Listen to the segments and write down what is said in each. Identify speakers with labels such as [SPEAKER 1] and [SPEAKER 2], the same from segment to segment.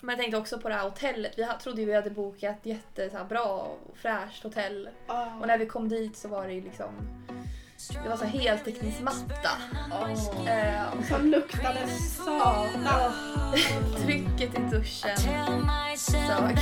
[SPEAKER 1] Men jag tänkte också på det här hotellet. Vi ha- trodde ju vi hade bokat jätte, så här, bra och fräscht hotell.
[SPEAKER 2] Oh.
[SPEAKER 1] Och när vi kom dit så var det ju liksom... Det var så här heltäckningsmatta. Eh, och
[SPEAKER 2] Som luktade satan.
[SPEAKER 1] trycket i duschen sög.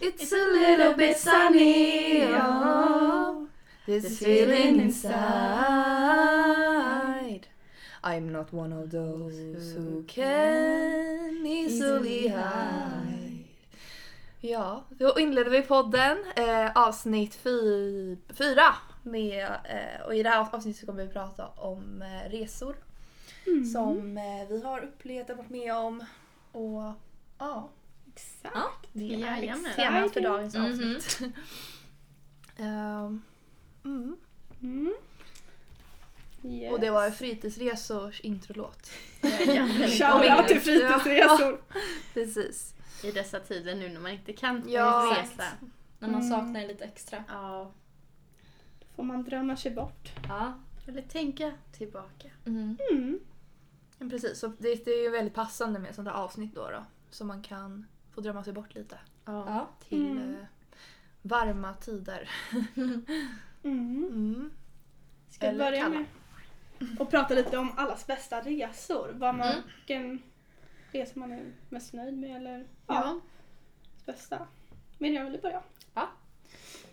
[SPEAKER 1] It's a little bit sunny. oh. This feeling inside. I'm not one of those who can easily hide. Ja, då inleder vi podden eh, avsnitt fy, fyra. Med, eh, och i det här avsnittet så kommer vi prata om eh, resor som eh, vi har upplevt och varit med om. Och ja,
[SPEAKER 2] Exakt.
[SPEAKER 3] Ja.
[SPEAKER 1] det är liksom
[SPEAKER 3] Jajamän.
[SPEAKER 1] temat för dagens
[SPEAKER 3] Mhm.
[SPEAKER 1] avsnitt. Ehm, mm.
[SPEAKER 2] Mm. Yes.
[SPEAKER 1] Och det var fritidsresors introlåt.
[SPEAKER 2] Shoutout till fritidsresor.
[SPEAKER 1] Precis.
[SPEAKER 3] I dessa tider nu när man inte kan
[SPEAKER 1] Ja.
[SPEAKER 3] resa.
[SPEAKER 4] När man
[SPEAKER 2] Mm.
[SPEAKER 4] saknar lite extra.
[SPEAKER 3] Ja.
[SPEAKER 2] Får man drömma sig bort.
[SPEAKER 4] Ja.
[SPEAKER 3] Eller tänka tillbaka.
[SPEAKER 4] Mm.
[SPEAKER 2] Mm.
[SPEAKER 1] Men precis, så det, det är ju väldigt passande med ett sånt här avsnitt då, då. Så man kan få drömma sig bort lite
[SPEAKER 4] Ja.
[SPEAKER 1] till
[SPEAKER 2] Mm.
[SPEAKER 1] eh, varma tider.
[SPEAKER 2] Mm.
[SPEAKER 1] Mm.
[SPEAKER 2] Ska jag
[SPEAKER 1] Eller
[SPEAKER 2] börja
[SPEAKER 1] kalla.
[SPEAKER 2] med och prata lite om allas bästa resor. Vad man, Vilken resa man är mest nöjd med eller ja, bästa. Men jag vill börja.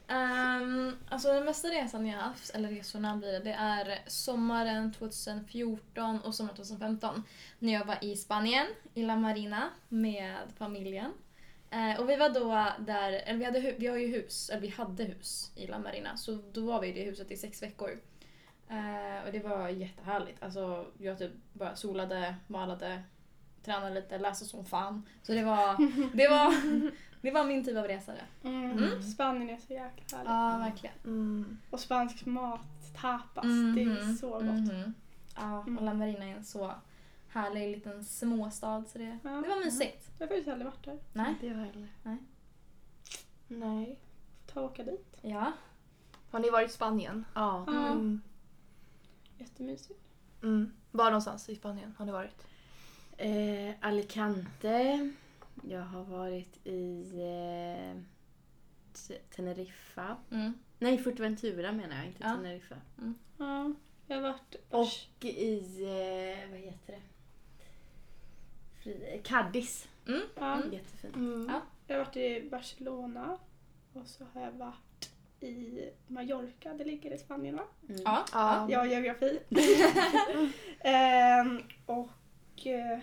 [SPEAKER 4] Ehm, alltså den mesta resan jag har haft, eller resorna blir det, det är sommaren 2014 och sommaren 2015. När jag var i Spanien, i La Marina, med familjen. Eh, och vi var då där, eller vi, hade, hu- vi har ju hus, eller vi hade hus i La Marina, så då var vi i det huset i sex veckor. Eh, och det var jättehärligt. Alltså jag typ bara solade, malade, tränade lite, läste som fan. Så det var, det var, det var min typ av resa det.
[SPEAKER 1] Mm.
[SPEAKER 2] Spanien är så jäkla härligt.
[SPEAKER 4] Ja, verkligen.
[SPEAKER 1] Mm.
[SPEAKER 2] Och spansk mat, tapas, det är
[SPEAKER 4] Mhm.
[SPEAKER 2] så gott.
[SPEAKER 4] Mhm. Ja,
[SPEAKER 2] Mm.
[SPEAKER 4] och La Marina är en så härlig liten småstad så det,
[SPEAKER 2] Ja.
[SPEAKER 4] det var mysigt.
[SPEAKER 2] Jag har faktiskt aldrig varit där.
[SPEAKER 4] Nej?
[SPEAKER 1] Inte jag heller.
[SPEAKER 4] Nej.
[SPEAKER 1] Nej.
[SPEAKER 2] Ta och åka dit.
[SPEAKER 4] Ja.
[SPEAKER 1] Har ni varit i Spanien?
[SPEAKER 3] Ja.
[SPEAKER 2] Ja,
[SPEAKER 1] Mm.
[SPEAKER 2] Jättemysigt.
[SPEAKER 1] Mm. Var någonstans i Spanien har ni varit?
[SPEAKER 3] Eh, Alicante. Jag har varit i eh, T- Teneriffa.
[SPEAKER 4] Mm.
[SPEAKER 3] Nej, Fuerteventura menar jag, inte
[SPEAKER 4] Ja.
[SPEAKER 3] Teneriffa.
[SPEAKER 2] Ja, jag har varit
[SPEAKER 3] Och i... Eh, vad heter det? Fri- Cadiz.
[SPEAKER 2] ja,
[SPEAKER 3] Jättefint.
[SPEAKER 1] Mm.
[SPEAKER 4] Ja.
[SPEAKER 2] Jag har varit i Barcelona och så har jag varit i Mallorca, det ligger i Spanien va?
[SPEAKER 3] Mm.
[SPEAKER 4] Ja.
[SPEAKER 1] Ja.
[SPEAKER 2] Ja, geografi. Ehm, och eh,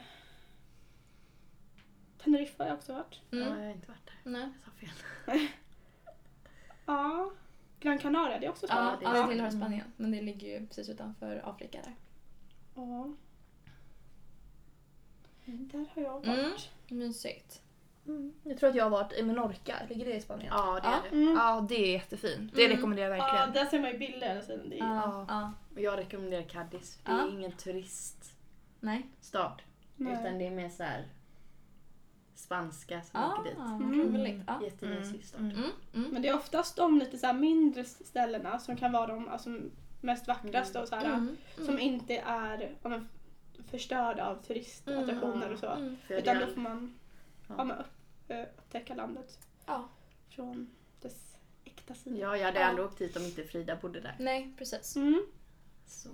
[SPEAKER 2] Teneriffa har jag också varit.
[SPEAKER 3] Ja,
[SPEAKER 4] Mm.
[SPEAKER 3] jag har inte varit där.
[SPEAKER 4] Nej.
[SPEAKER 3] Jag sa fel.
[SPEAKER 2] Ja, Gran Canaria det är också
[SPEAKER 4] Ja,
[SPEAKER 2] Spanien.
[SPEAKER 4] ja, det
[SPEAKER 3] Ja.
[SPEAKER 4] tillhör Spanien. Men det ligger ju precis utanför Afrika där.
[SPEAKER 2] Ja. Där har jag
[SPEAKER 4] Mm.
[SPEAKER 2] varit.
[SPEAKER 4] Mysigt.
[SPEAKER 1] Mm. Jag tror att jag har varit i Menorca, ligger det i Spanien?
[SPEAKER 3] Ja, det
[SPEAKER 4] Ja.
[SPEAKER 3] är det.
[SPEAKER 2] Mm.
[SPEAKER 1] Ja, det är jättefint. Det
[SPEAKER 4] Mm.
[SPEAKER 1] rekommenderar jag
[SPEAKER 2] Ja,
[SPEAKER 1] verkligen.
[SPEAKER 2] där ser man ju bilder hela tiden. Det är ju...
[SPEAKER 4] Ja. ja.
[SPEAKER 3] Och jag rekommenderar Cadiz. Det är
[SPEAKER 4] Ja.
[SPEAKER 3] ingen turiststad.
[SPEAKER 4] Nej.
[SPEAKER 2] Nej.
[SPEAKER 3] Utan det är mer så här spanska som
[SPEAKER 4] Ah,
[SPEAKER 3] åker dit.
[SPEAKER 4] vad roligt. Ja.
[SPEAKER 3] Jättemysig stad.
[SPEAKER 1] Mm.
[SPEAKER 4] Mm. Mm.
[SPEAKER 2] Men det är oftast de lite så här mindre ställena som kan vara de alltså, mest vackraste och så här,
[SPEAKER 4] Mm.
[SPEAKER 2] som inte är ja, men, förstörda av turistattraktioner
[SPEAKER 3] Mm.
[SPEAKER 2] och så.
[SPEAKER 4] Mm.
[SPEAKER 3] För
[SPEAKER 2] Utan
[SPEAKER 3] det-
[SPEAKER 2] då får man
[SPEAKER 3] Ja.
[SPEAKER 2] ja. men, upp, eh, upptäcka landet
[SPEAKER 4] Ja.
[SPEAKER 2] från dess äkta sida.
[SPEAKER 3] Ja, jag hade
[SPEAKER 4] Ja.
[SPEAKER 3] aldrig åkt dit om inte Frida bodde där.
[SPEAKER 4] Nej, precis.
[SPEAKER 2] Mm.
[SPEAKER 3] Så.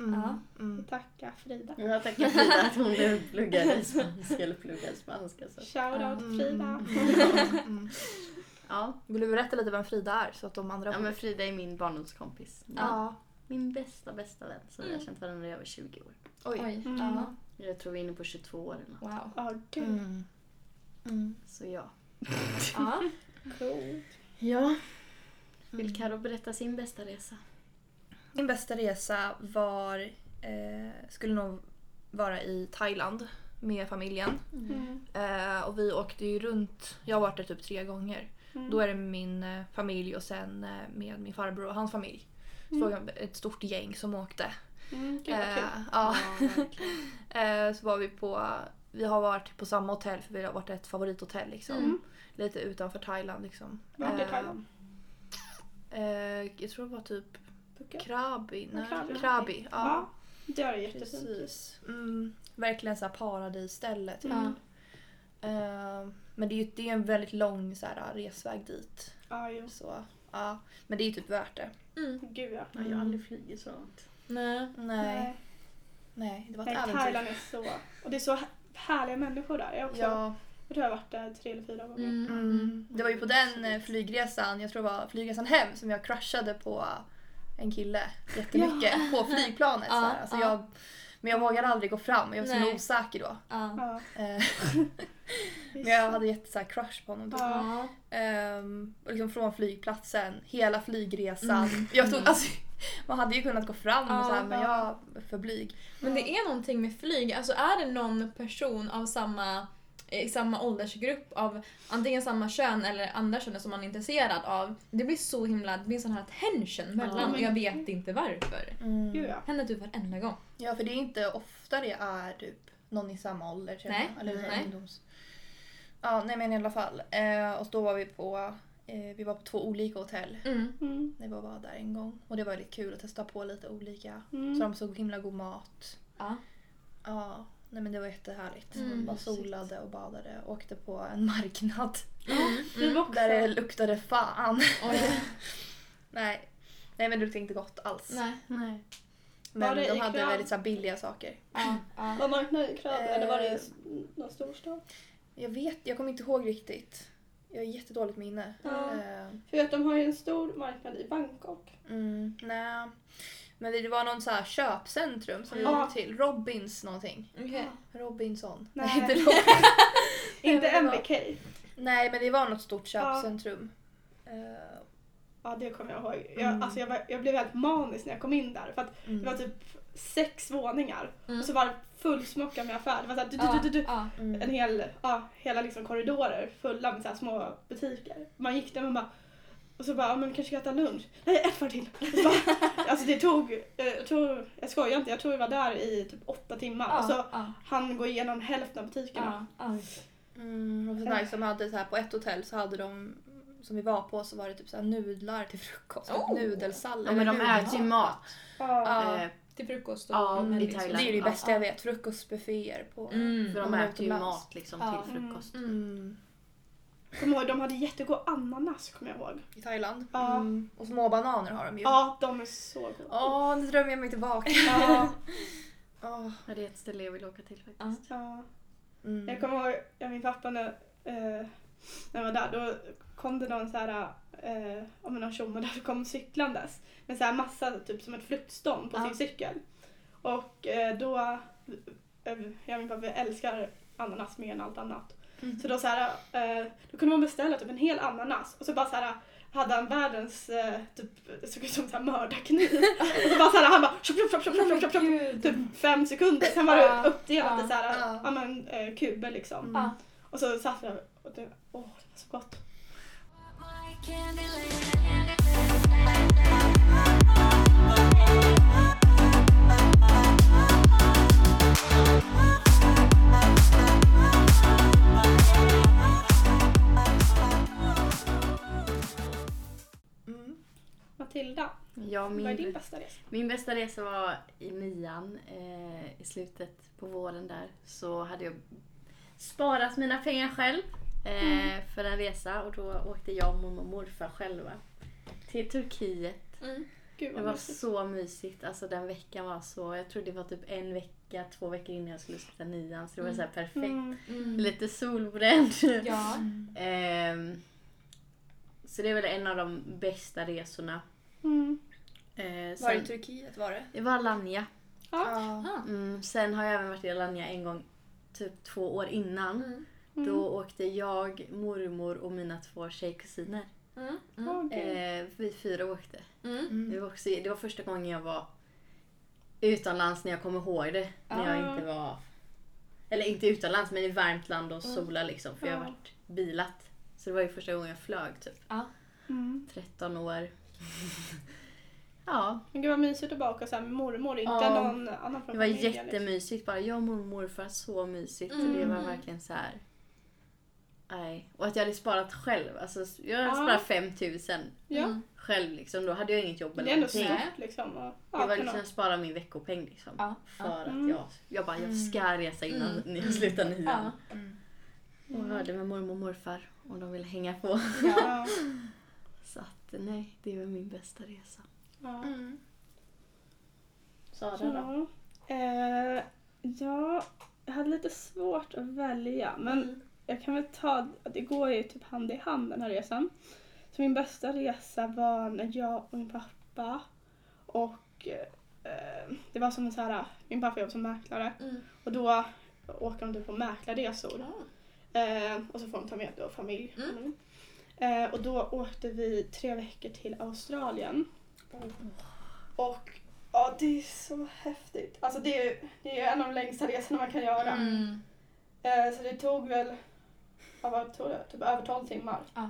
[SPEAKER 1] Mm.
[SPEAKER 4] Ja.
[SPEAKER 1] Mm.
[SPEAKER 2] Tacka Frida.
[SPEAKER 3] Jag tackar Frida att hon nu pluggar i spanska, eller pluggar spanska. Så.
[SPEAKER 2] Shoutout
[SPEAKER 1] Mm.
[SPEAKER 2] Frida.
[SPEAKER 1] Mm. Mm.
[SPEAKER 3] Ja.
[SPEAKER 1] Vill du berätta lite vem Frida är så att de andra
[SPEAKER 3] ja, men Frida är min barndomskompis.
[SPEAKER 1] ja.
[SPEAKER 3] Min bästa, bästa vän som vi har känt varandra i över 20 år.
[SPEAKER 1] Oj.
[SPEAKER 4] Oj.
[SPEAKER 2] Mm.
[SPEAKER 4] Ja.
[SPEAKER 3] Jag tror vi är inne på 22 år eller något.
[SPEAKER 4] Wow.
[SPEAKER 2] Ja, gud.
[SPEAKER 1] Mm. Mm.
[SPEAKER 3] Så ja.
[SPEAKER 4] Ja.
[SPEAKER 2] Coolt.
[SPEAKER 3] Ja. Mm. Vill Karo berätta sin bästa resa?
[SPEAKER 1] Min bästa resa var, eh, skulle nog vara i Thailand med familjen.
[SPEAKER 2] Mm.
[SPEAKER 1] Eh, och vi åkte ju runt, jag har varit där typ tre gånger.
[SPEAKER 2] Mm.
[SPEAKER 1] Då är det min eh, familj och sen eh, med min farbror och hans familj. Så var vi ett stort gäng som åkte.
[SPEAKER 2] Mm, gud vad Mm. kul.
[SPEAKER 1] Eh, ja.
[SPEAKER 5] verkligen.
[SPEAKER 1] Eh, så var vi på, vi har varit på samma hotell för vi har varit ett favorithotell liksom.
[SPEAKER 2] Mm.
[SPEAKER 1] Lite utanför Thailand liksom.
[SPEAKER 2] Vart i
[SPEAKER 1] Eh,
[SPEAKER 2] Thailand?
[SPEAKER 1] Eh, jag tror det var typ
[SPEAKER 2] Phuket?
[SPEAKER 1] Krabi.
[SPEAKER 2] Ja,
[SPEAKER 1] Nej,
[SPEAKER 2] Krabi.
[SPEAKER 1] Krabi. Ja,
[SPEAKER 2] Ja. Det är jättefint.
[SPEAKER 1] precis. Mm, verkligen såhär paradisställe typ.
[SPEAKER 4] Ja.
[SPEAKER 1] Eh, men det är ju det är en väldigt lång så här, eh, resväg dit.
[SPEAKER 2] Ja, jo.
[SPEAKER 1] Så, ja. Men det är ju typ värt det.
[SPEAKER 4] Mm.
[SPEAKER 2] Gud ja. Mm.
[SPEAKER 5] Jag har aldrig flugit så långt.
[SPEAKER 4] Nej.
[SPEAKER 1] Nej, nej det var ett
[SPEAKER 2] Nej,
[SPEAKER 1] äventyr.
[SPEAKER 2] Thailand är så... Och det är så här- härliga människor där. Jag, också,
[SPEAKER 1] typ- Ja,
[SPEAKER 2] jag tror jag har varit där tre eller fyra gånger.
[SPEAKER 4] Mm.
[SPEAKER 1] mm. Det var ju på den eh, flygresan, jag tror det var flygresan hem, som jag kraschade på eh, en kille jättemycket på flygplanet.
[SPEAKER 4] Ja,
[SPEAKER 1] så här. Alltså
[SPEAKER 4] ja.
[SPEAKER 1] jag, men jag vågade aldrig gå fram, jag var så
[SPEAKER 4] Nej.
[SPEAKER 1] osäker då.
[SPEAKER 4] Ja.
[SPEAKER 2] Ja,
[SPEAKER 1] Eh,
[SPEAKER 2] det är
[SPEAKER 1] Men jag Mm.
[SPEAKER 2] så-
[SPEAKER 1] hade jätte så här crush på honom då.
[SPEAKER 2] Ja.
[SPEAKER 4] Ja.
[SPEAKER 1] Ehm, och liksom från flygplatsen, hela flygresan.
[SPEAKER 4] Mm.
[SPEAKER 1] Jag stod, alltså, man hade ju kunnat gå fram
[SPEAKER 4] Ja,
[SPEAKER 1] och så här, men jag
[SPEAKER 2] ja.
[SPEAKER 1] var för blyg.
[SPEAKER 4] Men
[SPEAKER 2] Ja.
[SPEAKER 4] det är någonting med flyg. Alltså är det någon person av samma, i samma åldersgrupp av antingen samma kön eller andra könet som man är intresserad av. Det blir så himla, det blir en sån här tension mellan och
[SPEAKER 2] men-
[SPEAKER 4] jag vet inte varför.
[SPEAKER 2] Gud ja.
[SPEAKER 4] Händer typ varenda gång.
[SPEAKER 1] Ja, för det är inte ofta det är typ någon i samma ålder. känner
[SPEAKER 4] Nej,
[SPEAKER 1] jag. Eller
[SPEAKER 4] nej.
[SPEAKER 1] ungdoms... Ja, nej men i alla fall. Eh, och då var vi på, eh, vi var på två olika hotell
[SPEAKER 4] Mm.
[SPEAKER 2] Mm.
[SPEAKER 1] när vi var där en gång. Och det var väldigt kul att testa på lite olika.
[SPEAKER 2] Mm.
[SPEAKER 1] Så de såg himla god mat.
[SPEAKER 4] Ja.
[SPEAKER 1] Ja, nej men det var jättehärligt.
[SPEAKER 4] Mm,
[SPEAKER 1] Bara
[SPEAKER 2] mysigt.
[SPEAKER 1] solade och badade och åkte på en marknad.
[SPEAKER 2] Vi var också...
[SPEAKER 1] mm, Där det luktade fan.
[SPEAKER 4] Oj.
[SPEAKER 1] Nej. Nej men det luktade inte gott alls.
[SPEAKER 4] Nej.
[SPEAKER 5] Nej.
[SPEAKER 2] Var
[SPEAKER 1] Men
[SPEAKER 2] det
[SPEAKER 1] de
[SPEAKER 2] i
[SPEAKER 1] hade
[SPEAKER 2] Krabi?
[SPEAKER 1] väldigt så här, billiga saker.
[SPEAKER 4] Ja. Ja.
[SPEAKER 2] Var marknaden i Krabi eller var det
[SPEAKER 1] Eh.
[SPEAKER 2] i någon storstad?
[SPEAKER 1] Jag vet, jag kommer inte ihåg riktigt. Jag har jättedåligt minne.
[SPEAKER 2] Ja.
[SPEAKER 1] Eh,
[SPEAKER 2] För att de har ju en stor marknad i Bangkok.
[SPEAKER 1] mm, nej. Men det var någon så här köpcentrum som vi
[SPEAKER 2] Ja.
[SPEAKER 1] åkte till. Robins någonting.
[SPEAKER 4] Okej.
[SPEAKER 1] Robinson.
[SPEAKER 2] Nej.
[SPEAKER 1] inte Robin.
[SPEAKER 2] Inte
[SPEAKER 1] men det var-
[SPEAKER 2] MBK.
[SPEAKER 1] Nej men det var något stort
[SPEAKER 2] Ja.
[SPEAKER 1] köpcentrum. Eh,
[SPEAKER 2] Ja, det kommer jag ihåg. Jag,
[SPEAKER 1] Mm.
[SPEAKER 2] alltså, jag, var, jag blev helt manisk när jag kom in där. För att
[SPEAKER 1] mm,
[SPEAKER 2] Det var typ sex våningar
[SPEAKER 4] Mm.
[SPEAKER 2] och så var det fullsmockat med affärer. Det var så här, du,
[SPEAKER 4] Ja.
[SPEAKER 2] du, du, du, du.
[SPEAKER 4] Ja.
[SPEAKER 1] mm.
[SPEAKER 2] En hel, ja, hela liksom korridorer fulla med så här små butiker. Man gick där och man bara och så bara, ja, men vi kanske ska äta lunch? Nej, ett var till! Och så bara, alltså det tog, eh, jag tror, jag skojar inte, jag tror vi var där i typ åtta timmar. Och så
[SPEAKER 4] Ja. Ja.
[SPEAKER 2] han går igenom hälften av butikerna.
[SPEAKER 4] Ja. Ja.
[SPEAKER 1] Mm, och så nice, de hade så här, på ett hotell så hade de som vi var på så var det typ så här nudlar till frukost. Typ
[SPEAKER 4] Oh.
[SPEAKER 1] Nudelsallad.
[SPEAKER 3] Ja, men de
[SPEAKER 1] Nudelsallad.
[SPEAKER 3] äter ju mat.
[SPEAKER 2] Ja.
[SPEAKER 1] Ja.
[SPEAKER 3] Eh,
[SPEAKER 4] Till frukost och
[SPEAKER 3] Ja,
[SPEAKER 4] men
[SPEAKER 3] i
[SPEAKER 4] liksom-
[SPEAKER 1] Det
[SPEAKER 3] Thailand.
[SPEAKER 1] är ju det
[SPEAKER 3] Ja.
[SPEAKER 1] bästa jag vet. Frukostbufféer på...
[SPEAKER 4] Mm.
[SPEAKER 3] För de
[SPEAKER 1] Mm.
[SPEAKER 3] äter ju
[SPEAKER 1] Utomlands.
[SPEAKER 3] mat liksom
[SPEAKER 4] Ja.
[SPEAKER 3] till frukost.
[SPEAKER 4] Mm.
[SPEAKER 1] Mm.
[SPEAKER 2] Kommer ihåg, de hade jättegod ananas kommer jag ihåg.
[SPEAKER 1] I Thailand.
[SPEAKER 2] Ja.
[SPEAKER 1] Mm. Och små bananer har de ju.
[SPEAKER 2] Ja, de är så goda.
[SPEAKER 1] Åh, nu drömmer jag mig tillbaka.
[SPEAKER 2] Ja.
[SPEAKER 1] Åh,
[SPEAKER 3] Ja, det är ett ställe jag vill åka till faktiskt.
[SPEAKER 4] Ja.
[SPEAKER 2] Ja.
[SPEAKER 1] mm.
[SPEAKER 2] Jag kommer ihåg ja, min pappa när, eh, när jag var där, då kom det någon så här, eh, om någon tjomme där, kom cyklandes med så här massa, typ som ett fruktstånd på
[SPEAKER 4] Ja.
[SPEAKER 2] sin cykel. Och eh, då, eh, jag och min pappa älskar ananas mer än allt annat.
[SPEAKER 1] Mm.
[SPEAKER 2] Så då så här, eh, då kunde man beställa typ en hel ananas och så bara så här hade han världens, eh, typ, det såg ut som så här mördarkniv. och så bara så här, han bara tjopp, tjopp, tjopp, tjopp, tjopp, tjopp, tjopp, typ fem sekunder. Sen var
[SPEAKER 4] Ja,
[SPEAKER 2] det uppdelat
[SPEAKER 4] ja,
[SPEAKER 2] i så här,
[SPEAKER 1] ja.
[SPEAKER 2] ja. men, eh, kuber liksom.
[SPEAKER 1] Mm.
[SPEAKER 4] Ja.
[SPEAKER 2] Och så satt jag och det, åh, det var så gott.
[SPEAKER 1] Mm.
[SPEAKER 2] Matilda,
[SPEAKER 3] Ja,
[SPEAKER 2] vad är din
[SPEAKER 3] min,
[SPEAKER 2] bästa resa?
[SPEAKER 3] min bästa resa var i nian. Eh, I slutet på våren där så hade jag sparat mina pengar själv eh, för en resa och då åkte jag och mormor och morfar själva till Turkiet.
[SPEAKER 4] Mm.
[SPEAKER 2] Gud
[SPEAKER 3] Det
[SPEAKER 2] vad
[SPEAKER 3] var
[SPEAKER 2] mysigt.
[SPEAKER 3] så mysigt. Alltså den veckan var så... Jag tror det var typ en vecka, två veckor innan jag skulle sluta nian. Så det var så här perfekt.
[SPEAKER 2] Mm.
[SPEAKER 4] Mm.
[SPEAKER 3] Lite solbränd.
[SPEAKER 4] Ja.
[SPEAKER 3] Ehm, så det är väl en av de bästa resorna.
[SPEAKER 2] Mm.
[SPEAKER 3] Eh,
[SPEAKER 1] Var det
[SPEAKER 3] sen,
[SPEAKER 1] i Turkiet var det?
[SPEAKER 3] det var Alanya.
[SPEAKER 2] Ja.
[SPEAKER 4] Ah.
[SPEAKER 3] Mm, sen har jag även varit i Alanya en gång, typ två år innan.
[SPEAKER 4] Mm.
[SPEAKER 2] Mm.
[SPEAKER 3] Då åkte jag, mormor och mina två tjejkusiner.
[SPEAKER 4] Mm. Mm.
[SPEAKER 2] Åh, gud.
[SPEAKER 3] Eh, vi fyra åkte.
[SPEAKER 4] Mm.
[SPEAKER 3] Det
[SPEAKER 1] Mm.
[SPEAKER 3] var, också, det var första gången jag var utomlands när jag kommer ihåg det. När jag
[SPEAKER 2] Ah.
[SPEAKER 3] inte
[SPEAKER 2] Ah.
[SPEAKER 3] var... Eller inte utomlands men i varmt land och sola liksom. För jag har
[SPEAKER 2] Ja.
[SPEAKER 3] varit bilat. Så Så det var ju första gången jag flög typ.
[SPEAKER 2] Mm.
[SPEAKER 3] 13 år. ja,
[SPEAKER 2] Men gud vad mysigt att baka så här med mormor, inte
[SPEAKER 3] Ja.
[SPEAKER 2] någon annan från
[SPEAKER 3] det var
[SPEAKER 2] familjen, liksom.
[SPEAKER 3] jättemysigt. Bara jag och mormor och morfar, så mysigt. Och det var
[SPEAKER 4] Mm.
[SPEAKER 3] verkligen så här. Nej. Och att jag hade sparat själv. Alltså, jag hade
[SPEAKER 2] Ja.
[SPEAKER 3] sparat 5000
[SPEAKER 2] Ja,
[SPEAKER 4] Mm.
[SPEAKER 3] själv liksom. Då hade jag inget jobb
[SPEAKER 2] men
[SPEAKER 3] eller
[SPEAKER 2] det är ändå
[SPEAKER 3] någonting.
[SPEAKER 4] Nej.
[SPEAKER 2] stort liksom. Och, ja,
[SPEAKER 3] Det var
[SPEAKER 2] kunna-
[SPEAKER 3] liksom jag sparade min veckopeng liksom.
[SPEAKER 4] Ja.
[SPEAKER 3] För
[SPEAKER 2] Mm.
[SPEAKER 3] att jag, jag bara, jag ska resa innan
[SPEAKER 4] Mm.
[SPEAKER 3] jag slutar nian.
[SPEAKER 4] Ja.
[SPEAKER 3] Och hörde med mormor och morfar om de ville hänga på.
[SPEAKER 2] ja.
[SPEAKER 3] Så att nej, det var min bästa resa.
[SPEAKER 2] Ja.
[SPEAKER 3] Mm,
[SPEAKER 1] Mm.
[SPEAKER 3] Sara då?
[SPEAKER 2] Ja. Mm. Eh, ja, jag hade lite svårt att välja men jag kan väl ta, det går ju typ hand i hand den här resan. Så min bästa resa var när jag och min pappa och eh, det var som en så här, min pappa jobbade som mäklare
[SPEAKER 4] Mm.
[SPEAKER 2] och då åker de typ på mäklarresor.
[SPEAKER 4] Ja.
[SPEAKER 2] Eh, och så får de ta med då familj.
[SPEAKER 4] Mm.
[SPEAKER 2] Eh, och då åkte vi tre veckor till Australien.
[SPEAKER 4] Oh.
[SPEAKER 2] Och ja, det är så häftigt. Alltså det är, det är en av de längsta resorna man kan göra.
[SPEAKER 4] Mm.
[SPEAKER 2] Eh, så det tog väl, ja, vad tog det? Typ över 12 timmar.
[SPEAKER 4] Ja.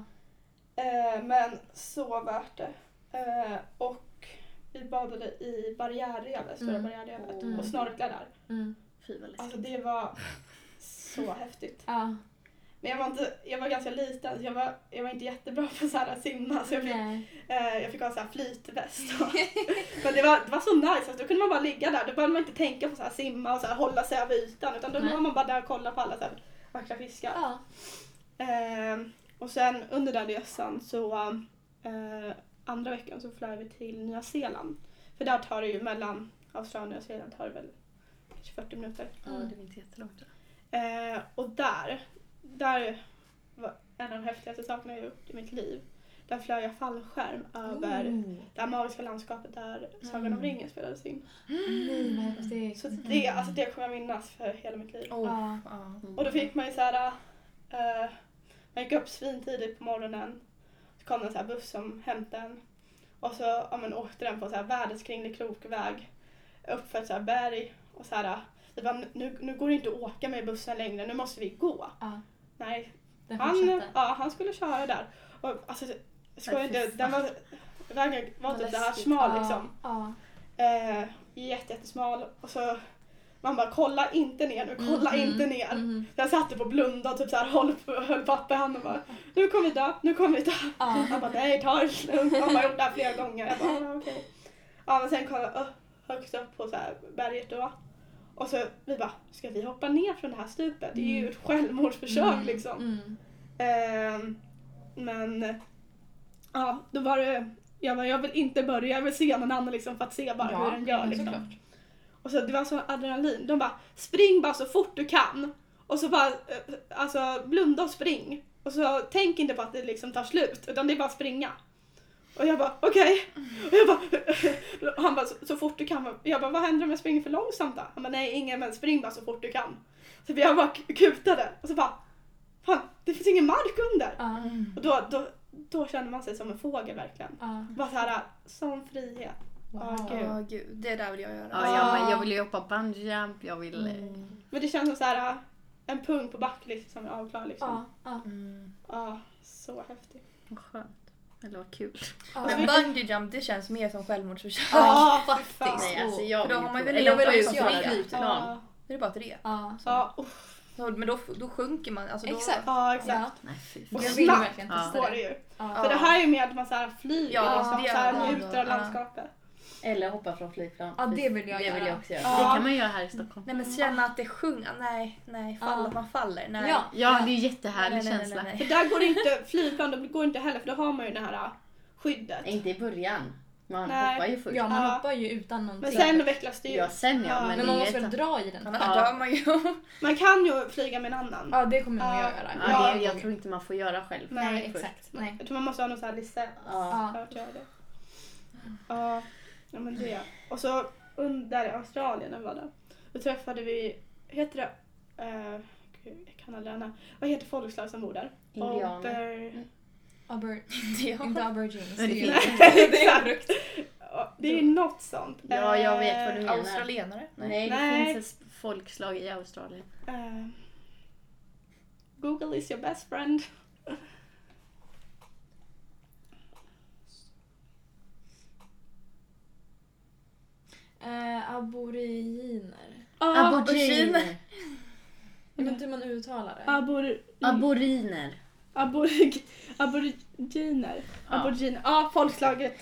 [SPEAKER 2] Eh, men så värt det. Eh, och vi badade i barriärrevet, stora
[SPEAKER 4] Mm.
[SPEAKER 2] barriärrevet
[SPEAKER 3] Mm.
[SPEAKER 2] och snorklade där.
[SPEAKER 4] Mm.
[SPEAKER 3] Fy vad läskigt.
[SPEAKER 2] Alltså det var så häftigt.
[SPEAKER 4] Ja.
[SPEAKER 2] Men jag var, inte, jag var ganska liten så jag var, jag var inte jättebra på så här att simma så jag fick,
[SPEAKER 4] Nej.
[SPEAKER 2] eh, jag fick ha så här flytväst. Och, men det var, det var så nice, alltså, då kunde man bara ligga där. Då behövde man inte tänka på så här simma och så här hålla sig över ytan utan då
[SPEAKER 4] Nej.
[SPEAKER 2] var man bara där och kollade på alla så här vackra fiskar.
[SPEAKER 4] Ja.
[SPEAKER 2] Eh, och sen under den resan så eh, andra veckan så flög vi till Nya Zeeland. För där tar det ju mellan Australien och Nya Zeeland tar det väl kanske 40 minuter.
[SPEAKER 3] Ja, det var inte jättelångt.
[SPEAKER 2] Eh, och där, där var en av de häftigaste sakerna jag gjort i mitt liv. Där flög jag fallskärm över
[SPEAKER 4] Mm.
[SPEAKER 2] det här magiska landskapet där Sagan om ringen spelades in.
[SPEAKER 4] Nej, vad häftigt.
[SPEAKER 2] Så det, alltså det kommer jag minnas för hela mitt liv.
[SPEAKER 1] Oh,
[SPEAKER 4] Ja.
[SPEAKER 1] ja.
[SPEAKER 2] Och då fick man ju såhär, eh, man gick upp svintidigt på morgonen. Så kom det en så här buss som hämtade en. Och så ja, men, åkte den på så här världens kringlig krokväg. Upp för ett så här berg. Och så här, vi bara, nu, nu går det inte att åka med bussen längre, nu måste vi gå.
[SPEAKER 4] Ja.
[SPEAKER 2] Nej,
[SPEAKER 4] Den
[SPEAKER 2] han,
[SPEAKER 4] fortsatte.
[SPEAKER 2] ja, han skulle köra där. Och, alltså, jag skojar
[SPEAKER 3] Nej, fy
[SPEAKER 2] inte, den var, vägen var
[SPEAKER 3] Vad
[SPEAKER 2] typ så här
[SPEAKER 3] läskigt.
[SPEAKER 2] smal
[SPEAKER 4] Ja.
[SPEAKER 2] liksom.
[SPEAKER 4] Ja.
[SPEAKER 2] Eh, jätte, jättesmal. Och så man bara kolla inte ner nu, kolla
[SPEAKER 4] Mhm.
[SPEAKER 2] inte ner.
[SPEAKER 4] Mm.
[SPEAKER 2] Jag satt typ och blundade och typ så här, höll, höll pappa i handen och bara nu kommer vi dö, nu kommer vi dö.
[SPEAKER 4] Ja.
[SPEAKER 2] Han bara nej ta det lugnt. Han bara gjort det här flera gånger. Jag bara ah, okej. Ja men sen kom jag upp, högst upp på så här berget då. Och så vi bara ska vi hoppa ner från det här stupet? Det är ju ett självmordsförsök
[SPEAKER 4] Mm.
[SPEAKER 2] liksom.
[SPEAKER 4] Mm.
[SPEAKER 2] Ehm, men ja, då var det, jag bara, jag vill inte börja, jag vill se någon annan liksom för att se bara
[SPEAKER 4] Ja,
[SPEAKER 2] hur den gör
[SPEAKER 4] men
[SPEAKER 2] liksom.
[SPEAKER 4] såklart.
[SPEAKER 2] Och så det var så adrenalin, de bara spring bara så fort du kan och så bara eh, alltså blunda och spring och så tänk inte på att det liksom tar slut utan det är bara springa. Och jag bara okej. Och jag bara, han bara så, så fort du kan. Jag bara vad händer om jag springer för långsamt då? Han bara nej ingen men spring bara så fort du kan. Så jag bara kutade och så bara fan det finns ingen mark under.
[SPEAKER 4] Ja.
[SPEAKER 2] Och då, då, då känner man sig som en fågel verkligen.
[SPEAKER 4] Ja.
[SPEAKER 2] Bara såhär, sån frihet. Ja,
[SPEAKER 4] Wow.
[SPEAKER 2] gud.
[SPEAKER 1] Åh, gud, det där vill jag göra.
[SPEAKER 3] Ja, jag, men jag ville ju hoppa bungyjump, jag ville...
[SPEAKER 4] Mm.
[SPEAKER 2] Men det känns som såhär, en punkt på backlist som är avklarad liksom. Ja.
[SPEAKER 4] Ja. Ja.
[SPEAKER 1] Mm.
[SPEAKER 2] så häftigt.
[SPEAKER 3] Vad skönt. Eller vad kul.
[SPEAKER 4] Ja.
[SPEAKER 1] Men bungee jump det känns mer som självmordsförsök.
[SPEAKER 2] Ja, fy fan.
[SPEAKER 3] Nej, alltså jag
[SPEAKER 1] För då
[SPEAKER 3] vill
[SPEAKER 1] har man
[SPEAKER 3] ju
[SPEAKER 1] väl-
[SPEAKER 3] prova-
[SPEAKER 1] jag
[SPEAKER 3] eller
[SPEAKER 1] vill
[SPEAKER 3] hoppa
[SPEAKER 1] också
[SPEAKER 3] från
[SPEAKER 1] göra det.
[SPEAKER 3] flygplan.
[SPEAKER 2] Ja,
[SPEAKER 1] Det är bara ett rep.
[SPEAKER 4] Ja.
[SPEAKER 2] ja, uff,
[SPEAKER 1] Så- Men då, då sjunker man. Alltså, då,
[SPEAKER 4] Exakt.
[SPEAKER 2] ja
[SPEAKER 4] Ja.
[SPEAKER 2] exakt.
[SPEAKER 3] Nej, fy
[SPEAKER 4] Och
[SPEAKER 3] fan.
[SPEAKER 4] jag vill
[SPEAKER 2] Snabbt.
[SPEAKER 4] verkligen
[SPEAKER 3] Ja.
[SPEAKER 4] testa
[SPEAKER 2] Går det
[SPEAKER 4] det.
[SPEAKER 2] ju.
[SPEAKER 4] Ja.
[SPEAKER 2] För det här är ju mer att man såhär flyger
[SPEAKER 1] Ja,
[SPEAKER 2] liksom,
[SPEAKER 1] det är
[SPEAKER 2] såhär
[SPEAKER 1] det.
[SPEAKER 2] njuter av
[SPEAKER 1] Ja.
[SPEAKER 2] landskapet.
[SPEAKER 5] Eller hoppa från flygplan.
[SPEAKER 4] Ja, det vill jag
[SPEAKER 5] det vill
[SPEAKER 4] göra.
[SPEAKER 5] jag också göra.
[SPEAKER 3] Det
[SPEAKER 2] Ja.
[SPEAKER 3] kan man göra här i Stockholm.
[SPEAKER 1] Nej men känna att det sjunger. Nej, nej. Fall,
[SPEAKER 4] Ja.
[SPEAKER 1] Att man faller. Nej.
[SPEAKER 4] Ja.
[SPEAKER 3] Ja, det är ju jättehärlig
[SPEAKER 1] nej, nej, nej,
[SPEAKER 3] känsla.
[SPEAKER 1] nej,
[SPEAKER 2] För
[SPEAKER 1] nej.
[SPEAKER 2] där går det inte, flygplan då går det inte heller för då har man ju det här äh, skyddet.
[SPEAKER 5] Inte i början. Man
[SPEAKER 2] Nej.
[SPEAKER 5] hoppar ju först.
[SPEAKER 4] Ja, man
[SPEAKER 2] Ja.
[SPEAKER 4] hoppar ju
[SPEAKER 2] Men
[SPEAKER 4] utan någonting.
[SPEAKER 2] sen vecklas det ju.
[SPEAKER 5] Ja, sen ja.
[SPEAKER 2] Ja.
[SPEAKER 5] Men,
[SPEAKER 4] Men man
[SPEAKER 5] det
[SPEAKER 4] måste
[SPEAKER 5] är
[SPEAKER 4] väl
[SPEAKER 5] ju ett...
[SPEAKER 4] dra i den.
[SPEAKER 1] Annars
[SPEAKER 5] Ja.
[SPEAKER 1] dör man ju.
[SPEAKER 2] Man kan ju flyga med en annan.
[SPEAKER 4] Ja, det kommer nog
[SPEAKER 2] Ja.
[SPEAKER 4] jag göra.
[SPEAKER 5] ja, det, jag tror inte man får göra själv.
[SPEAKER 2] Nej,
[SPEAKER 4] Nej,
[SPEAKER 5] först.
[SPEAKER 4] exakt. Nej.
[SPEAKER 2] Jag tror man måste ha någon sån här licens.
[SPEAKER 5] Ja.
[SPEAKER 4] Ja.
[SPEAKER 2] för att göra det. Ja, ja men det. Och så under i Australien när vi var där. Då träffade vi, heter det, eh, gud, jag kan aldrig nämna. Vad heter folkslag som bor där?
[SPEAKER 5] Indianer.
[SPEAKER 2] eh,
[SPEAKER 5] Mm.
[SPEAKER 2] Ober,
[SPEAKER 4] Aber,
[SPEAKER 1] Ja.
[SPEAKER 4] inte aubergines.
[SPEAKER 3] Men det
[SPEAKER 4] ju-
[SPEAKER 3] finns
[SPEAKER 4] det är en frukt.
[SPEAKER 2] ja, det är något sånt.
[SPEAKER 5] Ja, jag vet vad du
[SPEAKER 2] Eh,
[SPEAKER 5] menar.
[SPEAKER 1] Australienare? Nej.
[SPEAKER 5] Nej, det
[SPEAKER 2] Nej.
[SPEAKER 5] finns ett folkslag i Australien.
[SPEAKER 2] eh, Google is your best friend.
[SPEAKER 4] Eh, aboriginer.
[SPEAKER 2] Ah,
[SPEAKER 3] Aboriginer.
[SPEAKER 4] Jag vet inte hur man uttalar det.
[SPEAKER 2] abor...
[SPEAKER 3] Aboriner.
[SPEAKER 2] Aborig, aboriginer. Aboriginer. Ja, folkslaget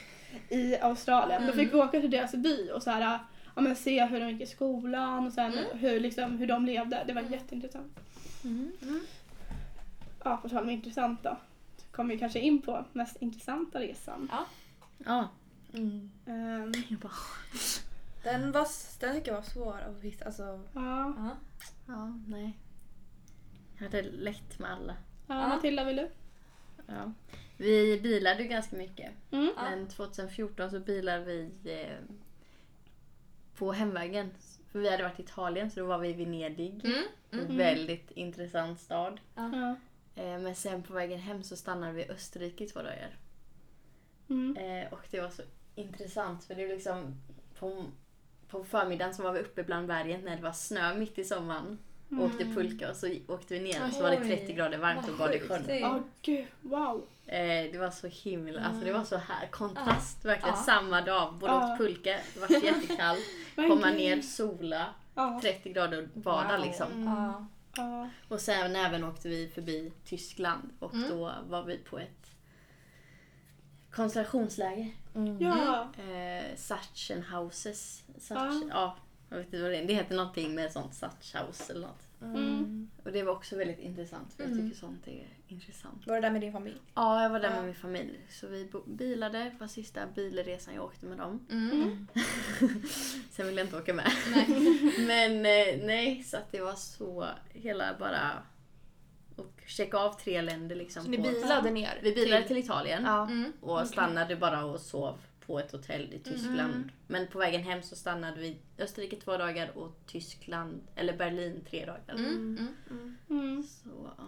[SPEAKER 2] i Australien. Då fick vi åka till deras by och så här, ja, men se hur de gick i skolan och sen hur, liksom, hur de levde. Det var jätteintressant. Mm, Ja, på tal om intressant då. så Kommer vi kanske in på mest intressanta resan.
[SPEAKER 3] Ja.
[SPEAKER 1] Mm.
[SPEAKER 2] Ehm,
[SPEAKER 1] Den, var, den tycker jag var svår att hitta. Alltså,
[SPEAKER 2] ja.
[SPEAKER 4] Ja.
[SPEAKER 3] Ja, nej. Jag hade lätt med alla.
[SPEAKER 2] ja, Matilda vill du?
[SPEAKER 3] Ja. Vi bilade ju ganska mycket.
[SPEAKER 2] Mm.
[SPEAKER 4] Ja.
[SPEAKER 3] Men 2014 så bilade vi eh, på hemvägen. För vi hade varit i Italien så då var vi i Venedig.
[SPEAKER 4] Mm. Mm.
[SPEAKER 3] En väldigt intressant stad.
[SPEAKER 2] Ja.
[SPEAKER 3] Eh, men sen på vägen hem så stannade vi i Österrike i två dagar.
[SPEAKER 2] Mm.
[SPEAKER 3] Eh, och det var så intressant för det är liksom på, på förmiddagen så var vi uppe bland bergen när det var snö mitt i sommaren. Och åkte pulka och så åkte vi ner och så var det
[SPEAKER 4] Mm. Oj.
[SPEAKER 3] 30 grader varmt och bad i sjön.
[SPEAKER 4] Det är-
[SPEAKER 2] Ja, gud, wow.
[SPEAKER 3] Eh, det var så himla, alltså det var så här kontrast verkligen.
[SPEAKER 4] Mm. Ja.
[SPEAKER 3] Samma dag, både
[SPEAKER 2] Ja.
[SPEAKER 3] åt pulka, det var jättekall, komma ner, sola,
[SPEAKER 2] Ja,
[SPEAKER 3] 30 grader och bada
[SPEAKER 4] Wow.
[SPEAKER 3] liksom.
[SPEAKER 4] Ja.
[SPEAKER 2] ja.
[SPEAKER 3] Och sen även åkte vi förbi Tyskland och
[SPEAKER 4] Mm.
[SPEAKER 3] då var vi på ett koncentrationsläger.
[SPEAKER 1] Mm.
[SPEAKER 2] ja.
[SPEAKER 3] Eh, Sachsenhauses. Sach,
[SPEAKER 2] Ja.
[SPEAKER 3] ja, jag vet inte vad det är. Det heter någonting med sånt Sachshaus eller något.
[SPEAKER 2] Mm.
[SPEAKER 3] Och det var också väldigt intressant för jag
[SPEAKER 4] Mm.
[SPEAKER 3] tycker sånt är intressant.
[SPEAKER 1] var det där med din familj?
[SPEAKER 3] Ja, jag var där
[SPEAKER 1] Ja.
[SPEAKER 3] med min familj. Så vi bo- bilade, det var sista bilresan jag åkte med dem.
[SPEAKER 4] Mm.
[SPEAKER 3] Sen ville jag inte åka med.
[SPEAKER 4] Nej.
[SPEAKER 3] Men eh, nej, så att det var så hela bara och checka av tre länder liksom.
[SPEAKER 1] Så ni
[SPEAKER 3] på-
[SPEAKER 1] bilade ner?
[SPEAKER 3] Vi bilade till, Italien
[SPEAKER 1] Ja.
[SPEAKER 4] Mm.
[SPEAKER 3] och stannade bara och sov på ett hotell i Tyskland. Men på vägen hem så stannade vi i Österrike två dagar och Tyskland, eller Berlin tre dagar.
[SPEAKER 4] Mm. Mm.
[SPEAKER 2] Mm.
[SPEAKER 3] Så, ja.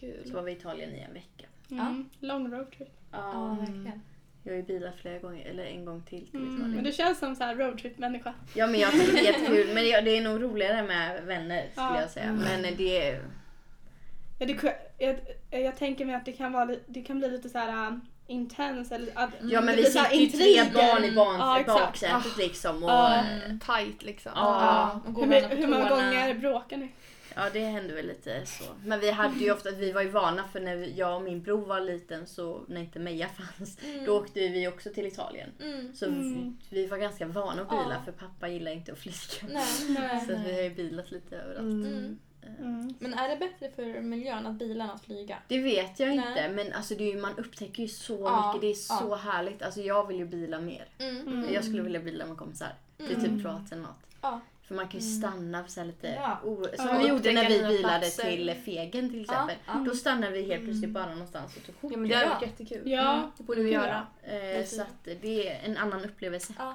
[SPEAKER 3] så
[SPEAKER 1] Kul.
[SPEAKER 3] var vi i Italien i en vecka. Mm.
[SPEAKER 2] Mm. Long road trip.
[SPEAKER 4] Ja, mm. verkligen.
[SPEAKER 3] Jag har ju bilat flera gånger, eller en gång till till
[SPEAKER 2] Mm.
[SPEAKER 3] Italien.
[SPEAKER 2] Men du känns som så här roadtrip-människa.
[SPEAKER 3] Ja men jag tycker det är jättekul. Men det- det är nog roligare med vänner skulle
[SPEAKER 2] Ja. Mm,
[SPEAKER 3] jag säga. Men det är...
[SPEAKER 2] Ja, det, kan- jag, jag tänker mig att det kan, vara, li- det kan bli lite så här um, intens eller att,
[SPEAKER 4] Mm.
[SPEAKER 3] Ja men
[SPEAKER 2] det
[SPEAKER 3] vi
[SPEAKER 2] blir så
[SPEAKER 3] sitter
[SPEAKER 2] här
[SPEAKER 3] ju tre
[SPEAKER 2] intriger.
[SPEAKER 3] barn i barn,
[SPEAKER 2] Ja, exakt. Ah.
[SPEAKER 3] baksätet liksom. Och,
[SPEAKER 2] Ja.
[SPEAKER 1] Tight liksom.
[SPEAKER 4] Ja. Och gå
[SPEAKER 2] Hur,
[SPEAKER 4] varandra
[SPEAKER 2] mycket-
[SPEAKER 4] på
[SPEAKER 2] hur många
[SPEAKER 4] tårna.
[SPEAKER 2] gånger bråkar ni?
[SPEAKER 3] Ja det hände väl lite så. Men vi hade ju ofta, vi var ju vana för när vi- jag och min bror var liten så, när inte Meja fanns, då åkte vi också till Italien.
[SPEAKER 4] Mm.
[SPEAKER 3] Så
[SPEAKER 2] Mm. Ah.
[SPEAKER 3] vi var ganska vana att bila
[SPEAKER 4] Ja.
[SPEAKER 3] för pappa gillar inte att flyga.
[SPEAKER 4] Nej.
[SPEAKER 3] Så
[SPEAKER 4] Nej.
[SPEAKER 3] att vi har ju bilat lite överallt. Eh,
[SPEAKER 4] Mm.
[SPEAKER 2] Mm.
[SPEAKER 4] Men är det bättre för miljön att bilen än att flyga?
[SPEAKER 3] Det vet jag
[SPEAKER 4] Nej.
[SPEAKER 3] inte men alltså det är ju, man upptäcker ju så
[SPEAKER 4] Ja,
[SPEAKER 2] Ah.
[SPEAKER 3] mycket. Det är
[SPEAKER 4] ja.
[SPEAKER 3] så härligt. Alltså jag vill ju bila mer.
[SPEAKER 4] Mm.
[SPEAKER 2] Mm.
[SPEAKER 3] Jag skulle vilja bilda med kompisar. Det är typ kroater eller något.
[SPEAKER 4] Ja.
[SPEAKER 3] För man kan ju stanna för så här lite...
[SPEAKER 4] Ja.
[SPEAKER 3] O- som
[SPEAKER 2] Ja.
[SPEAKER 3] Mm. vi gjorde när vi
[SPEAKER 1] Upptäcka nya
[SPEAKER 3] bilade
[SPEAKER 1] platser.
[SPEAKER 3] till Fegen till exempel.
[SPEAKER 4] ja.
[SPEAKER 3] Då stannade vi helt plötsligt bara någonstans och tog kort.
[SPEAKER 1] Ja men det hade
[SPEAKER 4] Ja.
[SPEAKER 1] varit jättekul.
[SPEAKER 4] Mm.
[SPEAKER 2] Ja.
[SPEAKER 1] Det borde vi göra.
[SPEAKER 3] Eh, så att det är en annan upplevelse.
[SPEAKER 4] Ja.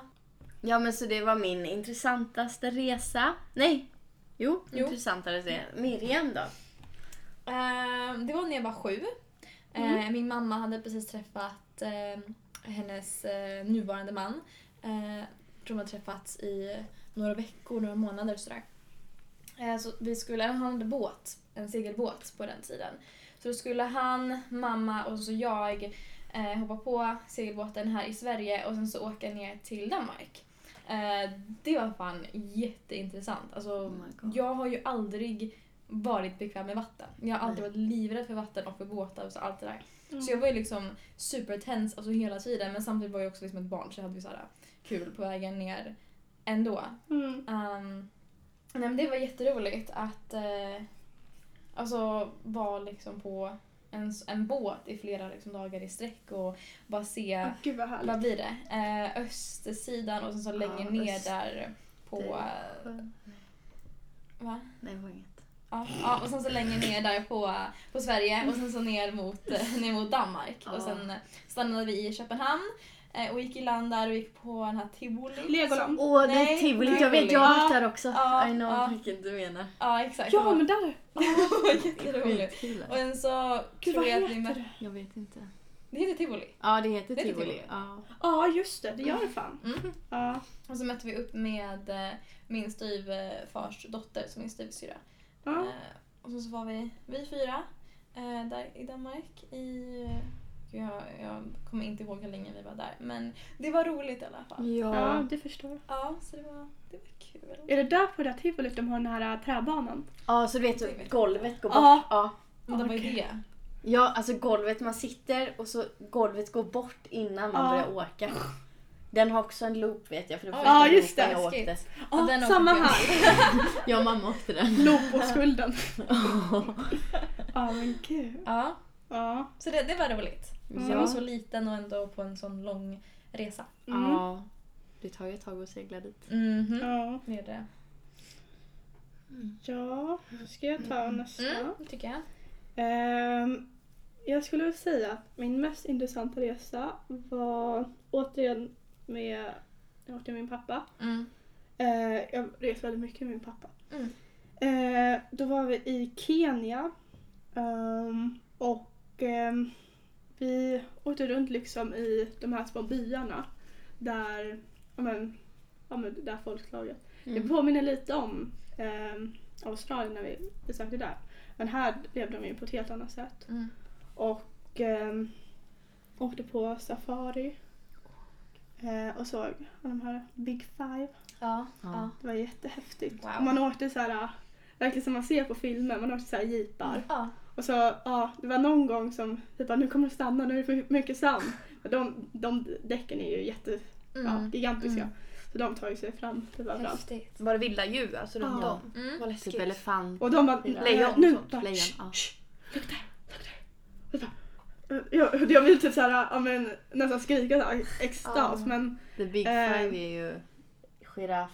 [SPEAKER 3] Ja men så det var min intressantaste resa. Nej! Jo,
[SPEAKER 4] Jo.
[SPEAKER 3] intressantare resa. Miriam då?
[SPEAKER 4] Eh, det var när jag var sju. Eh, Min mamma hade precis träffat eh, hennes eh, nuvarande man. Eh, jag tror de hade träffats i några veckor, några månader och sådär. Eh, så vi skulle, han hade båt, en segelbåt på den tiden. Så då skulle han, mamma och så jag eh, hoppa på segelbåten här i Sverige och sen så åka ner till Danmark. Eh, det var fan jätteintressant. Alltså,
[SPEAKER 3] Oh my God.
[SPEAKER 4] jag har ju aldrig varit bekväm med vatten. Jag har alltid varit livrädd för vatten och för båtar och så allt det där.
[SPEAKER 2] Mm.
[SPEAKER 4] Så jag var ju liksom supertens alltså hela tiden men samtidigt var jag också liksom ett barn så jag hade ju så här kul på vägen ner ändå.
[SPEAKER 2] Mm.
[SPEAKER 4] Um, nej men det var jätteroligt att eh, alltså, vara liksom på en, s- en båt i flera liksom, dagar i sträck och bara se,
[SPEAKER 2] Gud vad härligt.
[SPEAKER 4] vad blir det, eh, östersidan och sen så längre ner
[SPEAKER 3] öst-
[SPEAKER 4] där på... eh, Va?
[SPEAKER 3] Nej det var inget.
[SPEAKER 4] Ja, ja, och sen så längre ner där på, på Sverige och sen så ner mot, eh, ner mot Danmark. Och sen stannade vi i Köpenhamn eh, och gick i land där och gick på den här tivoli.
[SPEAKER 2] Legoland.
[SPEAKER 3] Åh det
[SPEAKER 4] Nej,
[SPEAKER 3] är tivolit,
[SPEAKER 4] nej,
[SPEAKER 3] jag vet, jag har varit där också.
[SPEAKER 4] Ja,
[SPEAKER 3] I know
[SPEAKER 4] ja.
[SPEAKER 3] vilket du menar.
[SPEAKER 4] Ja, exakt.
[SPEAKER 2] Ja men där!
[SPEAKER 4] Jätteroligt.
[SPEAKER 3] Skitkul.
[SPEAKER 4] Och sen så
[SPEAKER 2] Gud
[SPEAKER 4] tror
[SPEAKER 2] vad
[SPEAKER 4] jag att vi
[SPEAKER 2] heter
[SPEAKER 4] mötte...
[SPEAKER 2] det?
[SPEAKER 3] Jag vet inte.
[SPEAKER 4] Det heter tivoli.
[SPEAKER 3] Ja det heter
[SPEAKER 4] Det heter
[SPEAKER 3] tivoli.
[SPEAKER 4] tivoli.
[SPEAKER 3] Ja.
[SPEAKER 2] Ja just det, det gör det fan.
[SPEAKER 4] Mm.
[SPEAKER 2] Ja.
[SPEAKER 4] Och så mötte vi upp med eh, min styvfars dotter, som är min styvsyrra.
[SPEAKER 2] Ja.
[SPEAKER 4] Eh, och sen så var vi, vi fyra eh, där i Danmark i... eh, Jag, jag kommer inte ihåg hur länge vi var där. Men det var roligt i alla fall.
[SPEAKER 1] Ja.
[SPEAKER 2] det förstår
[SPEAKER 4] Ja, så det var, det var kul.
[SPEAKER 2] Är det där på det där tivolit de har den här äh, träbanan?
[SPEAKER 3] Ja, så du vet golvet går bort.
[SPEAKER 2] Ja.
[SPEAKER 3] Ja.
[SPEAKER 4] Men det var ju
[SPEAKER 2] Okej.
[SPEAKER 4] det.
[SPEAKER 3] Ja, alltså golvet man sitter och så golvet går bort innan man
[SPEAKER 2] Ja.
[SPEAKER 3] börjar åka. Den har också en loop vet jag för det var
[SPEAKER 4] Oj.
[SPEAKER 3] första
[SPEAKER 2] Ja, just
[SPEAKER 3] loopen
[SPEAKER 2] det,
[SPEAKER 3] jag
[SPEAKER 4] skit.
[SPEAKER 3] åkte.
[SPEAKER 4] Ja,
[SPEAKER 2] Ja,
[SPEAKER 4] den åker
[SPEAKER 2] samma
[SPEAKER 4] vi.
[SPEAKER 2] här.
[SPEAKER 3] Jag och mamma åkte den.
[SPEAKER 2] Loop och skulden. Mm. Ja men gud.
[SPEAKER 4] Ja,
[SPEAKER 2] Ja.
[SPEAKER 4] så det, det var roligt.
[SPEAKER 3] Ja.
[SPEAKER 4] Jag var så liten och ändå på en sån lång resa.
[SPEAKER 2] Mm.
[SPEAKER 3] Ja. Det tar ju ett tag att segla dit.
[SPEAKER 4] Mhm.
[SPEAKER 2] Ja.
[SPEAKER 4] Det är det.
[SPEAKER 2] Ja, ska jag ta nästa?
[SPEAKER 4] Mm, det tycker jag.
[SPEAKER 2] Ehm, jag skulle vilja säga att min mest intressanta resa var återigen med, jag åkte med min pappa.
[SPEAKER 4] Mm.
[SPEAKER 2] Eh, jag reser väldigt mycket med min pappa.
[SPEAKER 4] Mm.
[SPEAKER 2] Eh, då var vi i Kenya. Ehm, och ehm, vi åkte runt liksom i de här små byarna. Där, ja men, ja men det där folkslaget.
[SPEAKER 4] Mm.
[SPEAKER 2] Det påminner lite om ehm, Australien när vi besökte där. Men här levde de ju på ett helt annat sätt.
[SPEAKER 4] Mm.
[SPEAKER 2] Och ehm, åkte på safari. Eh, och såg de här Big Five.
[SPEAKER 4] Ja.
[SPEAKER 3] Ja.
[SPEAKER 4] ja.
[SPEAKER 2] Det var jättehäftigt.
[SPEAKER 4] Wow.
[SPEAKER 2] Och Man åkte så här, äh, verkligen som man ser på filmer, man åkte så här jeepar.
[SPEAKER 4] ja.
[SPEAKER 2] Och så, ja, det var någon gång som vi bara, nu kommer det stanna, nu är det för mycket sand. Men de, de däcken är ju jätte, ja,
[SPEAKER 4] Mm.
[SPEAKER 2] gigantiska. Så de tar ju sig fram typ överallt.
[SPEAKER 4] Häftigt.
[SPEAKER 1] Var det vilda djur alltså runt
[SPEAKER 2] Ja.
[SPEAKER 1] om?
[SPEAKER 4] Mm.
[SPEAKER 1] Vad
[SPEAKER 3] Typ
[SPEAKER 1] läskigt.
[SPEAKER 3] elefant,
[SPEAKER 2] Och de bara,
[SPEAKER 1] Lejon och
[SPEAKER 2] nu
[SPEAKER 1] sånt.
[SPEAKER 2] bara,
[SPEAKER 3] lejon.
[SPEAKER 2] "Shh,
[SPEAKER 3] Ja.
[SPEAKER 2] eh, Jag, jag vill typ så här, ja, men, nästan skrika så här, extas
[SPEAKER 1] Ja.
[SPEAKER 2] men
[SPEAKER 3] The big
[SPEAKER 2] Eh.
[SPEAKER 3] five är ju giraff,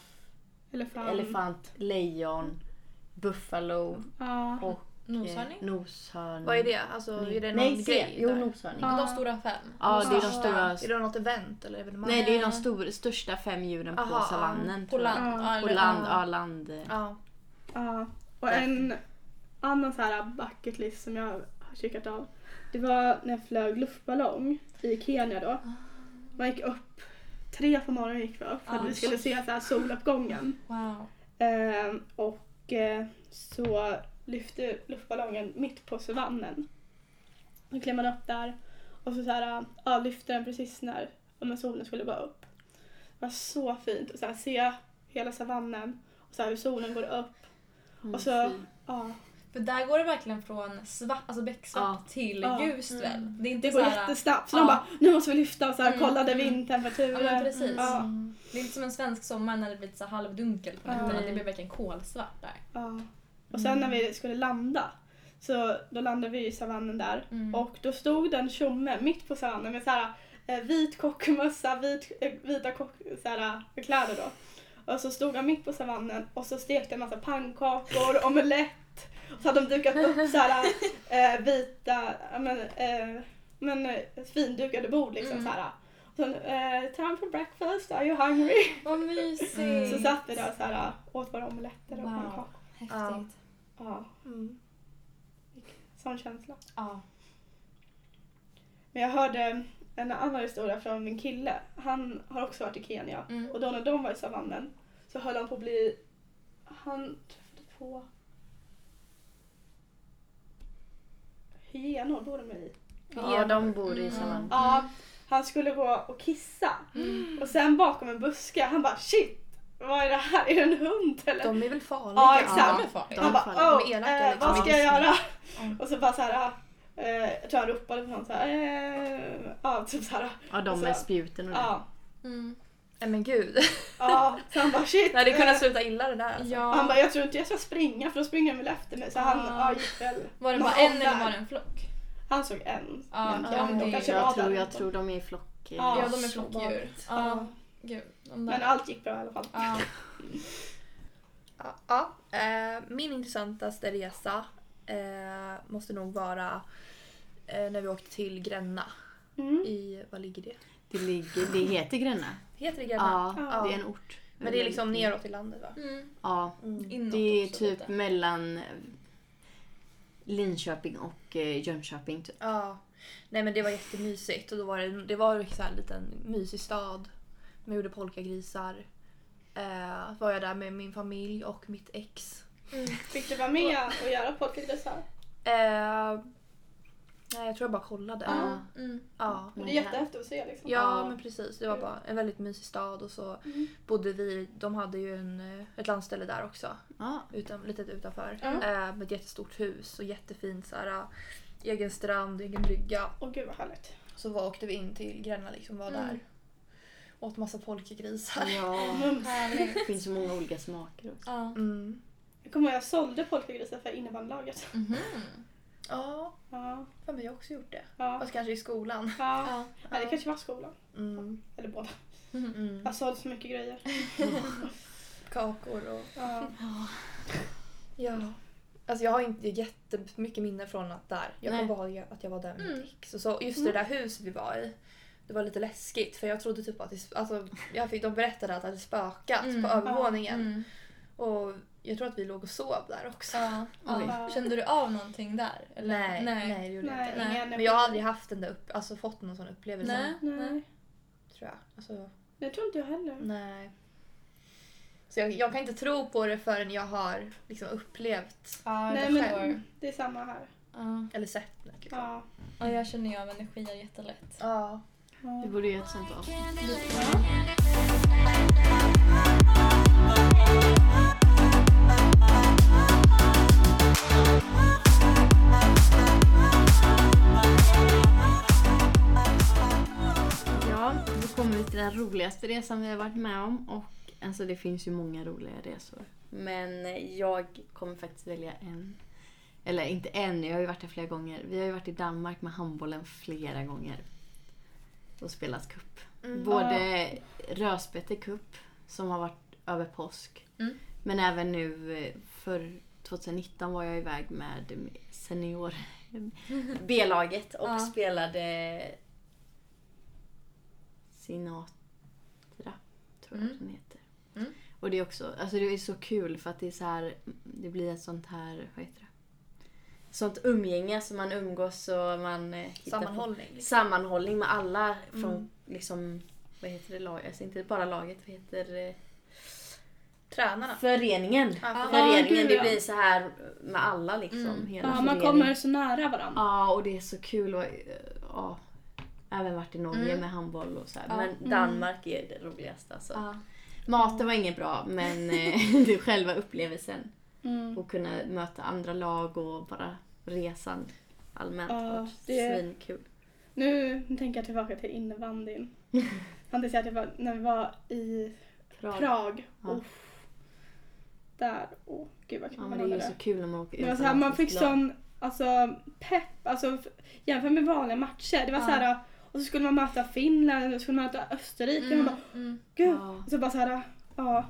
[SPEAKER 2] elefant.
[SPEAKER 3] elefant, lejon,
[SPEAKER 2] Mm.
[SPEAKER 3] buffalo
[SPEAKER 2] Ja.
[SPEAKER 3] och
[SPEAKER 4] Noshörning?
[SPEAKER 3] eh, noshörning.
[SPEAKER 1] Vad är det? Alltså, är det någon
[SPEAKER 3] Nej, se.
[SPEAKER 1] grej
[SPEAKER 3] Jo,
[SPEAKER 1] där?
[SPEAKER 3] noshörning.
[SPEAKER 2] Ja.
[SPEAKER 4] De stora fem.
[SPEAKER 3] Ja, det är de
[SPEAKER 1] Noshörning.
[SPEAKER 3] stora.
[SPEAKER 1] Är det något event eller evenemang?
[SPEAKER 3] Nej, det är de stor, största fem djuren på
[SPEAKER 1] Aha, ja.
[SPEAKER 3] savannen.
[SPEAKER 4] På
[SPEAKER 3] tror jag.
[SPEAKER 4] land.
[SPEAKER 2] Ja.
[SPEAKER 4] Ja,
[SPEAKER 3] På
[SPEAKER 4] eller-
[SPEAKER 3] land, ja land. eh,
[SPEAKER 1] Ja.
[SPEAKER 2] Ja, och en annan så här bucket list som jag har checkat av. Det var när jag flög luftballong i Kenya då. Man gick upp, tre på morgonen gick vi upp för att
[SPEAKER 4] Ah,
[SPEAKER 2] vi skulle se så här soluppgången.
[SPEAKER 4] Wow.
[SPEAKER 2] Ehm, och eh, så lyfte luftballongen mitt på savannen. Då klev man upp där och så, så här, ja, lyfte den precis när ja, men solen skulle gå upp. Det var så fint att så här, se hela savannen och så här, hur solen går upp. Och så, ja,
[SPEAKER 4] För där går det verkligen från svart, alltså becksvart till
[SPEAKER 2] Ja.
[SPEAKER 4] ljust väl? Det är inte
[SPEAKER 2] det går
[SPEAKER 4] såhär-
[SPEAKER 2] jättesnabbt. Så
[SPEAKER 4] ja.
[SPEAKER 2] de bara, nu måste vi lyfta och så här,
[SPEAKER 4] Mm,
[SPEAKER 2] kollade
[SPEAKER 4] mm. Ja,
[SPEAKER 2] vindtemperaturen.
[SPEAKER 4] men precis.
[SPEAKER 2] Ja,
[SPEAKER 4] Det är inte som en svensk sommar när det blir så här halvdunkelt på
[SPEAKER 2] Ja.
[SPEAKER 4] nätterna. Det blir verkligen kolsvart där.
[SPEAKER 2] ja. Och sen
[SPEAKER 4] Mm.
[SPEAKER 2] när vi skulle landa, så då landade vi i savannen där.
[SPEAKER 4] Mm.
[SPEAKER 2] Och då stod den tjomme mitt på savannen med så här, eh, vit kockmössa, vit, eh, vita kock, så här, eh, kläder då. Och så stod han mitt på savannen och så stekte en massa pannkakor, omelett. Och så hade de dukat upp så här, eh, vita, ja, men, eh, men eh, findukade bord liksom så
[SPEAKER 4] Mm.
[SPEAKER 2] här. Och sen, eh, time for breakfast, are you hungry?
[SPEAKER 4] Vad mysigt!
[SPEAKER 2] Mm. Så satt vi där och så här, åt våra omeletter och
[SPEAKER 4] Mm. Wow.
[SPEAKER 2] pannkakor.
[SPEAKER 4] Häftigt.
[SPEAKER 2] Ja,
[SPEAKER 1] Mm.
[SPEAKER 2] sån känsla.
[SPEAKER 4] Ja.
[SPEAKER 2] Men jag hörde en annan historia från min kille. Han har också varit i Kenya.
[SPEAKER 4] Mm.
[SPEAKER 2] Och då när de var i savannen så höll han på att bli... Han träffade på... Hyenor bor de i.
[SPEAKER 3] Ja, de bor i
[SPEAKER 4] Mm.
[SPEAKER 3] savannen.
[SPEAKER 2] Ja, han skulle gå och kissa. Och sen bakom en buske, han bara shit! Vad är det här? Är det en hund eller?
[SPEAKER 1] De är väl farliga?
[SPEAKER 2] Ja,
[SPEAKER 4] Ja,
[SPEAKER 2] exakt.
[SPEAKER 4] de är farliga.
[SPEAKER 2] han
[SPEAKER 3] de
[SPEAKER 2] bara
[SPEAKER 3] faller.
[SPEAKER 2] oh,
[SPEAKER 1] De är elaka,
[SPEAKER 2] eh,
[SPEAKER 1] liksom.
[SPEAKER 2] vad ska jag göra?
[SPEAKER 4] Mm.
[SPEAKER 2] Och så bara så här, eh, jag tror han ropade på någon så här, eh, ja typ så här.
[SPEAKER 3] Ja, de
[SPEAKER 2] Och så-
[SPEAKER 3] med spjuten och det.
[SPEAKER 2] Ja,
[SPEAKER 4] Mm.
[SPEAKER 1] Nej men gud.
[SPEAKER 2] ja. Så han bara shit.
[SPEAKER 1] Det hade
[SPEAKER 2] eh,
[SPEAKER 1] kunnat sluta illa det där. Alltså.
[SPEAKER 2] Och Han
[SPEAKER 4] Ja.
[SPEAKER 2] bara, jag tror inte jag ska springa för då springer de väl efter mig. Så han
[SPEAKER 4] Ah.
[SPEAKER 2] ja, gick väl.
[SPEAKER 4] Var det bara
[SPEAKER 2] någon
[SPEAKER 4] en eller
[SPEAKER 2] där.
[SPEAKER 4] var det en flock?
[SPEAKER 2] Han såg en.
[SPEAKER 4] Ja,
[SPEAKER 2] men
[SPEAKER 4] ja,
[SPEAKER 2] de- de
[SPEAKER 4] det-
[SPEAKER 2] kanske var
[SPEAKER 3] Jag tror,
[SPEAKER 2] där.
[SPEAKER 3] jag tror de är i flock. eh,
[SPEAKER 2] Ja,
[SPEAKER 4] Ja, de är
[SPEAKER 2] så
[SPEAKER 4] flockdjur.
[SPEAKER 2] vanligt.
[SPEAKER 4] Ja. Gud, de där.
[SPEAKER 2] Men allt gick bra i alla fall.
[SPEAKER 4] ja.
[SPEAKER 1] Ja, ja. Eh, min intressantaste resa eh, måste nog vara eh, när vi åkte till Gränna.
[SPEAKER 2] Mm.
[SPEAKER 1] I, vad ligger det?
[SPEAKER 3] Det, ligger, det heter Gränna.
[SPEAKER 1] Heter det Gränna?
[SPEAKER 3] Ja,
[SPEAKER 2] Ja.
[SPEAKER 3] det är en ort.
[SPEAKER 1] Men det är liksom neråt i landet va?
[SPEAKER 4] Mm.
[SPEAKER 3] Ja,
[SPEAKER 4] Inåt
[SPEAKER 3] det är
[SPEAKER 4] också
[SPEAKER 3] typ
[SPEAKER 4] lite.
[SPEAKER 3] mellan eh, Linköping och eh, Jönköping. Typ.
[SPEAKER 1] Ja. Nej men det var jättemysigt och då var det, det var så här en liten mysig stad. Man gjorde polkagrisar. Eh, var jag där med min familj och mitt ex.
[SPEAKER 2] Fick du vara med och göra podcastgrisar?
[SPEAKER 1] Eh, Nej, jag tror jag bara kollade.
[SPEAKER 3] Ja.
[SPEAKER 4] Mm.
[SPEAKER 1] Ja.
[SPEAKER 2] Men det är jättehäftigt att se liksom.
[SPEAKER 1] Ja,
[SPEAKER 3] Ja.
[SPEAKER 1] men precis. Det var
[SPEAKER 2] Mm.
[SPEAKER 1] bara en väldigt mysig stad och så
[SPEAKER 2] Mm.
[SPEAKER 1] bodde vi, de hade ju en, eh, ett landställe där också,
[SPEAKER 3] Ja.
[SPEAKER 1] utan, lite utanför.
[SPEAKER 2] Ja.
[SPEAKER 1] Eh, med ett jättestort hus och jättefint så här, eh, egen strand, egen brygga.
[SPEAKER 2] Åh gud vad härligt.
[SPEAKER 1] Så var, åkte vi in till Gränna liksom, var
[SPEAKER 4] Mm.
[SPEAKER 1] där. Åt massa polkagrisar.
[SPEAKER 3] ja.
[SPEAKER 2] Mums.
[SPEAKER 4] Härligt.
[SPEAKER 3] Det finns så många olika smaker också.
[SPEAKER 4] Ja.
[SPEAKER 1] Mm.
[SPEAKER 2] Jag kommer ihåg att jag sålde polkagrisar för innebandylaget.
[SPEAKER 4] Mhm.
[SPEAKER 1] Ja,
[SPEAKER 2] Ja,
[SPEAKER 1] fan men jag har också gjort det.
[SPEAKER 2] ja,
[SPEAKER 1] Fast kanske i skolan.
[SPEAKER 2] ja.
[SPEAKER 4] Ja.
[SPEAKER 2] Nej, det kanske var skolan.
[SPEAKER 1] Mm.
[SPEAKER 2] Eller båda.
[SPEAKER 1] Mm.
[SPEAKER 2] Jag sålde så mycket grejer.
[SPEAKER 1] Kakor och...
[SPEAKER 2] Ja.
[SPEAKER 1] Ja. Alltså jag har inte jättemycket minne från att där. Jag
[SPEAKER 3] Nej.
[SPEAKER 1] kommer bara ihåg att jag var där med
[SPEAKER 4] Mm.
[SPEAKER 1] mitt ex. Och så just det där huset vi var i. Det var lite läskigt för jag trodde typ att det, alltså, jag fick, de berättade att det hade spökat
[SPEAKER 4] Mm.
[SPEAKER 1] på
[SPEAKER 4] Ja.
[SPEAKER 1] övervåningen.
[SPEAKER 4] Mm.
[SPEAKER 1] Och jag tror att vi låg och sov där också.
[SPEAKER 4] Ja. ja.
[SPEAKER 2] Oj.
[SPEAKER 4] Kände du av någonting där? Eller?
[SPEAKER 1] Nej, nej. det gjorde jag
[SPEAKER 2] Nej,
[SPEAKER 1] inte.
[SPEAKER 4] Nej.
[SPEAKER 2] ingen
[SPEAKER 1] Men jag har aldrig haft den där upp, alltså fått någon sån upplevelse
[SPEAKER 4] Nej.
[SPEAKER 2] Nej.
[SPEAKER 1] tror jag. Alltså,
[SPEAKER 2] Det tror inte jag heller.
[SPEAKER 1] nej. Så jag, jag kan inte tro på det förrän jag har liksom upplevt
[SPEAKER 4] Ja,
[SPEAKER 2] Nej,
[SPEAKER 4] jag
[SPEAKER 2] men-
[SPEAKER 4] förstår.
[SPEAKER 2] Det är samma här.
[SPEAKER 4] Ja.
[SPEAKER 1] eller sett det. Liksom.
[SPEAKER 2] Ja.
[SPEAKER 4] Ja, jag känner ju av energier jättelätt.
[SPEAKER 1] Ja.
[SPEAKER 2] Ja.
[SPEAKER 3] Vi borde göra ett sånt avsnitt. Ja, då kommer vi till den roligaste resan vi har varit med om. Och alltså det finns ju många roliga resor. Men eh, jag kommer faktiskt välja en. Eller inte en, jag har ju varit där flera gånger. Vi har ju varit i Danmark med handbollen flera gånger. Och spelat cup.
[SPEAKER 1] Mm.
[SPEAKER 3] Både Rödspätte cup, som har varit över påsk.
[SPEAKER 4] Mm.
[SPEAKER 3] Men även nu eh, för 2019 var jag iväg med senior B-laget och
[SPEAKER 4] Ja.
[SPEAKER 3] spelade Sinatra, tror jag
[SPEAKER 4] Mm.
[SPEAKER 3] den heter.
[SPEAKER 4] Mm.
[SPEAKER 3] Och det är också, alltså det är så kul för att det är så här, det blir ett sånt här, vad heter det? Sånt umgänge som man umgås och man eh, hittar på-
[SPEAKER 1] Sammanhållning. Liksom.
[SPEAKER 3] sammanhållning med alla från
[SPEAKER 1] Mm.
[SPEAKER 3] liksom, vad heter det, lag, alltså inte bara laget, vad heter eh,
[SPEAKER 1] Tränarna.
[SPEAKER 3] föreningen.
[SPEAKER 1] Ja,
[SPEAKER 4] för-
[SPEAKER 2] Ja,
[SPEAKER 3] Föreningen,
[SPEAKER 2] gud,
[SPEAKER 3] det
[SPEAKER 2] ja.
[SPEAKER 3] blir så här med alla liksom.
[SPEAKER 4] Mm.
[SPEAKER 3] Hela
[SPEAKER 2] Ja, man
[SPEAKER 3] föreningen.
[SPEAKER 2] kommer så nära varandra.
[SPEAKER 3] Ja, och det är så kul och eh, ja. Även varit i Norge
[SPEAKER 4] Mm.
[SPEAKER 3] med handboll och så här.
[SPEAKER 4] Ja.
[SPEAKER 3] Men
[SPEAKER 2] Mm.
[SPEAKER 3] Danmark är det roligaste alltså.
[SPEAKER 4] Ja.
[SPEAKER 3] Maten var inget bra, men eh, det är själva upplevelsen.
[SPEAKER 2] Mm.
[SPEAKER 3] Och kunna möta andra lag och bara resan allmänt.
[SPEAKER 2] Ja,
[SPEAKER 3] har varit
[SPEAKER 2] det är-
[SPEAKER 3] Svinkul.
[SPEAKER 2] Nu tänker jag tillbaka till innebandyn. Han tänkte att det var när vi var i
[SPEAKER 3] Prag.
[SPEAKER 2] Prag.
[SPEAKER 3] Ja.
[SPEAKER 2] Uff. Där. Åh, gud vad kul
[SPEAKER 3] Ja,
[SPEAKER 2] man
[SPEAKER 3] men det är
[SPEAKER 2] hade
[SPEAKER 3] ju så kul när man åker
[SPEAKER 2] Det var
[SPEAKER 3] utomlands
[SPEAKER 2] så här, man fick
[SPEAKER 3] med lag.
[SPEAKER 2] sån alltså, pepp, alltså, f- jämfört med vanliga matcher. Det var
[SPEAKER 4] Ja.
[SPEAKER 2] så här, och så skulle man möta Finland och så skulle man möta Österrike. Man bara,
[SPEAKER 4] mm.
[SPEAKER 2] gud.
[SPEAKER 3] Ja.
[SPEAKER 2] Så bara så här, ja.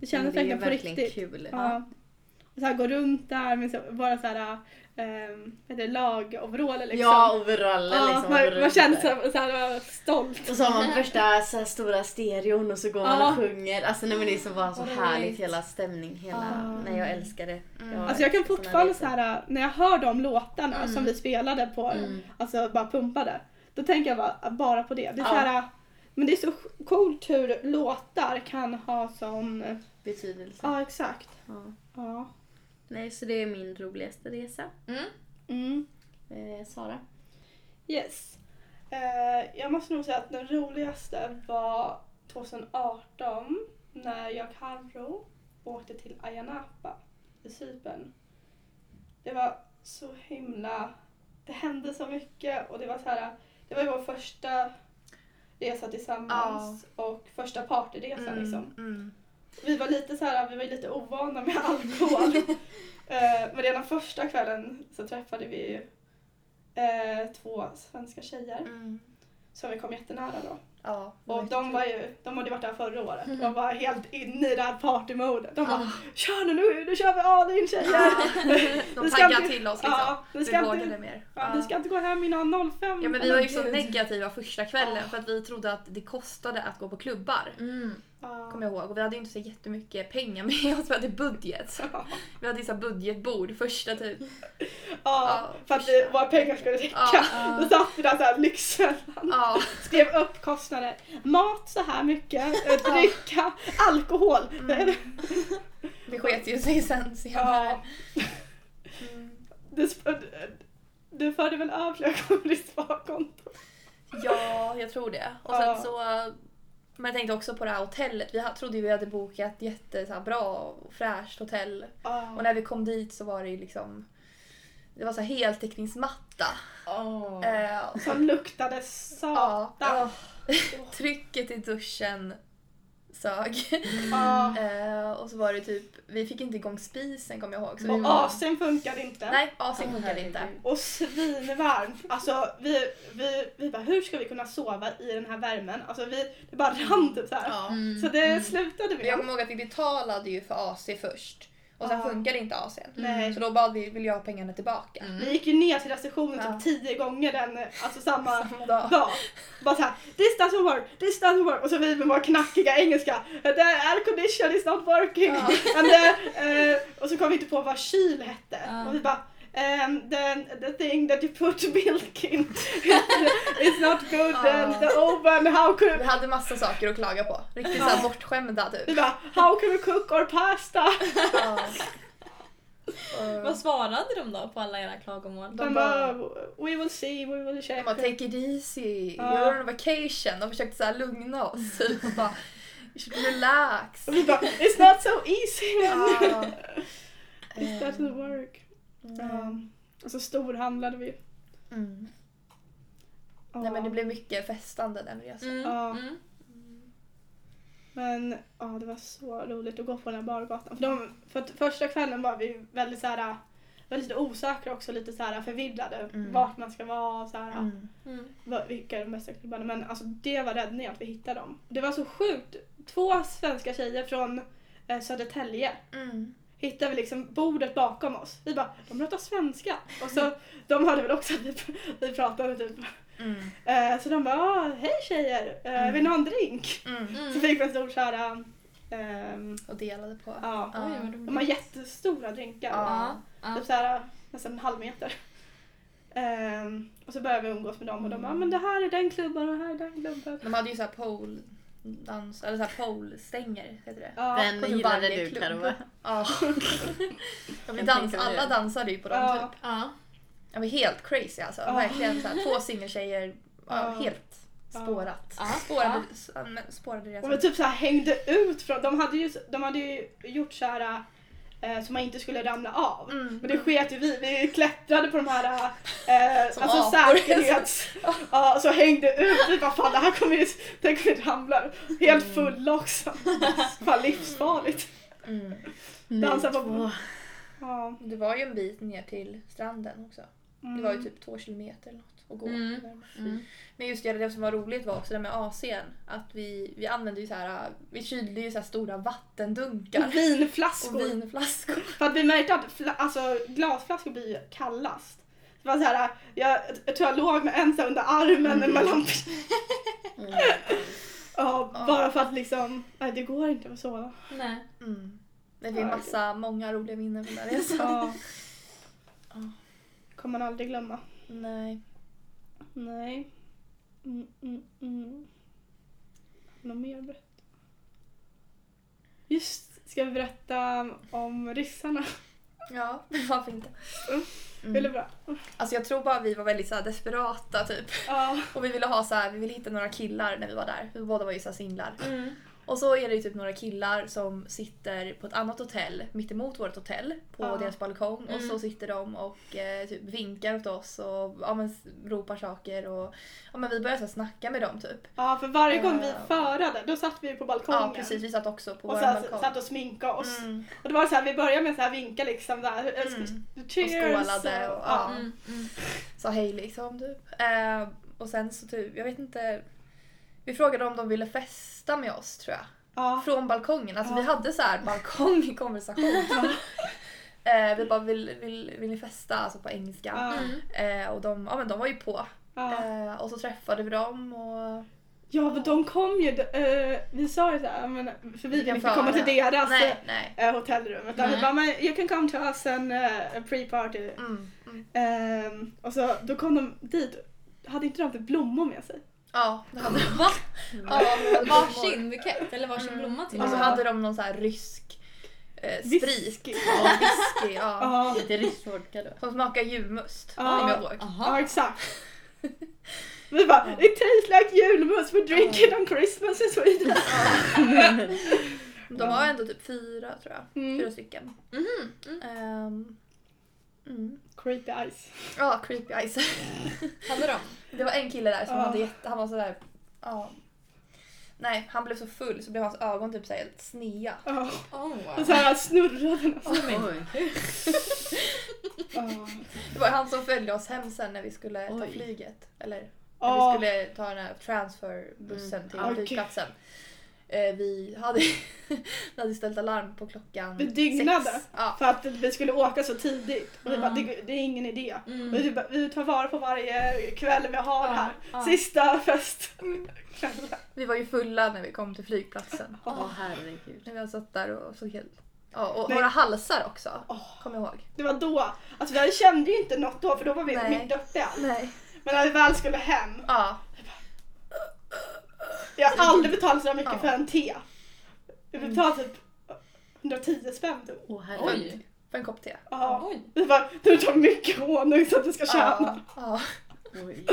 [SPEAKER 2] Det kändes
[SPEAKER 3] Men det är
[SPEAKER 2] verkligen på
[SPEAKER 3] verkligen
[SPEAKER 2] riktigt.
[SPEAKER 3] kul.
[SPEAKER 2] Ja. typ. Och så här, gå runt där med så, bara så här, ehm, vad heter det, lagoveraller liksom.
[SPEAKER 3] Ja, overaller
[SPEAKER 2] Ja,
[SPEAKER 3] liksom.
[SPEAKER 2] man,
[SPEAKER 3] runt
[SPEAKER 2] man kände
[SPEAKER 3] där.
[SPEAKER 2] så här, så här stolt.
[SPEAKER 3] Och så har man första så här stora stereon och så går man
[SPEAKER 2] Ja.
[SPEAKER 3] och sjunger. Alltså nej, men det är så bara så
[SPEAKER 4] Vad roligt.
[SPEAKER 3] härligt hela stämning. Hela,
[SPEAKER 4] Ja.
[SPEAKER 3] Nej jag älskar det.
[SPEAKER 1] Mm.
[SPEAKER 2] Alltså jag kan
[SPEAKER 3] älskar såna
[SPEAKER 2] fortfarande
[SPEAKER 3] resor.
[SPEAKER 2] så här när jag hör de låtarna
[SPEAKER 4] Mm.
[SPEAKER 2] som vi spelade på,
[SPEAKER 3] Mm.
[SPEAKER 2] alltså bara pumpade, då tänker jag bara, ah, bara på det. Det är
[SPEAKER 3] Ja.
[SPEAKER 2] så här, men det är så coolt hur låtar kan ha sån,
[SPEAKER 3] Betydelse.
[SPEAKER 2] ja exakt.
[SPEAKER 3] Ja.
[SPEAKER 2] Ja.
[SPEAKER 3] Nej så det är min roligaste resa.
[SPEAKER 4] Mm.
[SPEAKER 2] Mm.
[SPEAKER 3] Eh, Sara?
[SPEAKER 2] Yes. Eh, jag måste nog säga att den roligaste var 2018 när jag och Carro åkte till Ayia Napa i Cypern. Det var så himla... Det hände så mycket och det var så här... Det var ju vår första resa tillsammans och första partyresan liksom.
[SPEAKER 1] Mm.
[SPEAKER 2] Vi var lite så här, vi var ju lite ovana med alkohol. Eh, Men redan första kvällen så träffade vi ju eh, två svenska tjejer
[SPEAKER 1] Mm.
[SPEAKER 2] som vi kom jättenära då.
[SPEAKER 1] Ja.
[SPEAKER 2] Och de var ju, de hade varit där förra året
[SPEAKER 1] Mm-hmm.
[SPEAKER 2] och var helt inne i det här partymodet. De
[SPEAKER 1] Ah.
[SPEAKER 2] bara “Kör nu, nu, nu kör vi all in tjejer!”
[SPEAKER 1] De
[SPEAKER 2] Vi ska
[SPEAKER 1] taggade
[SPEAKER 2] inte-
[SPEAKER 1] till oss liksom.
[SPEAKER 2] Ja, vi
[SPEAKER 1] Vi
[SPEAKER 2] ska,
[SPEAKER 1] vårdade
[SPEAKER 2] inte,
[SPEAKER 1] mer.
[SPEAKER 2] ja, vi ska inte gå hem innan 05.
[SPEAKER 1] Ja men vi
[SPEAKER 2] Åh,
[SPEAKER 1] var ju så
[SPEAKER 2] gud.
[SPEAKER 1] negativa första kvällen
[SPEAKER 2] Ja.
[SPEAKER 1] för att vi trodde att det kostade att gå på klubbar.
[SPEAKER 4] Mm.
[SPEAKER 2] Ja.
[SPEAKER 1] Kommer jag ihåg. Och vi hade ju inte så jättemycket pengar med oss, vi hade budget. Vi hade ju så här budgetbord första typ.
[SPEAKER 2] Ja, för att
[SPEAKER 1] Ah.
[SPEAKER 2] vi, våra pengar skulle räcka.
[SPEAKER 1] Ja.
[SPEAKER 2] Då satt vi där såhär lyxfällan.
[SPEAKER 1] Ja,
[SPEAKER 2] Skrev upp kostnader. Mat så här mycket, eh, dricka, alkohol.
[SPEAKER 1] det sket ju sig sen
[SPEAKER 2] Ja.
[SPEAKER 1] senare. Mm.
[SPEAKER 2] Det, sp- Du förde väl över flera gånger på ditt sparkonto?
[SPEAKER 1] Ja, jag tror det. Och
[SPEAKER 2] Ja.
[SPEAKER 1] sen så... Men jag tänkte också på det här hotellet. Vi ha- trodde ju vi hade bokat jätte, så här, bra och fräscht hotell. Och när vi kom dit så var det ju liksom... Det var så här heltäckningsmatta. Eh, och så,
[SPEAKER 2] Som luktade satan.
[SPEAKER 1] ja, ja. Trycket i duschen sög.
[SPEAKER 2] Ja.
[SPEAKER 1] Eh, och så var det typ... Vi fick inte igång spisen kommer jag ihåg. Så vi
[SPEAKER 2] Och asen funkade inte.
[SPEAKER 1] Nej, AC'n funkade inte.
[SPEAKER 2] Och svinvarmt. Alltså vi, vi, vi bara hur ska vi kunna sova i den här värmen? Alltså vi, det bara rann typ så här. Så det
[SPEAKER 1] Mm.
[SPEAKER 2] slutade
[SPEAKER 1] Men jag
[SPEAKER 2] med.
[SPEAKER 1] kommer ihåg att vi betalade ju för AC först. Och sen
[SPEAKER 2] Ja.
[SPEAKER 1] funkade inte AC'n.
[SPEAKER 2] Nej. Mm.
[SPEAKER 1] Så då bad vi, vill jag ha pengarna tillbaka?
[SPEAKER 2] Vi gick ju ner till receptionen
[SPEAKER 1] Ja.
[SPEAKER 2] typ tio gånger den, alltså samma
[SPEAKER 1] Samma dag.
[SPEAKER 2] dag. Bara såhär, this doesn't work, this doesn't work. Och så vi med vår knackiga engelska. The air condition is not working.
[SPEAKER 1] Ja.
[SPEAKER 2] And the, eh, och så kom vi inte på vad kyl hette.
[SPEAKER 4] Ja.
[SPEAKER 2] Och vi bara, And then the thing that you put milk in is not good and the oven, how could
[SPEAKER 1] Vi hade massa saker att klaga på. Riktigt såhär bortskämda
[SPEAKER 2] Vi
[SPEAKER 1] typ.
[SPEAKER 2] bara, how can we cook our pasta?
[SPEAKER 1] Ja. Eh,
[SPEAKER 4] Vad svarade de då på alla era
[SPEAKER 1] De
[SPEAKER 4] klagomål?
[SPEAKER 2] De
[SPEAKER 1] bara-
[SPEAKER 2] bara, we will see, we will check.
[SPEAKER 1] de bara take it easy,
[SPEAKER 2] Ja.
[SPEAKER 1] you're on vacation. De försökte såhär lugna oss. typ, Och bara, "You should relax.
[SPEAKER 2] Och vi bara, it's not so easy.
[SPEAKER 1] Ja.
[SPEAKER 2] It doesn't
[SPEAKER 1] Um,
[SPEAKER 2] work. Ja. Och så storhandlade vi.
[SPEAKER 1] Mm. Nej men det blev mycket festande den resan.
[SPEAKER 4] Mm.
[SPEAKER 2] Ja.
[SPEAKER 4] Mm.
[SPEAKER 2] Men, ja, det var så roligt att gå på den här bargatan. För, de, för att första kvällen var vi väldigt så här, väldigt osäkra också, lite så här förvirrade
[SPEAKER 1] Mm.
[SPEAKER 2] vart man ska vara och så här,
[SPEAKER 1] Mm.
[SPEAKER 4] Mm.
[SPEAKER 2] vad- vilka de bästa klubbarna Men alltså det var räddningen att vi hittade dem. Det var så sjukt. Två svenska tjejer från eh, Södertälje
[SPEAKER 1] Mm.
[SPEAKER 2] hittade vi liksom bordet bakom oss. Vi bara, de pratar svenska. Och så, de hörde väl också att vi, vi pratade typ.
[SPEAKER 1] Mm.
[SPEAKER 2] Eh, så de bara, "Ah, hej tjejer, eh,
[SPEAKER 1] Mm.
[SPEAKER 2] vill ni ha en drink?
[SPEAKER 1] Mm.
[SPEAKER 2] Så fick vi en stor såhär, ehm,
[SPEAKER 1] Och delade på.
[SPEAKER 2] ja.
[SPEAKER 1] Ja.
[SPEAKER 4] Oj, vad
[SPEAKER 2] De har
[SPEAKER 4] roligt.
[SPEAKER 2] jättestora drinkar.
[SPEAKER 1] Ja.
[SPEAKER 4] Ja.
[SPEAKER 2] Typ såhär, nästan en halv meter. Ehm, och så började vi umgås med dem och de bara, men det här är den klubben och det här är den klubben.
[SPEAKER 1] De hade ju såhär pole dans, eller såhär pole-stänger heter det.
[SPEAKER 2] Ja.
[SPEAKER 3] Den
[SPEAKER 1] på typ
[SPEAKER 3] gillade
[SPEAKER 1] varje
[SPEAKER 3] du
[SPEAKER 1] klubb.
[SPEAKER 3] Carro va?
[SPEAKER 1] Ja. De
[SPEAKER 3] Jag
[SPEAKER 1] dans,
[SPEAKER 3] tänkte det.
[SPEAKER 1] alla dansade ju på dem
[SPEAKER 2] Ja.
[SPEAKER 1] typ.
[SPEAKER 4] Ja.
[SPEAKER 1] Ja, men helt crazy alltså.
[SPEAKER 2] Ja.
[SPEAKER 1] Verkligen så här, två singeltjejer. Ja,
[SPEAKER 2] Ja.
[SPEAKER 1] helt spårat.
[SPEAKER 4] Ja.
[SPEAKER 1] Spårade, s- ja, men spårade
[SPEAKER 2] Och vi
[SPEAKER 1] resan.
[SPEAKER 2] Ah. typ så här hängde ut från, de hade ju, de hade ju gjort så här eh, så man inte skulle ramla av.
[SPEAKER 1] Mm.
[SPEAKER 2] Men det sket ju vi, vi klättrade på de här eh,
[SPEAKER 1] Som
[SPEAKER 2] alltså
[SPEAKER 1] apor.
[SPEAKER 2] säkerhets... ja, och så hängde ut, vi bara fan det här kommer ju, tänk om vi ramlar. Helt fulla också. Fan livsfarligt.
[SPEAKER 1] Mm.
[SPEAKER 2] Dansa på-
[SPEAKER 3] Ni två.
[SPEAKER 2] Ja.
[SPEAKER 1] Det var ju en bit ner till stranden också.
[SPEAKER 2] Mm.
[SPEAKER 1] Det var ju typ två kilometer eller något att gå.
[SPEAKER 4] Mm.
[SPEAKER 5] Mm.
[SPEAKER 1] Men just det, det som var roligt var också det med AC'n. Att vi, vi använde ju så här, vi kylde ju så här stora vattendunkar.
[SPEAKER 2] Mm. Vinflaskor.
[SPEAKER 1] Och vinflaskor.
[SPEAKER 2] För att vi märkte att fla- alltså, glasflaskor blir ju kallast. Det var så här, jag, jag tror jag låg med en så här under armen
[SPEAKER 1] Mm.
[SPEAKER 2] mellan
[SPEAKER 3] Mm.
[SPEAKER 2] Ja, bara för att liksom, nej det går inte att sova.
[SPEAKER 4] Nej.
[SPEAKER 1] Mm. Men det är massa, många roliga minnen från den resan.
[SPEAKER 2] Ja.
[SPEAKER 1] Ja.
[SPEAKER 2] Kommer man aldrig glömma.
[SPEAKER 1] Nej.
[SPEAKER 2] Nej. Mm, mm, mm. Något mer att berätta? Just, ska vi berätta om ryssarna?
[SPEAKER 1] Mm. Ja, varför inte?
[SPEAKER 2] Mm. Eller bra?
[SPEAKER 1] Alltså jag tror bara vi var väldigt så här desperata typ.
[SPEAKER 2] Ja.
[SPEAKER 1] Och vi ville ha så här, vi ville hitta några killar när vi var där. Vi båda var ju så här singlar.
[SPEAKER 4] Mm.
[SPEAKER 1] Och så är det ju typ några killar som sitter på ett annat hotell mitt emot vårt hotell på
[SPEAKER 2] Ja.
[SPEAKER 1] deras balkong. Och
[SPEAKER 4] Mm.
[SPEAKER 1] så sitter de och eh, typ vinkar åt oss och ja, men, s- ropar saker. Och, ja, men vi började så här, snacka med dem typ.
[SPEAKER 2] ja, för varje gång vi
[SPEAKER 1] Ja.
[SPEAKER 2] förade då satt vi på balkongen.
[SPEAKER 1] Eh. Ja precis, vi satt också på
[SPEAKER 2] Och
[SPEAKER 1] vår
[SPEAKER 2] så här,
[SPEAKER 1] balkong.
[SPEAKER 2] satt och sminkade oss.
[SPEAKER 1] Mm.
[SPEAKER 2] Och det var så här, vi började med så här vinka liksom. Så här,
[SPEAKER 1] Mm.
[SPEAKER 2] Cheers!
[SPEAKER 1] skålade och- ja.
[SPEAKER 4] Mm. Mm.
[SPEAKER 1] sa hej liksom typ. Eh, och sen så typ, jag vet inte. Vi frågade om de ville festa med oss tror jag.
[SPEAKER 2] ja.
[SPEAKER 1] Från balkongen, alltså
[SPEAKER 2] Ja.
[SPEAKER 1] vi hade så här balkong i konversation. eh, vi bara vill, vill, vill ni festa? Alltså på engelska.
[SPEAKER 2] Ja.
[SPEAKER 4] Mm.
[SPEAKER 1] Eh, och de, ja, men de var ju på.
[SPEAKER 2] ja.
[SPEAKER 1] Eh, och så träffade vi dem och
[SPEAKER 2] Ja, men de kom ju. eh, vi sa ju såhär, men, för vi vill inte
[SPEAKER 1] föra.
[SPEAKER 2] komma till deras
[SPEAKER 1] nej, Mm. nej.
[SPEAKER 2] eh, hotellrum. Utan vi
[SPEAKER 4] Nej.
[SPEAKER 2] bara, men you can come to us and uh, pre-party.
[SPEAKER 1] Mm, mm.
[SPEAKER 2] Ehm, och så då kom de dit. Hade inte de typ blommor med sig?
[SPEAKER 1] Ja, det hade de.
[SPEAKER 4] Va?
[SPEAKER 1] Ja, det hade de.
[SPEAKER 4] Varsin bukett eller varsin blomma till
[SPEAKER 1] Och så
[SPEAKER 4] och med.
[SPEAKER 1] hade de någon så här rysk eh, eh, sprit.
[SPEAKER 2] Whisky.
[SPEAKER 1] Ja, whisky. Ja.
[SPEAKER 2] Ja,
[SPEAKER 3] Lite rysk vodka då.
[SPEAKER 1] Som smakar julmust.
[SPEAKER 2] Ja.
[SPEAKER 1] Kommer jag ihåg.
[SPEAKER 4] Ah.
[SPEAKER 2] ja exakt. Vi bara, it tastes like julmust, we drink it on Christmas in Sweden.
[SPEAKER 1] De har ändå typ fyra tror jag.
[SPEAKER 2] Mm.
[SPEAKER 1] Fyra stycken. Ehm, mm.
[SPEAKER 2] Creepy eyes.
[SPEAKER 1] Ja, creepy eyes.
[SPEAKER 4] Hade de?
[SPEAKER 1] Det var en kille där som
[SPEAKER 2] Ja.
[SPEAKER 1] hade jätte... Han var sådär... Ja. Nej, han blev så full så blev hans ögon typ såhär helt snea.
[SPEAKER 2] Ja,
[SPEAKER 4] Oh,
[SPEAKER 2] och så här snurrar den. alltså.
[SPEAKER 3] Oj.
[SPEAKER 2] Ja.
[SPEAKER 1] Det var han som följde oss hem sen när vi skulle ta
[SPEAKER 3] Oj.
[SPEAKER 1] flyget. Eller när
[SPEAKER 2] Ja.
[SPEAKER 1] vi skulle ta den här transferbussen till
[SPEAKER 2] Ah, okej.
[SPEAKER 1] flygplatsen. Eh, vi, hade, vi hade ställt alarm på klockan
[SPEAKER 2] Vi dygnade.
[SPEAKER 1] sex. Ja.
[SPEAKER 2] För att vi skulle åka så tidigt. Och vi bara, det, det är ingen idé.
[SPEAKER 4] Mm.
[SPEAKER 2] Vi, bara, vi tar vara på varje kväll vi har
[SPEAKER 4] Ja,
[SPEAKER 2] här.
[SPEAKER 4] ja.
[SPEAKER 2] Sista fest.
[SPEAKER 1] Vi var ju fulla när vi kom till flygplatsen.
[SPEAKER 3] Åh herregud.
[SPEAKER 1] När vi hade satt där och såg helt... Ja, och
[SPEAKER 2] Men-
[SPEAKER 1] våra halsar också.
[SPEAKER 2] Åh.
[SPEAKER 1] Kommer jag ihåg.
[SPEAKER 2] Det var då. Alltså vi kände ju inte något då för då var vi
[SPEAKER 1] Nej.
[SPEAKER 2] mitt uppe i allt.
[SPEAKER 1] Nej.
[SPEAKER 2] Men när vi väl skulle hem.
[SPEAKER 1] Ja.
[SPEAKER 2] Jag har aldrig betalat så här mycket
[SPEAKER 1] Ja.
[SPEAKER 2] för en te. Vi betalade typ 110 spänn då.
[SPEAKER 3] Åh herregud.
[SPEAKER 4] Oj.
[SPEAKER 1] För en kopp te.
[SPEAKER 2] Ja.
[SPEAKER 4] Oj.
[SPEAKER 2] Vi bara, du tar mycket honung så att du ska tjäna.
[SPEAKER 1] Ja. ja.
[SPEAKER 3] Oj.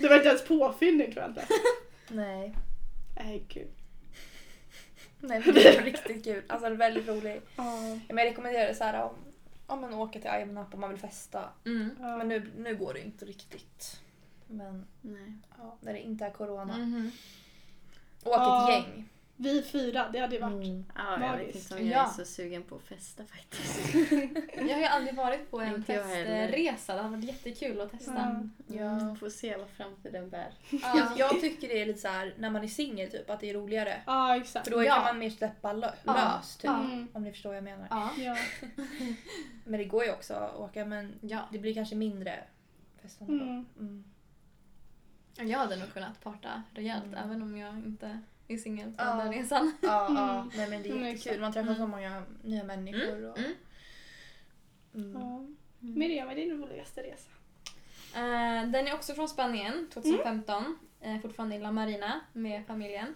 [SPEAKER 2] Det var inte ens påfyllning tror jag inte.
[SPEAKER 1] Nej.
[SPEAKER 2] Nej gud.
[SPEAKER 1] Nej, men det var riktigt kul. Alltså det är väldigt rolig.
[SPEAKER 2] Ja.
[SPEAKER 1] Men jag rekommenderar det så här om, om man åker till Ayia Napa om man vill festa.
[SPEAKER 4] Mm.
[SPEAKER 1] Men nu, nu går det inte riktigt. Men
[SPEAKER 3] Nej.
[SPEAKER 1] ja, när det inte är corona.
[SPEAKER 4] Mhm.
[SPEAKER 1] Åk
[SPEAKER 2] Mm. Ja.
[SPEAKER 1] ett gäng.
[SPEAKER 2] Vi fyra, det hade ju varit.
[SPEAKER 3] Mm. Ja, jag vet
[SPEAKER 2] Magiskt.
[SPEAKER 3] inte om jag
[SPEAKER 4] Ja.
[SPEAKER 3] är så sugen på att festa faktiskt.
[SPEAKER 4] Jag har ju aldrig varit på en
[SPEAKER 3] Inte jag heller.
[SPEAKER 4] testresa. Det hade varit jättekul att testa.
[SPEAKER 2] Ja.
[SPEAKER 1] Ja.
[SPEAKER 3] Får se vad framtiden bär.
[SPEAKER 1] Jag, Alltså, jag tycker det är lite så här när man är singel typ att det är roligare.
[SPEAKER 2] Ja exakt.
[SPEAKER 1] För då
[SPEAKER 4] Ja.
[SPEAKER 1] kan man mer släppa lö-
[SPEAKER 4] Ja.
[SPEAKER 1] lös typ.
[SPEAKER 4] Ja.
[SPEAKER 2] Mm.
[SPEAKER 1] Om ni förstår vad jag menar.
[SPEAKER 4] Ja.
[SPEAKER 2] Ja.
[SPEAKER 1] Men det går ju också att åka men
[SPEAKER 4] Ja.
[SPEAKER 1] det blir kanske mindre festande då.
[SPEAKER 2] Mm.
[SPEAKER 1] Mm.
[SPEAKER 4] Jag hade nog kunnat parta rejält även om jag inte är singel på
[SPEAKER 1] Ja.
[SPEAKER 4] den resan.
[SPEAKER 1] Ja, ja.
[SPEAKER 2] Mm.
[SPEAKER 1] Nej, men det är
[SPEAKER 2] Mm,
[SPEAKER 1] jättekul.
[SPEAKER 2] exakt.
[SPEAKER 1] Man träffar så många nya människor. Och...
[SPEAKER 4] Mm.
[SPEAKER 1] Mm.
[SPEAKER 2] Ja. Miriam, vad är din roligaste resa?
[SPEAKER 4] Eh, den är också från Spanien 2015, eh, fortfarande i La Marina med familjen.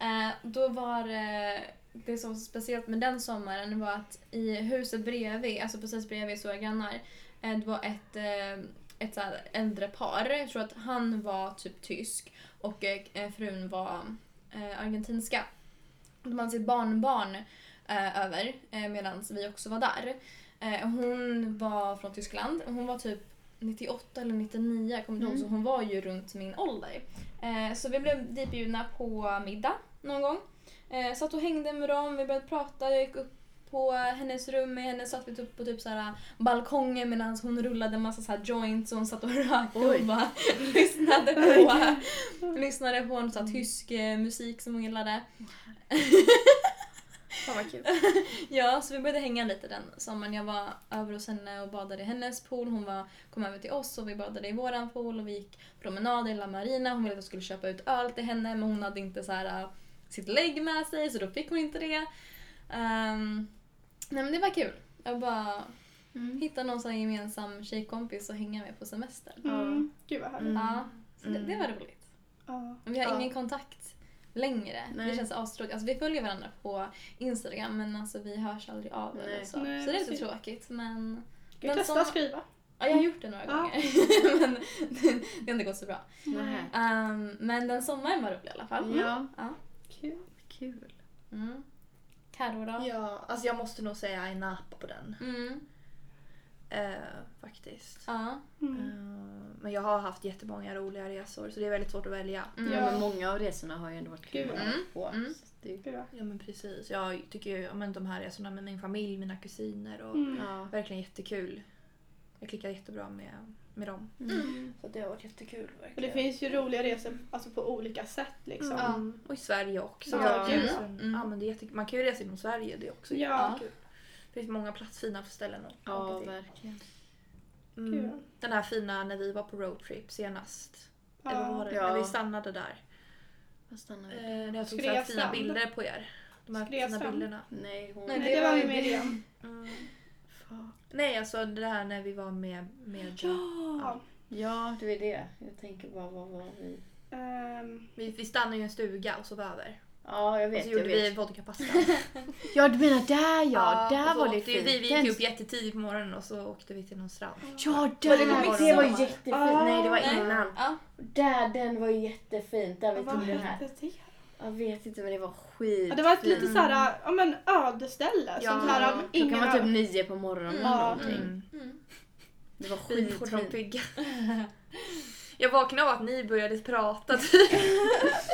[SPEAKER 4] Eh, då var eh, det som var speciellt med den sommaren var att i huset bredvid, alltså precis bredvid så är grannar, eh, det var ett, eh, ett så här äldre par. Jag tror att han var typ tysk och eh, frun var eh, argentinska. De hade sitt barnbarn eh, över eh, medan vi också var där. Eh, hon var från Tyskland. Hon var typ 98 eller 99, jag kommer inte ihåg, så hon var ju runt min ålder. Eh, så vi blev ditbjudna på middag någon gång. Eh, satt och hängde med dem, vi började prata, jag gick upp på hennes rum med henne, satt vi typ på typ så här balkongen medan hon rullade en massa så här joints och hon satt och rökte
[SPEAKER 3] Oj.
[SPEAKER 4] och bara lyssnade på, lyssnade på en så här tysk eh, musik som hon gillade.
[SPEAKER 1] Fan vad kul.
[SPEAKER 4] Ja, så vi började hänga lite den sommaren. Jag var över hos henne och badade i hennes pool. Hon var, kom över till oss och vi badade i våran pool och vi gick promenad i La Marina. Hon ville att jag skulle köpa ut öl till henne men hon hade inte så här, äh, sitt lägg med sig så då fick hon inte det. Ehm, nej men det var kul. Jag bara hitta någon sån här gemensam tjejkompis att hänga med på semestern.
[SPEAKER 2] Mm. Gud vad härligt.
[SPEAKER 1] Mm.
[SPEAKER 4] Ja, så det,
[SPEAKER 1] Mm.
[SPEAKER 4] det var roligt.
[SPEAKER 2] Ja.
[SPEAKER 4] Men vi har
[SPEAKER 1] Ja.
[SPEAKER 4] ingen kontakt längre. Det
[SPEAKER 3] Nej.
[SPEAKER 4] känns astråkigt. Alltså, vi följer varandra på Instagram men alltså, vi hörs aldrig av eller
[SPEAKER 3] Nej.
[SPEAKER 4] så.
[SPEAKER 2] Nej,
[SPEAKER 4] så det är lite
[SPEAKER 2] precis.
[SPEAKER 4] tråkigt men
[SPEAKER 2] Ska vi
[SPEAKER 4] Men
[SPEAKER 2] testa
[SPEAKER 4] som-
[SPEAKER 2] att skriva?
[SPEAKER 4] ja, jag har gjort det några
[SPEAKER 2] Ja.
[SPEAKER 4] gånger. men det, det har inte gått så bra.
[SPEAKER 3] Nej.
[SPEAKER 4] Ehm, men den sommaren var rolig i alla fall.
[SPEAKER 3] Ja,
[SPEAKER 4] Ja.
[SPEAKER 2] Kul.
[SPEAKER 3] kul.
[SPEAKER 4] Mm. Karo då?
[SPEAKER 1] Ja, alltså jag måste nog säga en napa på den.
[SPEAKER 4] Mm.
[SPEAKER 1] Eh, faktiskt.
[SPEAKER 4] Ja.
[SPEAKER 2] Mm.
[SPEAKER 1] Eh, men jag har haft jättemånga roliga resor så det är väldigt svårt att välja.
[SPEAKER 4] Mm.
[SPEAKER 3] Ja,
[SPEAKER 2] Ja.
[SPEAKER 3] men många av resorna har ju ändå varit kul
[SPEAKER 2] Gud,
[SPEAKER 3] att
[SPEAKER 4] ja.
[SPEAKER 3] vara på.
[SPEAKER 4] Mm.
[SPEAKER 3] Så att det,
[SPEAKER 2] Gud vad-
[SPEAKER 1] Ja men precis. Jag tycker ju ja, men de här resorna med min familj, mina kusiner och
[SPEAKER 2] Mm.
[SPEAKER 3] ja.
[SPEAKER 1] verkligen jättekul. Jag klickar jättebra med, med dem.
[SPEAKER 2] Mm.
[SPEAKER 1] Så det har varit jättekul
[SPEAKER 2] Och det
[SPEAKER 1] verkligen.
[SPEAKER 2] finns ju roliga resor alltså på olika sätt liksom.
[SPEAKER 1] Mm. Och i Sverige också.
[SPEAKER 2] Ja.
[SPEAKER 1] verkligen.
[SPEAKER 2] Mm.
[SPEAKER 1] Så, Ja, men det är jättekul. Man kan ju resa inom Sverige, det är också
[SPEAKER 2] Ja.
[SPEAKER 1] jättekul. Det finns många plats, fina ställen att
[SPEAKER 3] ja,
[SPEAKER 1] åka till.
[SPEAKER 3] verkligen.
[SPEAKER 1] Mm.
[SPEAKER 2] Kul.
[SPEAKER 1] Den här fina när vi var på roadtrip senast. Eller vad var det?
[SPEAKER 3] Ja.
[SPEAKER 1] När vi stannade där.
[SPEAKER 3] Vad stannar vi?
[SPEAKER 1] Eh, när jag tog så här
[SPEAKER 2] Skrev
[SPEAKER 1] fina
[SPEAKER 2] fram.
[SPEAKER 1] bilder på er. De här
[SPEAKER 2] Skrev
[SPEAKER 1] fina
[SPEAKER 2] fram.
[SPEAKER 1] bilderna.
[SPEAKER 3] Nej, hon...
[SPEAKER 4] Nej,
[SPEAKER 2] Nej, det var ju Miriam.
[SPEAKER 1] Mm.
[SPEAKER 3] Fan.
[SPEAKER 1] Nej, alltså det här när vi var med... med
[SPEAKER 2] Ja.
[SPEAKER 3] Ja, det är det. Jag tänker bara, vad var vi?
[SPEAKER 2] Ehm,
[SPEAKER 1] vi, vi stannade ju i en stuga och sov över.
[SPEAKER 3] Ja, jag
[SPEAKER 1] Och
[SPEAKER 3] vet.
[SPEAKER 1] så
[SPEAKER 3] jag
[SPEAKER 1] gjorde
[SPEAKER 3] vet.
[SPEAKER 1] vi vodkapasta.
[SPEAKER 3] Ja, du menar där ja.
[SPEAKER 1] och
[SPEAKER 3] där
[SPEAKER 1] så
[SPEAKER 3] var det
[SPEAKER 1] åkte vi,
[SPEAKER 3] fint. Mm.
[SPEAKER 1] vi
[SPEAKER 3] Den-
[SPEAKER 1] gick upp jättetidigt på morgonen och så åkte vi till någon strand.
[SPEAKER 3] Ja,
[SPEAKER 2] Men
[SPEAKER 3] där!
[SPEAKER 2] det var
[SPEAKER 3] var det
[SPEAKER 2] midsommar.
[SPEAKER 3] var jättefint. Nej, det var
[SPEAKER 4] Nej.
[SPEAKER 3] innan.
[SPEAKER 4] Ja.
[SPEAKER 3] Där, den var ju jättefint. Där vi
[SPEAKER 2] Vad
[SPEAKER 3] tog den här.
[SPEAKER 2] hette det?
[SPEAKER 3] Jag vet inte men det var
[SPEAKER 2] Ja,
[SPEAKER 3] skit.
[SPEAKER 2] det var ett lite så här, ja men ödeställe.
[SPEAKER 1] Ja.
[SPEAKER 2] Sånt här,
[SPEAKER 1] Klockan
[SPEAKER 2] ingen
[SPEAKER 3] Klockan var typ nio på morgonen eller
[SPEAKER 2] Ja.
[SPEAKER 3] någonting.
[SPEAKER 1] Mm.
[SPEAKER 3] Det var
[SPEAKER 1] Vi på de
[SPEAKER 3] skitfint.
[SPEAKER 1] pigga. Jag vaknade av att ni började prata.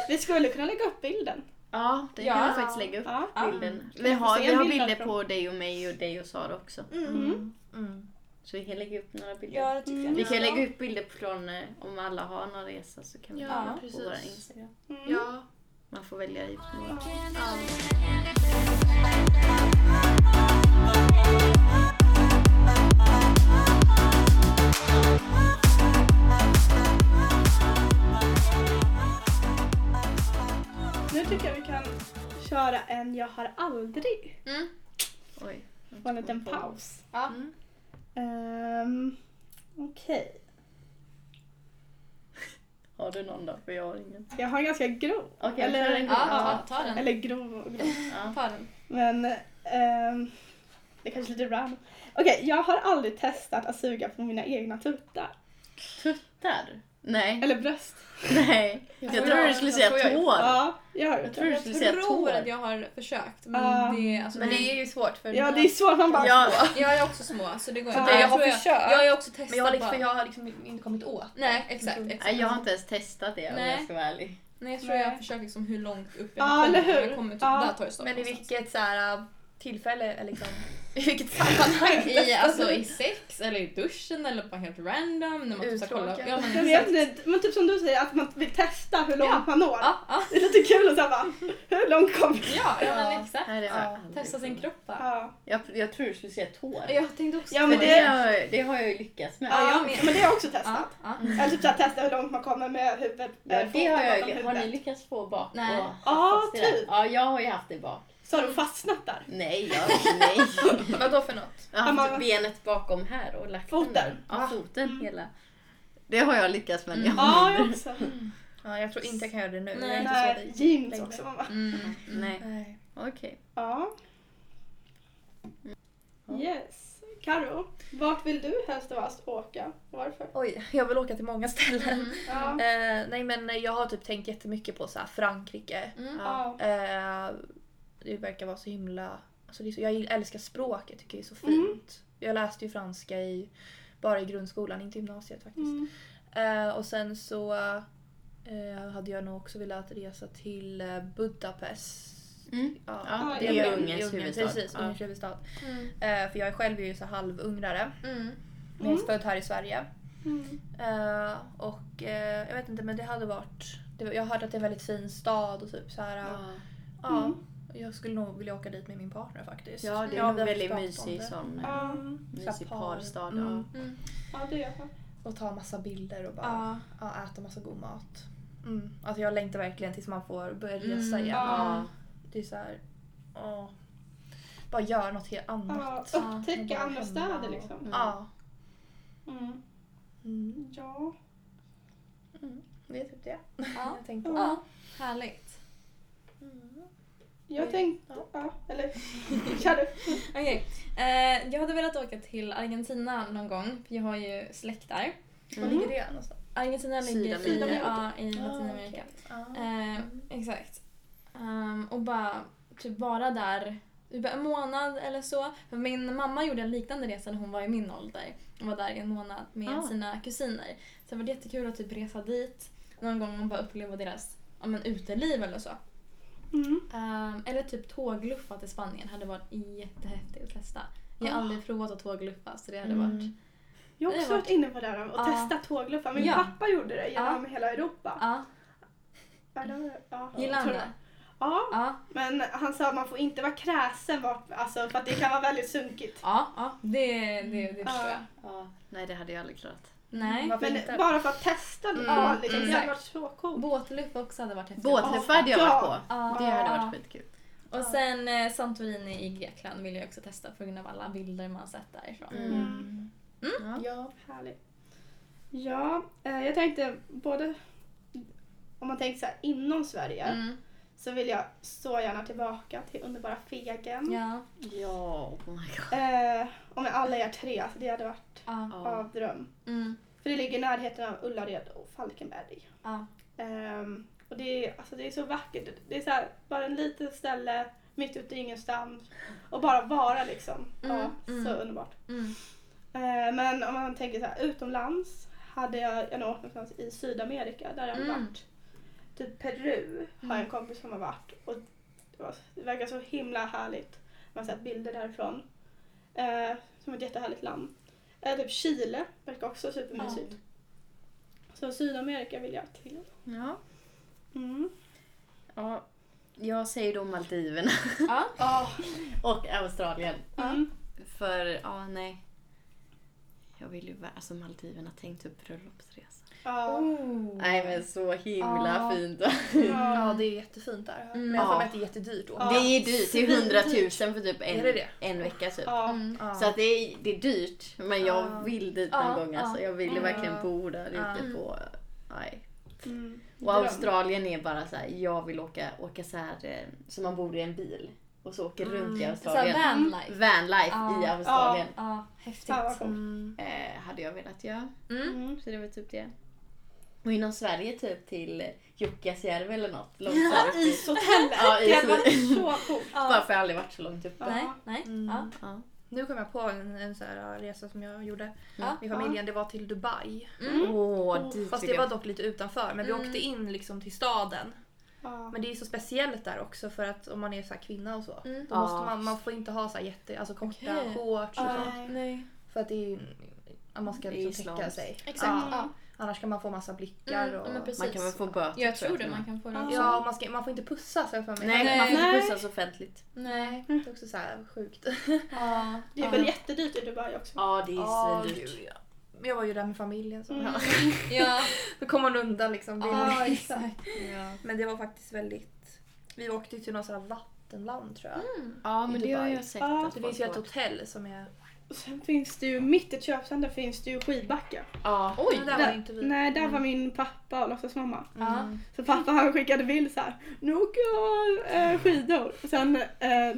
[SPEAKER 2] Vi skulle kunna lägga upp bilden.
[SPEAKER 3] Ja, den
[SPEAKER 4] Ja.
[SPEAKER 3] kan vi faktiskt lägga upp.
[SPEAKER 2] Ja.
[SPEAKER 3] Bilden.
[SPEAKER 2] Ska
[SPEAKER 3] Vi
[SPEAKER 2] vi få
[SPEAKER 3] har,
[SPEAKER 2] se
[SPEAKER 3] vi
[SPEAKER 2] en
[SPEAKER 3] har
[SPEAKER 2] bild
[SPEAKER 3] bilder
[SPEAKER 2] därifrån?
[SPEAKER 3] på dig och mig och dig och Sara också.
[SPEAKER 2] Mm.
[SPEAKER 1] Mm.
[SPEAKER 3] Så vi kan lägga upp några bilder.
[SPEAKER 4] Ja, det tycker
[SPEAKER 2] Mm.
[SPEAKER 4] jag.
[SPEAKER 3] Vi kan lägga upp bilder från eh, om alla har någon resa så kan vi
[SPEAKER 1] Ja,
[SPEAKER 3] lägga upp på
[SPEAKER 1] precis.
[SPEAKER 3] våra Instagram.
[SPEAKER 2] Mm.
[SPEAKER 1] Ja.
[SPEAKER 3] Man får välja ut några.
[SPEAKER 2] Nu tycker jag vi kan köra en Jag har aldrig.
[SPEAKER 3] Oj.
[SPEAKER 2] Få en liten paus.
[SPEAKER 4] Ja.
[SPEAKER 1] Mm.
[SPEAKER 2] Ehm, Okej.
[SPEAKER 3] Har du någon då? För jag har ingen.
[SPEAKER 2] Jag har en ganska grov.
[SPEAKER 3] Okej,
[SPEAKER 2] Eller-
[SPEAKER 3] kör en gång.
[SPEAKER 4] Ja, ta, ta den.
[SPEAKER 2] Eller grov och grov.
[SPEAKER 3] Ja.
[SPEAKER 4] Ta den.
[SPEAKER 2] Men ehm, det är kanske är lite random. Okej, jag har aldrig testat att suga på mina egna tuttar.
[SPEAKER 3] Tuttar? Nej.
[SPEAKER 2] Eller bröst.
[SPEAKER 3] Nej. Jag, trodde du skulle säga
[SPEAKER 1] tror jag-
[SPEAKER 3] tår.
[SPEAKER 2] Ja, jag har gjort
[SPEAKER 3] Jag
[SPEAKER 2] det.
[SPEAKER 3] trodde du skulle säga
[SPEAKER 4] tror att
[SPEAKER 3] tår.
[SPEAKER 4] jag har försökt men
[SPEAKER 2] Ja.
[SPEAKER 4] det är alltså,
[SPEAKER 1] Men det är ju svårt för
[SPEAKER 2] Ja, det är svårt. Man bara...
[SPEAKER 3] Ja,
[SPEAKER 4] Jag är också små så det går
[SPEAKER 2] Ja,
[SPEAKER 4] inte.
[SPEAKER 1] jag har
[SPEAKER 4] tror
[SPEAKER 1] försökt.
[SPEAKER 4] Jag har också testat
[SPEAKER 1] Men jag har, liksom,
[SPEAKER 4] bara.
[SPEAKER 1] jag har liksom inte kommit åt.
[SPEAKER 4] Nej exakt. exakt.
[SPEAKER 3] Nej, jag har inte ens testat det om
[SPEAKER 4] Nej.
[SPEAKER 3] jag ska vara ärlig.
[SPEAKER 4] Nej jag tror jag har försökt liksom hur långt upp jag
[SPEAKER 2] Ja,
[SPEAKER 4] kommer.
[SPEAKER 2] eller hur?
[SPEAKER 4] Jag kommer typ,
[SPEAKER 2] Ja.
[SPEAKER 4] där tar det stopp
[SPEAKER 1] Men i
[SPEAKER 4] någonstans.
[SPEAKER 1] vilket så här, äh, tillfälle, eller liksom, i vilket sammanhang?
[SPEAKER 4] I, alltså, I sex eller i duschen eller bara helt random. När man typ ska kolla.
[SPEAKER 1] Uttråkad.
[SPEAKER 4] Ja, men,
[SPEAKER 2] Jag vet inte, men typ som du säger att man vill testa hur långt
[SPEAKER 4] Ja.
[SPEAKER 2] man når.
[SPEAKER 4] Ja, ja,
[SPEAKER 2] Det är lite kul att säga bara, hur långt kom vi?
[SPEAKER 4] ja, ja men exakt.
[SPEAKER 3] Nej, det har jag
[SPEAKER 1] Ja,
[SPEAKER 3] aldrig
[SPEAKER 4] Testa sin
[SPEAKER 3] provat.
[SPEAKER 4] kropp bara.
[SPEAKER 2] Ja.
[SPEAKER 3] Jag, jag tror du skulle säga tår.
[SPEAKER 4] Jag tänkte också
[SPEAKER 2] Ja,
[SPEAKER 3] men
[SPEAKER 2] men
[SPEAKER 3] det,
[SPEAKER 2] det,
[SPEAKER 3] har, jag- det har jag ju lyckats med.
[SPEAKER 2] ja,
[SPEAKER 4] jag
[SPEAKER 2] jag
[SPEAKER 4] med.
[SPEAKER 2] men det har jag också
[SPEAKER 4] ja,
[SPEAKER 2] testat.
[SPEAKER 4] ja.
[SPEAKER 2] Eller typ såhär testa hur långt man kommer med huvudet.
[SPEAKER 3] Ja,
[SPEAKER 2] med
[SPEAKER 3] det har
[SPEAKER 2] foten
[SPEAKER 3] jag
[SPEAKER 2] bakom
[SPEAKER 3] ju. Har ni
[SPEAKER 2] huvudet.
[SPEAKER 3] lyckats få bak?
[SPEAKER 4] Nej.
[SPEAKER 3] och haft
[SPEAKER 2] Ja,
[SPEAKER 3] fast i det?
[SPEAKER 2] typ.
[SPEAKER 3] Ja, jag har ju haft det bak.
[SPEAKER 2] Så har du fastnat där.
[SPEAKER 3] Nej, jag, nej.
[SPEAKER 1] Vadå för något?
[SPEAKER 3] Jag har
[SPEAKER 2] Ja,
[SPEAKER 3] haft
[SPEAKER 2] man-
[SPEAKER 3] benet bakom här och lagt
[SPEAKER 2] Foten.
[SPEAKER 3] den där. Ja,
[SPEAKER 2] Va?
[SPEAKER 3] foten
[SPEAKER 2] Mm.
[SPEAKER 3] hela. Mm. Det har jag lyckats med. Jag,
[SPEAKER 2] Ja, jag också.
[SPEAKER 1] Ja, jag tror inte jag kan göra det nu.
[SPEAKER 4] Nej.
[SPEAKER 1] jag är inte
[SPEAKER 2] Nej,
[SPEAKER 1] så
[SPEAKER 2] jeans
[SPEAKER 1] längre.
[SPEAKER 2] också. Man bara,
[SPEAKER 4] Mm.
[SPEAKER 3] Nej,
[SPEAKER 1] Nej.
[SPEAKER 3] okej.
[SPEAKER 2] ja. Yes. Karo, vart vill du helst av oss åka? Varför?
[SPEAKER 1] Oj, jag vill åka till många ställen.
[SPEAKER 4] Mm.
[SPEAKER 2] Ja.
[SPEAKER 1] Eh, nej men jag har typ tänkt jättemycket på så här Frankrike.
[SPEAKER 4] Mm.
[SPEAKER 2] Ja.
[SPEAKER 1] Eh, det verkar vara så himla... Alltså det är så, jag älskar språket, jag tycker det är så fint.
[SPEAKER 2] Mm.
[SPEAKER 1] Jag läste ju franska i, bara i grundskolan, inte gymnasiet faktiskt.
[SPEAKER 2] Mm.
[SPEAKER 1] Eh, och sen så eh, hade jag nog också velat resa till eh, Budapest.
[SPEAKER 3] Mm.
[SPEAKER 1] Ja,
[SPEAKER 3] Ja,
[SPEAKER 2] det är
[SPEAKER 1] Ungern-
[SPEAKER 3] Ungerns
[SPEAKER 1] Ungern,
[SPEAKER 3] huvudstad.
[SPEAKER 1] Precis,
[SPEAKER 3] Ja.
[SPEAKER 1] Ungerns huvudstad.
[SPEAKER 4] Mm.
[SPEAKER 1] Eh, för jag är själv ju så halvungrare.
[SPEAKER 4] Mm.
[SPEAKER 1] Jag är född här i Sverige.
[SPEAKER 2] Mm.
[SPEAKER 1] Eh, och eh, jag vet inte men det hade varit... Det, var- jag hörde att det är en väldigt fin stad och typ så här. Ja.
[SPEAKER 2] Mm.
[SPEAKER 1] Jag skulle nog vilja åka dit med min partner faktiskt.
[SPEAKER 3] Ja, det
[SPEAKER 1] Ja,
[SPEAKER 3] är
[SPEAKER 1] vi
[SPEAKER 3] en
[SPEAKER 1] har
[SPEAKER 3] väldigt
[SPEAKER 1] pratat om
[SPEAKER 3] mysig
[SPEAKER 1] det.
[SPEAKER 3] sån.
[SPEAKER 2] Ja.
[SPEAKER 3] Mysig
[SPEAKER 1] Så här par.
[SPEAKER 3] parstad.
[SPEAKER 1] Mm.
[SPEAKER 3] Ja.
[SPEAKER 2] Ja, det gör jag.
[SPEAKER 1] Och ta massa bilder och bara
[SPEAKER 4] Ja.
[SPEAKER 1] ja, äta massa god mat. Mm. Alltså jag längtar verkligen tills man får börja resa
[SPEAKER 4] Mm,
[SPEAKER 1] igen.
[SPEAKER 2] ja.
[SPEAKER 1] Det är så här, åh. Bara göra något helt
[SPEAKER 2] Ja,
[SPEAKER 1] annat. Ja.
[SPEAKER 2] upptäcka
[SPEAKER 1] bara
[SPEAKER 2] andra
[SPEAKER 1] hemma
[SPEAKER 2] städer
[SPEAKER 1] och-
[SPEAKER 2] liksom. Mm.
[SPEAKER 1] Mm.
[SPEAKER 2] Ja.
[SPEAKER 1] Det är typ det
[SPEAKER 4] Ja.
[SPEAKER 1] jag tänkte.
[SPEAKER 2] Ja.
[SPEAKER 4] ja, härligt.
[SPEAKER 2] Jag
[SPEAKER 4] Mm.
[SPEAKER 1] Oj.
[SPEAKER 2] tänkte...
[SPEAKER 1] Ja.
[SPEAKER 2] Ja, eller... Kör du.
[SPEAKER 4] Okej. Eh, jag hade velat åka till Argentina någon gång, för jag har ju släkt där.
[SPEAKER 1] Var ligger det någonstans?
[SPEAKER 4] Argentina ligger i,
[SPEAKER 3] Sydamerika.
[SPEAKER 4] ja, i Latinamerika.
[SPEAKER 1] Ah, okej.
[SPEAKER 4] Eh, exakt. Ehm, och bara typ vara där i bara en månad eller så. För Min mamma gjorde en liknande resa när hon var i min ålder. Hon var där i en månad med
[SPEAKER 3] Ah.
[SPEAKER 4] sina kusiner. Så det var jättekul att typ resa dit någon gång och bara uppleva deras ja, men, uteliv eller så.
[SPEAKER 2] Mm.
[SPEAKER 4] Ehm, eller typ tågluffa till Spanien hade varit jättehäftigt att testa. Jag har
[SPEAKER 2] Ah.
[SPEAKER 4] aldrig provat att tågluffa så det hade
[SPEAKER 1] Mm.
[SPEAKER 4] varit...
[SPEAKER 2] Jag har
[SPEAKER 4] Det har
[SPEAKER 2] också varit inne på det här och
[SPEAKER 4] Ja.
[SPEAKER 2] testat tågluffar. Min
[SPEAKER 4] Ja.
[SPEAKER 2] pappa gjorde det genom
[SPEAKER 4] Ja.
[SPEAKER 2] hela Europa.
[SPEAKER 4] Ja,
[SPEAKER 2] Ja, det var- ja.
[SPEAKER 4] gillar han
[SPEAKER 2] Tror
[SPEAKER 4] det?
[SPEAKER 2] jag. Ja,
[SPEAKER 4] Ja,
[SPEAKER 2] men han sa att man får inte vara kräsen vart, alltså, för att det kan vara väldigt sunkigt.
[SPEAKER 4] ja, ja det, det, det förstår
[SPEAKER 2] Ja.
[SPEAKER 4] jag.
[SPEAKER 3] Ja. Nej, det hade jag aldrig klarat.
[SPEAKER 4] Nej.
[SPEAKER 1] Varför
[SPEAKER 2] Men
[SPEAKER 1] inte?
[SPEAKER 2] bara för att testa mm.
[SPEAKER 1] Mm,
[SPEAKER 2] liksom, det
[SPEAKER 4] mm.
[SPEAKER 2] hade varit så coolt.
[SPEAKER 4] Båtluff också hade varit häftigt.
[SPEAKER 3] Båtluffar hade jag
[SPEAKER 2] Ja.
[SPEAKER 3] varit på.
[SPEAKER 4] Ja.
[SPEAKER 3] Det hade
[SPEAKER 4] Ja.
[SPEAKER 3] varit skitkul.
[SPEAKER 4] Och sen eh, Santorini i Grekland vill jag också testa på grund av alla bilder man sett därifrån.
[SPEAKER 3] Mm.
[SPEAKER 2] Mm.
[SPEAKER 1] Ja.
[SPEAKER 2] Härligt. Ja, eh, jag tänkte både om man tänker så här inom Sverige
[SPEAKER 4] Mm.
[SPEAKER 2] så vill jag så gärna tillbaka till underbara Fegen.
[SPEAKER 4] Ja.
[SPEAKER 3] Ja, oh my god.
[SPEAKER 2] Eh, och med alla er tre, alltså det hade varit
[SPEAKER 4] Ja.
[SPEAKER 2] av dröm.
[SPEAKER 4] Mm.
[SPEAKER 2] För det ligger i närheten av Ullared och Falkenberg.
[SPEAKER 4] Ja.
[SPEAKER 2] Ehm, och det är, alltså det är så vackert. Det är så här, bara en liten ställe mitt ute i ingenstans och bara vara liksom. ja, Så underbart.
[SPEAKER 4] Mm.
[SPEAKER 2] Eh, men om man tänker så här, utomlands hade jag, jag nog åkt någonstans i Sydamerika där jag har
[SPEAKER 4] Mm.
[SPEAKER 2] varit. Typ Peru har jag en kompis som har varit och det, var, det verkar så himla härligt. Man har sett bilder därifrån. Eh, som ett jättehärligt land. Eh, typ Chile verkar också supermysigt. Så Sydamerika vill jag till.
[SPEAKER 3] Ja.
[SPEAKER 2] Mm.
[SPEAKER 3] ja. Jag säger då Maldiverna
[SPEAKER 2] Ja.
[SPEAKER 3] och Australien.
[SPEAKER 2] Mm.
[SPEAKER 3] För, ja nej. Jag vill ju vara, alltså Maldiverna, tänk typ bröllopsresa.
[SPEAKER 2] Ja.
[SPEAKER 4] Oh.
[SPEAKER 3] Nej men så himla
[SPEAKER 4] Ja.
[SPEAKER 3] fint.
[SPEAKER 6] Ja,
[SPEAKER 1] Mm.
[SPEAKER 2] Ja.
[SPEAKER 6] det är jättefint där.
[SPEAKER 4] Mm.
[SPEAKER 6] Men jag får
[SPEAKER 3] Ja.
[SPEAKER 6] mig att det är jättedyrt då.
[SPEAKER 2] Ja.
[SPEAKER 3] Det är dyrt, det är 100 000 för typ
[SPEAKER 6] Är det
[SPEAKER 3] en,
[SPEAKER 6] det?
[SPEAKER 3] en vecka typ.
[SPEAKER 2] Ja.
[SPEAKER 4] Mm.
[SPEAKER 6] Ja.
[SPEAKER 3] Så att det, är, det är dyrt, men jag
[SPEAKER 6] Ja.
[SPEAKER 3] vill dit
[SPEAKER 4] Ja,
[SPEAKER 3] någon gång.
[SPEAKER 4] ja.
[SPEAKER 3] Alltså. Jag vill ju
[SPEAKER 2] Ja.
[SPEAKER 3] verkligen bo där
[SPEAKER 6] Ja.
[SPEAKER 3] ute på... Nej.
[SPEAKER 2] Mm.
[SPEAKER 3] Och
[SPEAKER 2] Dröm.
[SPEAKER 3] Australien är bara så här, jag vill åka, åka så här, eh, så man bor i en bil. Och så åker runt i
[SPEAKER 4] Så här
[SPEAKER 3] Australien.
[SPEAKER 4] vanlife.
[SPEAKER 3] Vanlife
[SPEAKER 4] Ja.
[SPEAKER 3] i Australien
[SPEAKER 4] Ja, häftigt.
[SPEAKER 2] Fan vad coolt.
[SPEAKER 6] Mm.
[SPEAKER 3] eh, hade jag velat göra.
[SPEAKER 4] Mm.
[SPEAKER 2] Mm.
[SPEAKER 3] Så det var typ det. Och inom Sverige typ till Jukkasjärvi eller något. Långt söderut.
[SPEAKER 2] Ishotellet!
[SPEAKER 3] Ja,
[SPEAKER 2] det hade
[SPEAKER 3] is-
[SPEAKER 2] varit så coolt.
[SPEAKER 3] Bara för jag har aldrig varit så långt typ. uppe.
[SPEAKER 4] Nej, nej.
[SPEAKER 6] Mm.
[SPEAKER 4] Ja.
[SPEAKER 3] Ja.
[SPEAKER 6] Nu kom jag på en, en så här resa som jag gjorde
[SPEAKER 4] Ja.
[SPEAKER 6] med familjen. Det var till Dubai.
[SPEAKER 3] Åh,
[SPEAKER 4] Mm.
[SPEAKER 3] dit
[SPEAKER 6] Fast
[SPEAKER 3] vill
[SPEAKER 6] det var
[SPEAKER 3] jag.
[SPEAKER 6] dock lite utanför. Men vi
[SPEAKER 4] Mm.
[SPEAKER 6] åkte in liksom till staden.
[SPEAKER 2] Ja.
[SPEAKER 6] Men det är så speciellt där också för att om man är så här kvinna och så.
[SPEAKER 4] Mm.
[SPEAKER 6] Då
[SPEAKER 3] Ja.
[SPEAKER 6] måste man, man får inte ha så här jätte, alltså korta
[SPEAKER 4] Okej.
[SPEAKER 6] shorts och sånt.
[SPEAKER 2] Nej.
[SPEAKER 4] Nej.
[SPEAKER 6] För att det är ju, att man ska
[SPEAKER 3] Det är
[SPEAKER 6] liksom täcka
[SPEAKER 3] islams.
[SPEAKER 6] sig.
[SPEAKER 4] Exakt.
[SPEAKER 2] Ja.
[SPEAKER 4] Ja.
[SPEAKER 6] Annars kan man få massa blickar
[SPEAKER 4] Mm,
[SPEAKER 6] och...
[SPEAKER 4] men precis.
[SPEAKER 3] Man kan väl få böter
[SPEAKER 4] Jag tror
[SPEAKER 3] jag
[SPEAKER 4] det,
[SPEAKER 3] till och
[SPEAKER 4] man
[SPEAKER 3] med.
[SPEAKER 4] kan få det också.
[SPEAKER 6] Ja, man, ska, man får inte pussas har jag för mig.
[SPEAKER 3] Nej,
[SPEAKER 4] Nej.
[SPEAKER 3] man får
[SPEAKER 2] Nej.
[SPEAKER 3] inte pussas offentligt.
[SPEAKER 4] Nej.
[SPEAKER 6] Det är också så här sjukt.
[SPEAKER 4] Ja.
[SPEAKER 2] Det är väl jättedyrt i Dubai också?
[SPEAKER 3] Ja, det är
[SPEAKER 6] Ja,
[SPEAKER 3] svindyrt.
[SPEAKER 6] gud, ja. Men Jag var ju där med familjen så
[SPEAKER 2] Mm.
[SPEAKER 4] Ja. Mm.
[SPEAKER 6] då kom man undan liksom. Det är-
[SPEAKER 4] Ja, exakt.
[SPEAKER 6] Men det var faktiskt väldigt... Vi åkte ju till något så här vattenland tror jag.
[SPEAKER 3] Ja,
[SPEAKER 6] I
[SPEAKER 3] men det har
[SPEAKER 6] Dubai.
[SPEAKER 3] jag sett.
[SPEAKER 2] Ja,
[SPEAKER 3] att
[SPEAKER 6] Det
[SPEAKER 3] folk
[SPEAKER 6] finns ju ett
[SPEAKER 3] åker.
[SPEAKER 6] hotell som är...
[SPEAKER 2] Och sen finns det ju, mitt i köpcentrum finns det ju skidbacke.
[SPEAKER 3] Ja.
[SPEAKER 6] Oj! där var
[SPEAKER 2] där-
[SPEAKER 6] ju inte vi. Mm.
[SPEAKER 2] Nej, där var min pappa och låtsasmamma.
[SPEAKER 4] Ja.
[SPEAKER 2] Så pappa han skickade bild så här. nu åker jag eh, skidor. Och sen eh, eh,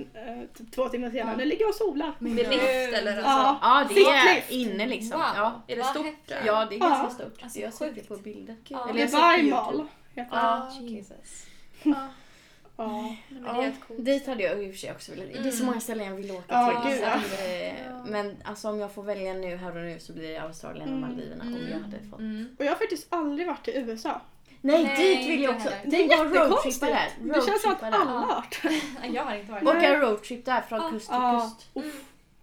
[SPEAKER 2] typ två timmar senare, nu ligger jag och solar.
[SPEAKER 6] Med lift eller alltså.
[SPEAKER 2] Ja.
[SPEAKER 3] ja, det
[SPEAKER 2] Sittlift.
[SPEAKER 3] är inne liksom.
[SPEAKER 4] Wow.
[SPEAKER 3] Ja.
[SPEAKER 6] Är det
[SPEAKER 4] Vad
[SPEAKER 6] stort
[SPEAKER 4] häftigt.
[SPEAKER 6] där?
[SPEAKER 3] ja, det är
[SPEAKER 2] Ja.
[SPEAKER 3] ganska stort.
[SPEAKER 4] Alltså,
[SPEAKER 3] jag har sett det
[SPEAKER 4] sjukt.
[SPEAKER 3] på bilder.
[SPEAKER 4] Ja.
[SPEAKER 3] Eller jag har sett på
[SPEAKER 2] Dubai
[SPEAKER 3] YouTube.
[SPEAKER 2] Mall heter det.
[SPEAKER 3] Ja.
[SPEAKER 4] Mm. Jesus.
[SPEAKER 2] Ja.
[SPEAKER 6] Men det är ett coolt.
[SPEAKER 3] Dit hade jag i och för sig också velat. Det är så många ställen jag vill åka
[SPEAKER 2] Ja,
[SPEAKER 3] till.
[SPEAKER 2] gud,
[SPEAKER 3] så
[SPEAKER 2] ja.
[SPEAKER 3] att, eh, Men alltså, om jag får välja nu här och nu så blir det Australien och
[SPEAKER 2] Mm.
[SPEAKER 3] Maldiverna om jag hade fått.
[SPEAKER 4] Mm.
[SPEAKER 2] Och jag har faktiskt aldrig varit i USA.
[SPEAKER 3] Nej,
[SPEAKER 4] Nej,
[SPEAKER 3] dit vill jag
[SPEAKER 4] inte
[SPEAKER 3] också.
[SPEAKER 4] heller.
[SPEAKER 3] Tänk att
[SPEAKER 2] jättekonstigt.
[SPEAKER 3] roadtrippa där.
[SPEAKER 2] Det känns som att
[SPEAKER 3] Roadtrippa där.
[SPEAKER 2] alla har varit
[SPEAKER 4] Jag har inte varit
[SPEAKER 3] Åka en roadtrip där från kust till
[SPEAKER 2] Ja.
[SPEAKER 3] kust.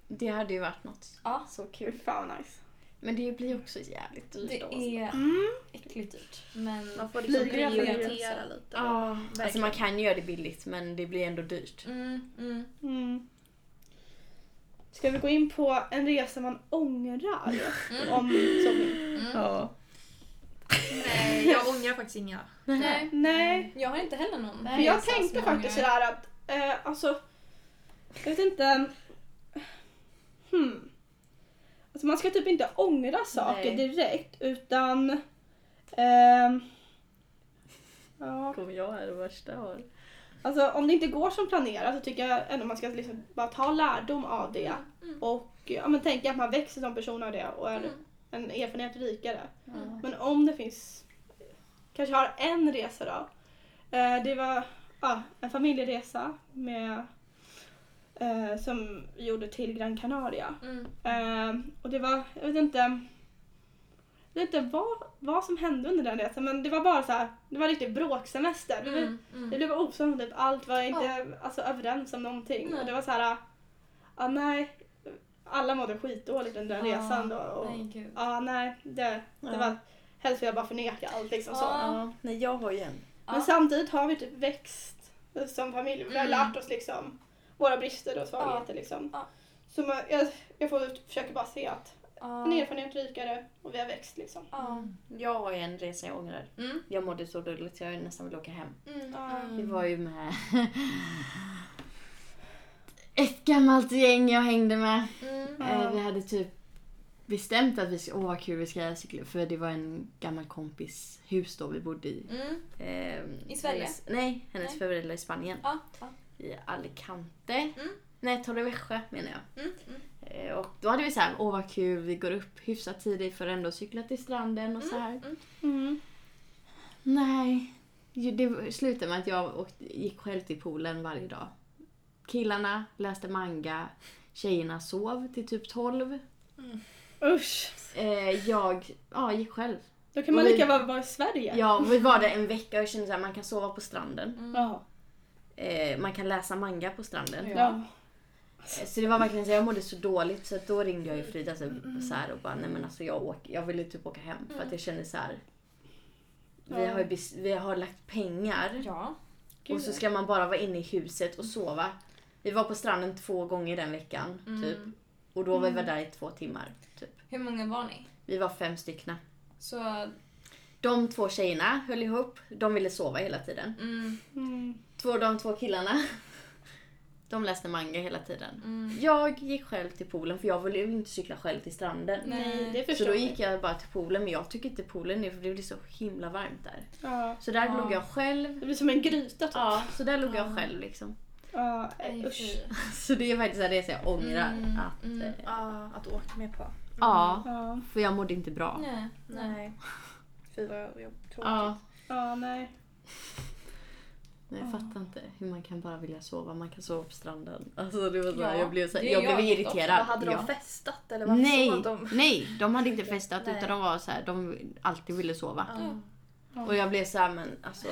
[SPEAKER 3] Det hade ju varit något.
[SPEAKER 4] Ja.
[SPEAKER 3] Så kul.
[SPEAKER 2] Gud, Fan vad nice.
[SPEAKER 3] Men det blir också jävligt dyrt
[SPEAKER 4] Det
[SPEAKER 3] då.
[SPEAKER 4] är
[SPEAKER 2] Mm.
[SPEAKER 4] äckligt dyrt. Men...
[SPEAKER 6] Man får liksom
[SPEAKER 2] Flyger jag flyger
[SPEAKER 6] prioritera lite.
[SPEAKER 3] Ja, alltså
[SPEAKER 6] verkligen.
[SPEAKER 3] man kan ju göra det billigt men det blir ändå dyrt.
[SPEAKER 4] Mm, mm.
[SPEAKER 2] Mm. Ska vi gå in på en resa man ångrar?
[SPEAKER 6] Mm.
[SPEAKER 2] Om så vill.
[SPEAKER 3] Ja.
[SPEAKER 6] Nej, jag ångrar faktiskt inga.
[SPEAKER 4] Nej.
[SPEAKER 2] Nej,
[SPEAKER 4] Jag har inte heller någon.
[SPEAKER 2] För jag
[SPEAKER 4] alltså
[SPEAKER 2] tänkte faktiskt
[SPEAKER 4] sådär.
[SPEAKER 2] sådär att, eh, alltså, jag vet inte. eh, Hmm. Alltså man ska typ inte ångra saker
[SPEAKER 3] Nej.
[SPEAKER 2] direkt utan... ehm, ja,
[SPEAKER 3] Kommer jag här det värsta har.
[SPEAKER 2] alltså om det inte går som planerat så tycker jag ändå man ska liksom bara ta lärdom av det. Och ja, men tänka att man växer som person av det och är
[SPEAKER 4] Mm.
[SPEAKER 2] en erfarenhet rikare. Men om det finns, kanske har en resa då. Eh, Det var ja, en familjeresa med, eh, som vi gjorde till Gran Canaria.
[SPEAKER 4] Mm.
[SPEAKER 2] Eh, Och det var, jag vet inte, jag vet inte vad, vad som hände under den resan men det var bara så här, det var riktigt bråksemester. Vi-
[SPEAKER 4] Mm,
[SPEAKER 2] Det
[SPEAKER 4] mm.
[SPEAKER 2] blev osams om typ allt, var inte alltså, överens om någonting.
[SPEAKER 4] Nej.
[SPEAKER 2] Och det var så här, ja nej, alla mådde skitdåligt under den
[SPEAKER 4] Ja,
[SPEAKER 2] resan då. Och,
[SPEAKER 4] Nej, gud.
[SPEAKER 2] Ja, nej. Det, det
[SPEAKER 3] Ja.
[SPEAKER 2] var, helst vill jag bara förneka allt liksom så.
[SPEAKER 4] Ja.
[SPEAKER 3] Ja, nej jag har ju en.
[SPEAKER 4] Ja.
[SPEAKER 2] Men samtidigt har vi typ växt som familj. Vi har
[SPEAKER 4] Mm.
[SPEAKER 2] lärt oss liksom våra brister och svagheter liksom.
[SPEAKER 4] Ja.
[SPEAKER 2] Så man, jag, jag får försöka bara se att
[SPEAKER 4] Ja.
[SPEAKER 2] en erfarenhet rikare och vi har växt liksom.
[SPEAKER 4] Ja.
[SPEAKER 1] Mm.
[SPEAKER 3] Jag har ju en resa jag ångrar.
[SPEAKER 4] Mm.
[SPEAKER 3] Jag mådde så dåligt så jag nästan ville åka hem.
[SPEAKER 4] Mm.
[SPEAKER 2] Ja.
[SPEAKER 3] Det var ju med ett gammalt gäng jag hängde med.
[SPEAKER 4] Mm.
[SPEAKER 3] Eh, Vi hade typ bestämt att vi ska, åh vad kul vi ska cykla. För det var en gammal kompis hus då vi bodde i.
[SPEAKER 4] Mm.
[SPEAKER 3] Ehm,
[SPEAKER 4] I Sverige?
[SPEAKER 3] Hennes, nej, hennes
[SPEAKER 4] Nej.
[SPEAKER 3] föräldrar i Spanien.
[SPEAKER 4] Ja. ja.
[SPEAKER 3] I Alicante.
[SPEAKER 4] Mm.
[SPEAKER 3] Nej, Torrevieja menar jag.
[SPEAKER 4] Mm. Mm.
[SPEAKER 3] Eh, Och då hade vi så här, åh vad kul, vi går upp hyfsat tidigt för att ändå cykla till stranden och så här.
[SPEAKER 2] Mm.
[SPEAKER 3] Nej, ju- det slutade med att jag åkte, gick själv till poolen varje dag. Killarna läste manga, tjejerna sov till typ 12.
[SPEAKER 2] Usch.
[SPEAKER 3] Eh, jag ja, gick själv.
[SPEAKER 2] Då kan man
[SPEAKER 3] Oj.
[SPEAKER 2] lika väl vara i Sverige.
[SPEAKER 3] Ja, och vi var där en vecka och jag kände att man kan sova på stranden.
[SPEAKER 2] Jaha.
[SPEAKER 3] Eh, man kan läsa manga på stranden. Eh,
[SPEAKER 2] Ja.
[SPEAKER 3] Så det var verkligen så jag mådde så dåligt så att då ringde jag ju Frida så, så här och bara nej men alltså jag, åker, jag ville typ åka hem för att jag kände så här. Vi har, ju, bes- vi har lagt pengar
[SPEAKER 4] ja.
[SPEAKER 2] Gud.
[SPEAKER 3] och så ska man bara vara inne i huset och sova. Vi var på stranden två gånger den veckan
[SPEAKER 4] Mm.
[SPEAKER 3] typ. Och då var vi där i två timmar. Typ.
[SPEAKER 4] Hur många var ni?
[SPEAKER 3] Vi var fem stycken.
[SPEAKER 4] Så... mm.
[SPEAKER 3] De två tjejerna höll ihop. De ville sova hela tiden.
[SPEAKER 4] Mm,
[SPEAKER 2] Mm.
[SPEAKER 3] Två, de två killarna. De läste manga hela tiden.
[SPEAKER 4] mm.
[SPEAKER 3] Jag gick själv till poolen för jag ville ju inte cykla själv till stranden.
[SPEAKER 2] Nej,
[SPEAKER 4] Nej.
[SPEAKER 2] det
[SPEAKER 3] Så
[SPEAKER 2] förstår
[SPEAKER 3] då
[SPEAKER 2] jag.
[SPEAKER 3] gick jag bara till poolen men jag tycker inte poolen nu för det blir så himla varmt där.
[SPEAKER 2] Ja.
[SPEAKER 3] Så där
[SPEAKER 4] Ja.
[SPEAKER 3] låg jag själv.
[SPEAKER 2] Det blir som en gryta typ.
[SPEAKER 3] Ja, så där låg
[SPEAKER 4] Ja.
[SPEAKER 3] jag själv liksom.
[SPEAKER 2] Ja,
[SPEAKER 4] Nej,
[SPEAKER 2] usch.
[SPEAKER 4] fy.
[SPEAKER 3] Så det är faktiskt en resa jag ångrar.
[SPEAKER 4] Mm,
[SPEAKER 3] Att,
[SPEAKER 4] mm.
[SPEAKER 3] eh,
[SPEAKER 1] Ja, att åka med på.
[SPEAKER 3] Ja,
[SPEAKER 2] Ja.
[SPEAKER 3] för jag mådde inte bra.
[SPEAKER 4] Nej. Nej.
[SPEAKER 1] Nej. Fy vad jag, jag tråkigt.
[SPEAKER 3] Ja,
[SPEAKER 2] Ja, nej.
[SPEAKER 3] men jag fattar inte hur man kan bara vilja sova. Man kan sova på stranden. Alltså det var så här,
[SPEAKER 4] Ja,
[SPEAKER 3] jag blev, så här,
[SPEAKER 4] det är
[SPEAKER 3] jag
[SPEAKER 4] jag
[SPEAKER 3] blev
[SPEAKER 4] inte
[SPEAKER 3] irriterad.
[SPEAKER 1] Vad hade de
[SPEAKER 3] ja.
[SPEAKER 1] festat eller varför
[SPEAKER 3] Nej,
[SPEAKER 1] sov de?
[SPEAKER 3] nej, de hade inte festat
[SPEAKER 1] Nej.
[SPEAKER 3] utan de var så här, de alltid ville sova.
[SPEAKER 1] Ja.
[SPEAKER 3] Och jag blev så här, men alltså.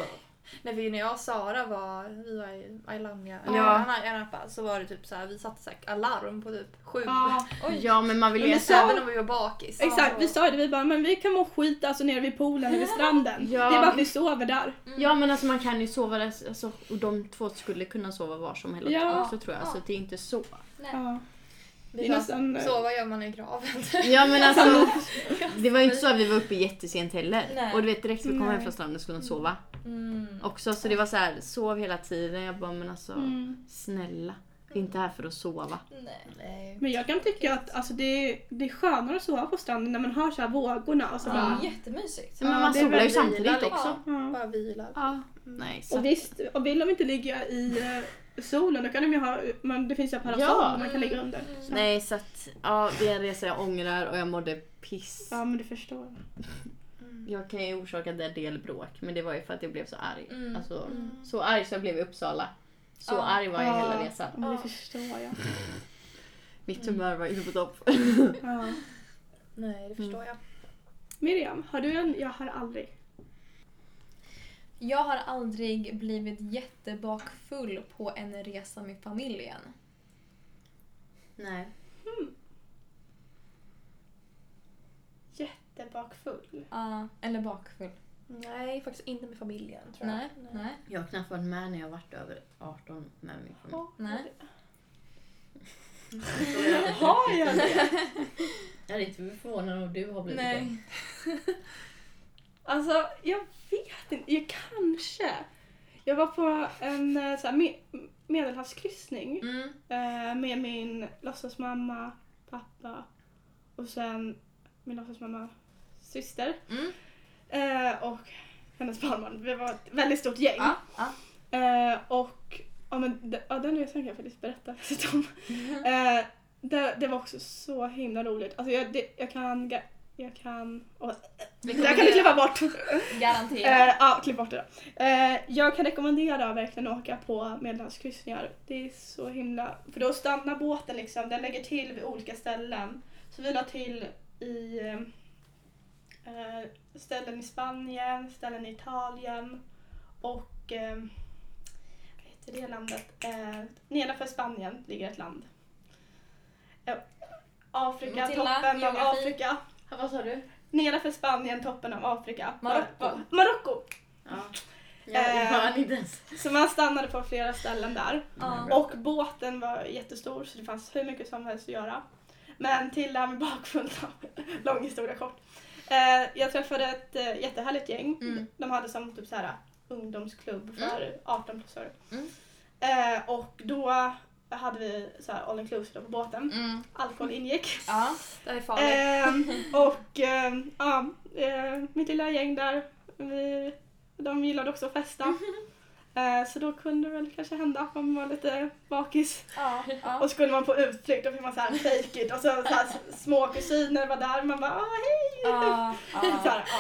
[SPEAKER 1] När, vi, när jag och Sara var, vi var i Ailania, eller
[SPEAKER 3] Ja.
[SPEAKER 1] ja. Anapa, så var det typ så här, vi satte så här alarm på typ sju.
[SPEAKER 2] Ja,
[SPEAKER 3] Ja men man vill ju
[SPEAKER 2] Men
[SPEAKER 3] äta-
[SPEAKER 2] så-
[SPEAKER 1] Även om vi var bakis.
[SPEAKER 2] exakt, vi sa ju det, vi bara men vi kan må skit alltså nere vid poolen eller vid stranden.
[SPEAKER 3] Ja.
[SPEAKER 2] Det är bara att vi sover där.
[SPEAKER 3] Ja men alltså man kan ju sova där, alltså, och de två skulle kunna sova var som helst
[SPEAKER 2] Ja.
[SPEAKER 3] också tror jag, så det är inte så.
[SPEAKER 2] Ja.
[SPEAKER 1] Vi
[SPEAKER 2] Det är
[SPEAKER 1] var
[SPEAKER 2] nästan, eh,
[SPEAKER 1] så vad gör man i graven?
[SPEAKER 3] Ja men alltså, det var ju inte så att vi var uppe jättesent heller.
[SPEAKER 4] Nej.
[SPEAKER 3] Och du vet direkt vi kom hem
[SPEAKER 2] Nej.
[SPEAKER 3] från stranden skulle de sova
[SPEAKER 4] Mm.
[SPEAKER 3] också. Så det var så här, sov hela tiden. Jag bara men alltså,
[SPEAKER 2] Mm.
[SPEAKER 3] snälla. Vi är inte här för att sova.
[SPEAKER 4] Nej.
[SPEAKER 2] Men jag kan tycka att alltså, det, är, det är skönare att sova på stranden när man hör så här vågorna. Och, så
[SPEAKER 4] Det
[SPEAKER 2] bara,
[SPEAKER 4] är jättemysigt.
[SPEAKER 3] men
[SPEAKER 1] Ja,
[SPEAKER 3] man
[SPEAKER 1] det är
[SPEAKER 3] solar ju
[SPEAKER 1] väl vila
[SPEAKER 3] samtidigt
[SPEAKER 1] liksom.
[SPEAKER 3] också.
[SPEAKER 2] ja.
[SPEAKER 1] Bara vila.
[SPEAKER 3] Ja. Nej, så.
[SPEAKER 2] och visst, och vill de inte ligga i eh, solen då kan de ju ha, men det finns ju parasoll
[SPEAKER 3] Ja. Mm.
[SPEAKER 2] man kan ligga under. Så.
[SPEAKER 3] Nej så att, ja det är en resa jag ångrar och jag mådde piss.
[SPEAKER 2] Ja men du förstår.
[SPEAKER 3] Jag kan ju orsaka en del bråk men det var ju för att jag blev så arg.
[SPEAKER 4] Mm.
[SPEAKER 3] Alltså, Så arg så jag blev i Uppsala. Så
[SPEAKER 4] Ja.
[SPEAKER 3] arg var jag hela
[SPEAKER 2] Ja.
[SPEAKER 3] resan.
[SPEAKER 2] Ja, men det förstår jag.
[SPEAKER 3] Mitt humör var inte på topp.
[SPEAKER 2] Ja.
[SPEAKER 1] Nej, det
[SPEAKER 4] Mm.
[SPEAKER 1] förstår jag.
[SPEAKER 2] Miriam, har du en Jag har aldrig?
[SPEAKER 4] Jag har aldrig blivit jättebakfull på en resa med familjen.
[SPEAKER 3] Nej.
[SPEAKER 2] Jättebakfull.
[SPEAKER 4] Ja, eller bakfull.
[SPEAKER 1] Nej, faktiskt inte med familjen tror jag.
[SPEAKER 4] Nej, nej,
[SPEAKER 3] Jag har knappt varit med när jag varit över 18 med min familj.
[SPEAKER 4] nej.
[SPEAKER 2] Har jag det?
[SPEAKER 3] Jag är inte förvånad om du har blivit
[SPEAKER 4] Nej.
[SPEAKER 2] Alltså, jag vet inte. Jag kanske. Jag var på en eh, så här, me- medelhavskryssning
[SPEAKER 4] Mm.
[SPEAKER 2] eh, med min låtsasmamma, pappa och sen min låtsasmammas syster
[SPEAKER 4] Mm.
[SPEAKER 2] eh, och hennes barnbarn. Vi var ett väldigt stort gäng.
[SPEAKER 4] Ja, ja.
[SPEAKER 2] Eh, och ja, men, d- ja, den resan kan jag faktiskt berätta lite om. Eh, det, det var också så himla roligt. Alltså, jag, det, jag kan... ga- Jag kan... åh, det här kan du klippa bort!
[SPEAKER 4] Garanterat.
[SPEAKER 2] Eh, ja, klipp bort det då. Eh, jag kan rekommendera verkligen att åka på medelhavskryssningar. Det är så himla... För då stannar båten liksom, den lägger till vid olika ställen. Så vi la till i eh, ställen i Spanien, ställen i Italien och eh, vad heter det landet? Eh, nedanför Spanien ligger ett land. Eh, Afrika,
[SPEAKER 4] Matilda,
[SPEAKER 2] toppen av
[SPEAKER 4] geografi.
[SPEAKER 2] Afrika.
[SPEAKER 3] Vad sa du?
[SPEAKER 2] Nedanför Spanien, toppen av Afrika.
[SPEAKER 4] Marocko.
[SPEAKER 2] Mar- Marocko!
[SPEAKER 3] Ja.
[SPEAKER 2] Eh.
[SPEAKER 3] Jag, jag hann inte ens.
[SPEAKER 2] Så man stannade på flera ställen där.
[SPEAKER 4] Ja.
[SPEAKER 2] Och båten var jättestor så det fanns hur mycket som helst att göra. Men till det här med bakfulla, lång historia kort. Eh, jag träffade ett eh, jättehärligt gäng.
[SPEAKER 4] Mm.
[SPEAKER 2] De hade som typ så här ungdomsklubb för 18 plusare.
[SPEAKER 4] Mm.
[SPEAKER 2] Eh, och då hade vi så här all inclusive på båten.
[SPEAKER 4] Mm.
[SPEAKER 2] Alkohol ingick.
[SPEAKER 4] Ja.
[SPEAKER 1] Det är farligt.
[SPEAKER 2] Ehm, och ehm, ja, eh, mitt lilla gäng där, vi, de gillade också att festa. Eh, så då kunde det väl kanske hända att man var lite bakis.
[SPEAKER 4] Ja. ja.
[SPEAKER 2] Och skulle man på utflykt då fick man så här fake it och så, så här, små kusiner var där man bara ah, hej!
[SPEAKER 4] ja.
[SPEAKER 2] Så
[SPEAKER 4] ja.
[SPEAKER 2] här, ja,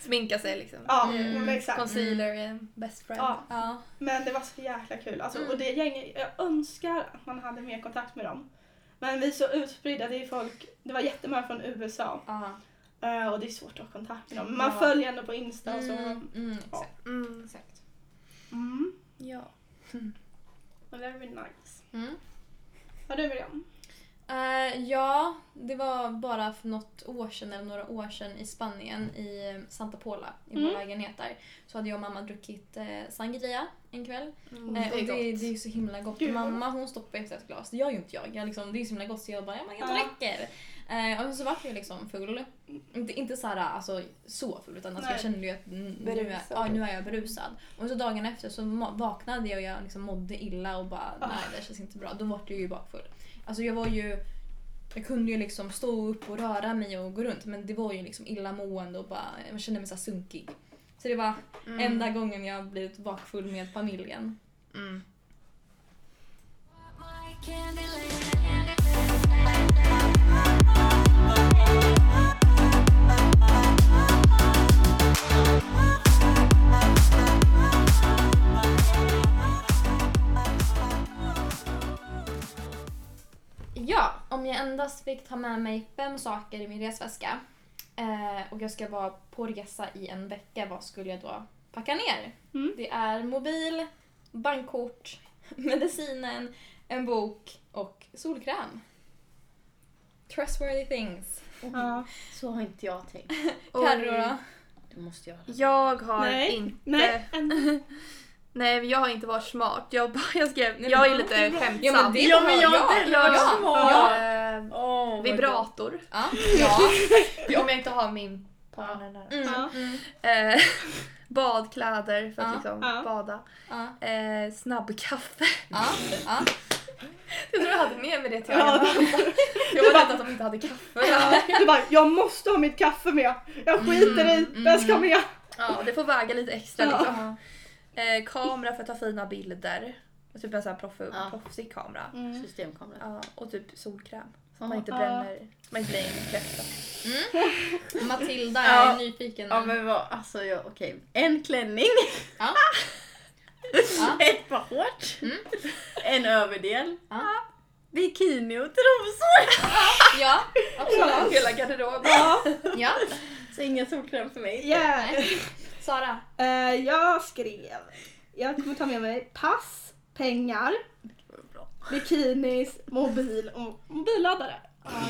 [SPEAKER 6] Sminka sig liksom.
[SPEAKER 2] ja
[SPEAKER 4] Mm.
[SPEAKER 2] men exakt.
[SPEAKER 6] Concealer är
[SPEAKER 1] eh,
[SPEAKER 6] en best friend.
[SPEAKER 2] Ja,
[SPEAKER 4] ja.
[SPEAKER 2] Men det var så jäkla kul. Alltså,
[SPEAKER 4] Mm.
[SPEAKER 2] Och det gänget, jag önskar att man hade mer kontakt med dem. Men vi är så utspridda, det är folk, det var jättemånga från USA
[SPEAKER 4] ja.
[SPEAKER 2] eh, och det är svårt att ha kontakt med dem. Men man
[SPEAKER 4] Ja.
[SPEAKER 2] följer ändå på Insta och så.
[SPEAKER 4] Mm. Mm. Exakt.
[SPEAKER 1] Mm.
[SPEAKER 4] exakt.
[SPEAKER 2] Mm.
[SPEAKER 6] Ja.
[SPEAKER 2] Och det är väl nice.
[SPEAKER 4] Mm.
[SPEAKER 2] Ja, du Miriam.
[SPEAKER 4] Eh, ja, det var bara för något år sedan eller några år sedan i Spanien i Santa Pola, i vår
[SPEAKER 2] Mm.
[SPEAKER 4] lägenhet där. Så hade jag och mamma druckit eh, sangria en kväll.
[SPEAKER 1] Mm.
[SPEAKER 4] Eh, och det,
[SPEAKER 1] är
[SPEAKER 4] det,
[SPEAKER 1] gott.
[SPEAKER 4] är ju så himla gott.
[SPEAKER 2] Gud, vad
[SPEAKER 4] mamma hon stoppar efter ett glas, det gör ju inte jag. jag liksom, det är ju så himla gott så jag bara, ja men jag
[SPEAKER 2] Ja.
[SPEAKER 4] dricker. Eh, och så vart jag liksom full. Inte, inte så här, alltså, så full utan alltså,
[SPEAKER 2] Nej.
[SPEAKER 4] jag kände ju att mm, nu är,
[SPEAKER 1] Berusad.
[SPEAKER 4] ja, nu är jag berusad. Och så dagen efter så ma- vaknade jag och jag liksom mådde illa och bara
[SPEAKER 2] Ah.
[SPEAKER 4] nej det känns inte bra. Då vart jag ju bakfull. Alltså jag var ju jag kunde ju liksom stå upp och röra mig och gå runt men det var ju liksom illamående och bara, jag kände mig så här sunkig. Så det var enda gången jag blivit bakfull med familjen.
[SPEAKER 1] Mm.
[SPEAKER 4] Ja, om jag endast fick ta med mig fem saker i min resväska eh, och jag ska vara på resa i en vecka, vad skulle jag då packa ner?
[SPEAKER 2] Mm.
[SPEAKER 4] Det är mobil, bankkort, medicinen, en bok och solkräm. Trustworthy things.
[SPEAKER 2] Ja.
[SPEAKER 3] Så har inte jag tänkt.
[SPEAKER 4] Carro då?
[SPEAKER 3] Det måste jag ha.
[SPEAKER 6] Jag har
[SPEAKER 2] Nej.
[SPEAKER 6] inte...
[SPEAKER 2] Nej, en,
[SPEAKER 6] Nej, men jag har inte varit smart. Jag, bara, jag skrev...
[SPEAKER 4] men
[SPEAKER 6] jag är
[SPEAKER 4] det
[SPEAKER 6] lite skämtsam.
[SPEAKER 4] Ja men det
[SPEAKER 3] Ja, men
[SPEAKER 4] har
[SPEAKER 3] jag har
[SPEAKER 4] jag!
[SPEAKER 3] inte
[SPEAKER 4] Ja,
[SPEAKER 3] varit
[SPEAKER 4] ja,
[SPEAKER 3] smart.
[SPEAKER 4] ja,
[SPEAKER 6] Eh,
[SPEAKER 3] Oh,
[SPEAKER 6] vibrator.
[SPEAKER 4] ja, ja.
[SPEAKER 6] Om jag inte har min partner nära.
[SPEAKER 4] Mm,
[SPEAKER 2] Ja.
[SPEAKER 4] mm,
[SPEAKER 6] Eh, badkläder för att
[SPEAKER 4] Ja,
[SPEAKER 6] liksom
[SPEAKER 2] ja.
[SPEAKER 6] bada.
[SPEAKER 4] ja,
[SPEAKER 6] Eh, snabbkaffe.
[SPEAKER 4] ja, ja.
[SPEAKER 6] Jag tror jag hade med mig det till
[SPEAKER 2] Ja,
[SPEAKER 6] Arlanda. Jag var rädd att de inte hade kaffe. Ja.
[SPEAKER 2] du bara, jag måste ha mitt kaffe med. Jag skiter i,
[SPEAKER 4] Mm,
[SPEAKER 2] den ska
[SPEAKER 4] mm.
[SPEAKER 2] med.
[SPEAKER 6] det får väga lite extra
[SPEAKER 2] Ja.
[SPEAKER 6] liksom. Eh, kamera för att ta fina bilder. Och typ en sån här proff,
[SPEAKER 3] Ja.
[SPEAKER 6] proffsig kamera.
[SPEAKER 3] Mm. Systemkamera.
[SPEAKER 6] Ja, och typ solkräm. Så att
[SPEAKER 3] Ja.
[SPEAKER 6] man inte
[SPEAKER 2] Ja.
[SPEAKER 6] bränner, man inte blir inkräftad.
[SPEAKER 4] Matilda
[SPEAKER 3] Ja.
[SPEAKER 4] är nyfiken.
[SPEAKER 3] Ja men vad, alltså jag, okej. En klänning,
[SPEAKER 4] Ja.
[SPEAKER 3] ett par shorts,
[SPEAKER 4] Mm.
[SPEAKER 3] en överdel,
[SPEAKER 4] Ja.
[SPEAKER 3] bikini och trosor.
[SPEAKER 4] Ja, absolut.
[SPEAKER 6] Hela garderoben.
[SPEAKER 4] Ja.
[SPEAKER 3] Så ingen solkräm för mig.
[SPEAKER 2] Yeah.
[SPEAKER 4] Sara.
[SPEAKER 2] Eh, jag skrev, jag kommer ta med mig pass, pengar, bikinis, mobil och mobilladdare.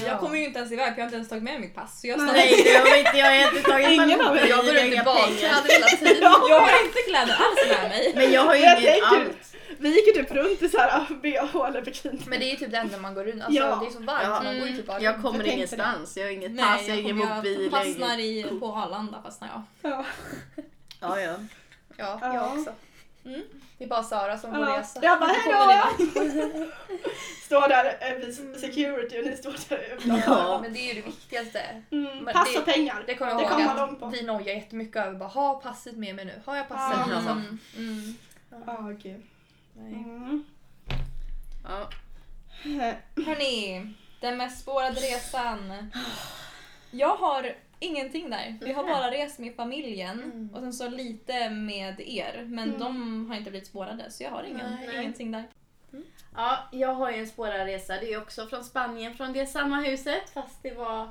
[SPEAKER 4] Jag kommer ju inte ens iväg för jag har inte ens tagit med mitt pass. Så jag,
[SPEAKER 2] Nej.
[SPEAKER 3] Nej
[SPEAKER 4] står-
[SPEAKER 3] det har vi inte, jag har inte tagit
[SPEAKER 2] Ingen
[SPEAKER 3] ingen
[SPEAKER 2] har väl-
[SPEAKER 6] Jag går runt i
[SPEAKER 3] inga pengar.
[SPEAKER 6] badkläder hela tiden.
[SPEAKER 4] jag har inte kläder alls med mig.
[SPEAKER 3] Men jag har ju
[SPEAKER 2] Jag
[SPEAKER 3] ingen
[SPEAKER 2] tänker-
[SPEAKER 3] allt.
[SPEAKER 2] Vi gick ju typ runt i såhär bh eller bikini.
[SPEAKER 6] Men det är ju typ det enda man går runt. Alltså,
[SPEAKER 2] Ja.
[SPEAKER 6] Det är så varmt
[SPEAKER 3] Ja. mm.
[SPEAKER 6] så man går ju typ bara
[SPEAKER 3] Jag
[SPEAKER 2] Jag
[SPEAKER 3] kommer
[SPEAKER 2] tänkte
[SPEAKER 3] ingenstans, jag har inget
[SPEAKER 4] Nej,
[SPEAKER 3] pass, jag har ingen
[SPEAKER 4] kommer-
[SPEAKER 3] mobil.
[SPEAKER 4] jag
[SPEAKER 3] jag har ingen-
[SPEAKER 4] fastnar i, på Arlanda fastnar jag.
[SPEAKER 2] Ja.
[SPEAKER 3] Ja, ja.
[SPEAKER 6] Ja,
[SPEAKER 2] Ja.
[SPEAKER 6] jag också.
[SPEAKER 4] Mm.
[SPEAKER 6] Det är bara Sara som går
[SPEAKER 2] Ja.
[SPEAKER 6] resa.
[SPEAKER 2] Jag bara hejdå! Står där eh, vid security och ni står där
[SPEAKER 3] Ja.
[SPEAKER 6] Men det är ju det viktigaste.
[SPEAKER 2] mm,
[SPEAKER 6] Men
[SPEAKER 2] Pass
[SPEAKER 6] det-
[SPEAKER 2] och pengar.
[SPEAKER 6] Det kommer jag
[SPEAKER 2] Det
[SPEAKER 6] ihåg
[SPEAKER 2] kommer
[SPEAKER 6] att
[SPEAKER 2] långt på.
[SPEAKER 6] vi nojar jättemycket över. Bara, har jag passet med mig nu? Har jag passet?
[SPEAKER 2] Ja.
[SPEAKER 6] Alltså.
[SPEAKER 4] Mm. Mm.
[SPEAKER 2] Ja, gud. Ah, Mm.
[SPEAKER 3] Ja.
[SPEAKER 2] Eh,
[SPEAKER 4] Hörni, den mest spårade resan. Jag har ingenting där. Vi har bara rest med familjen och sen så lite med er. Men
[SPEAKER 2] Mm.
[SPEAKER 4] de har inte blivit spårade så jag har ingen,
[SPEAKER 3] Nej.
[SPEAKER 4] ingenting där.
[SPEAKER 3] Ja, jag har ju en spårarresa. Det är också från Spanien, från det samma huset. Fast det var...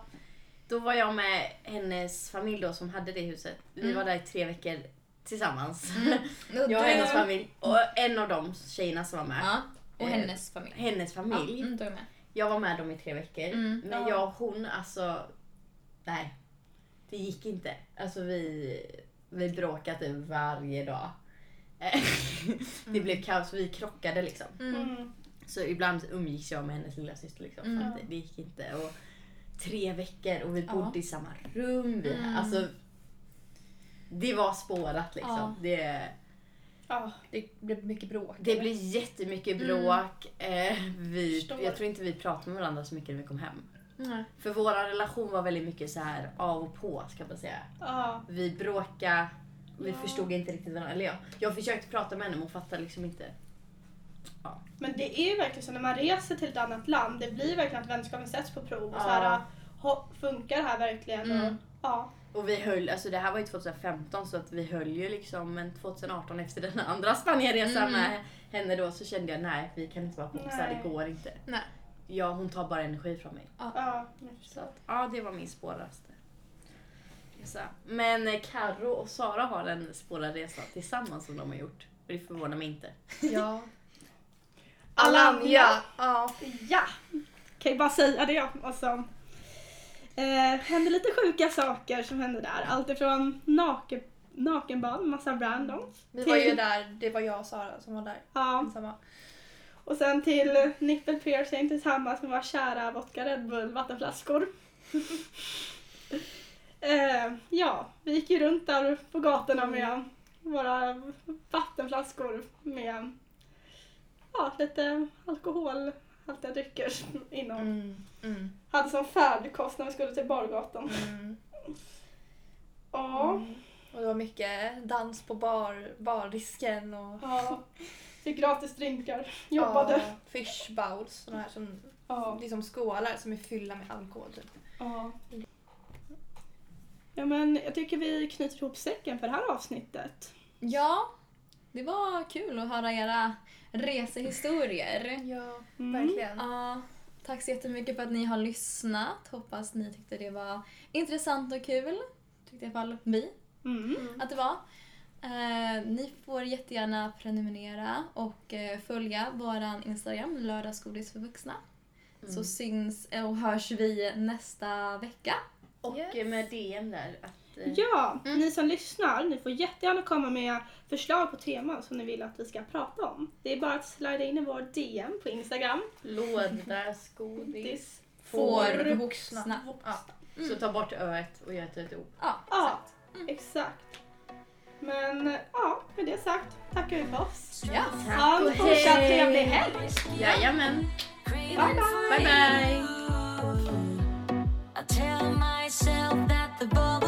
[SPEAKER 3] Då var jag med hennes familj då som hade det huset. Vi
[SPEAKER 4] Mm.
[SPEAKER 3] var där i tre veckor tillsammans. Jag och hennes familj. Och en av de tjejerna som var med.
[SPEAKER 4] Ja, och
[SPEAKER 3] Eh,
[SPEAKER 4] hennes familj.
[SPEAKER 3] Hennes familj.
[SPEAKER 4] Ja, mm, då är jag med.
[SPEAKER 3] Jag var med dem i tre veckor.
[SPEAKER 4] Mm.
[SPEAKER 3] Men jag och hon alltså... Nej. Det gick inte. Alltså vi, vi bråkade typ varje dag. Eh, det
[SPEAKER 4] Mm.
[SPEAKER 3] blev kaos. Vi krockade liksom.
[SPEAKER 2] Mm.
[SPEAKER 3] Så ibland umgicks jag med hennes lilla syster liksom, för att det, det gick inte. Och tre veckor och vi
[SPEAKER 4] Ja.
[SPEAKER 3] bodde i samma rum. Vi, alltså, det var spårat liksom.
[SPEAKER 4] Ja.
[SPEAKER 3] Det,
[SPEAKER 2] Ja,
[SPEAKER 6] Det blev mycket bråk.
[SPEAKER 3] Det blir jättemycket bråk. Eh, vi,
[SPEAKER 2] Förstår.
[SPEAKER 3] jag tror inte vi pratade med varandra så mycket när vi kom hem.
[SPEAKER 5] Nej.
[SPEAKER 3] För vår relation var väldigt mycket så här av och på ska man säga.
[SPEAKER 2] ja.
[SPEAKER 3] Vi bråkade, vi
[SPEAKER 2] Ja.
[SPEAKER 3] förstod inte riktigt varandra. Eller jag, jag försökte prata med henne men hon fattade liksom inte.
[SPEAKER 2] Men det är ju verkligen så när man reser till ett annat land, det blir verkligen att vänskapen sätts på prov. Och
[SPEAKER 3] Ja.
[SPEAKER 2] så här, ho- funkar det här verkligen? Och, ja.
[SPEAKER 3] Och vi höll, alltså det här var ju 2015 så att vi höll ju liksom men 2018 efter den andra Spanienresan med henne då så kände jag nej vi kan inte vara kompisar,
[SPEAKER 2] Nej.
[SPEAKER 3] det går inte.
[SPEAKER 5] Nej.
[SPEAKER 3] Ja hon tar bara energi från mig.
[SPEAKER 2] ja jag
[SPEAKER 3] Så
[SPEAKER 2] förstår.
[SPEAKER 3] att, ja, det var min spåraste resa. Men eh, Karo och Sara har en spårad resa tillsammans som de har gjort. Och det förvånar mig inte.
[SPEAKER 6] Ja.
[SPEAKER 1] Alanya! Ja.
[SPEAKER 2] Ja! Kan ju bara säga det. Och så, eh, hände lite sjuka saker som hände där. Allt ifrån naken, nakenbad, massa randoms.
[SPEAKER 6] Vi var ju där, det var jag och Sara som var där
[SPEAKER 2] Ja.
[SPEAKER 6] ensamma.
[SPEAKER 2] Och sen till nipple piercing tillsammans med våra kära vodka Red Bull vattenflaskor. eh, ja, vi gick ju runt där på gatorna
[SPEAKER 6] Mm.
[SPEAKER 2] med våra vattenflaskor med ja, lite alkoholhaltiga drycker inom.
[SPEAKER 6] Mm.
[SPEAKER 2] Hade som färdkost när vi skulle till bargatan.
[SPEAKER 6] Mm.
[SPEAKER 2] Ja.
[SPEAKER 6] Och det var mycket dans på bar, bardisken och
[SPEAKER 2] ja. Fick gratis drinkar. Jobbade.
[SPEAKER 6] Ja, fish bowls, såna här som,
[SPEAKER 2] Ja.
[SPEAKER 6] liksom skålar som är fyllda med alkohol. Typ.
[SPEAKER 2] Ja. ja men jag tycker vi knyter ihop säcken för det här avsnittet.
[SPEAKER 4] Ja, det var kul att höra era resehistorier.
[SPEAKER 6] Ja,
[SPEAKER 2] Mm.
[SPEAKER 6] verkligen.
[SPEAKER 4] Ja, tack så jättemycket för att ni har lyssnat. Hoppas ni tyckte det var intressant och kul. Tyckte i alla fall vi
[SPEAKER 2] Mm.
[SPEAKER 4] att det var. Eh, ni får jättegärna prenumerera och eh, följa vår Instagram, lördagsgodis för vuxna. Så syns och hörs vi nästa vecka.
[SPEAKER 3] Och
[SPEAKER 6] Yes.
[SPEAKER 3] eh, med DM där. Att, eh,
[SPEAKER 2] Ja, ni som lyssnar, ni får jättegärna komma med förslag på teman som ni vill att vi ska prata om. Det är bara att slida in i vår DM på Instagram.
[SPEAKER 3] Låda, skodis.
[SPEAKER 4] Får
[SPEAKER 6] vuxna.
[SPEAKER 4] vuxna.
[SPEAKER 6] Ja.
[SPEAKER 3] Så ta bort öet och gör ett litet ord.
[SPEAKER 4] Ja,
[SPEAKER 2] Ja, exakt. Men ja, med det sagt tackar vi för oss.
[SPEAKER 4] ja.
[SPEAKER 2] Ha en fortsatt trevlig helg!
[SPEAKER 3] Jajamän.
[SPEAKER 2] Bye, bye!
[SPEAKER 3] Bye bye.
[SPEAKER 7] I tell myself that the book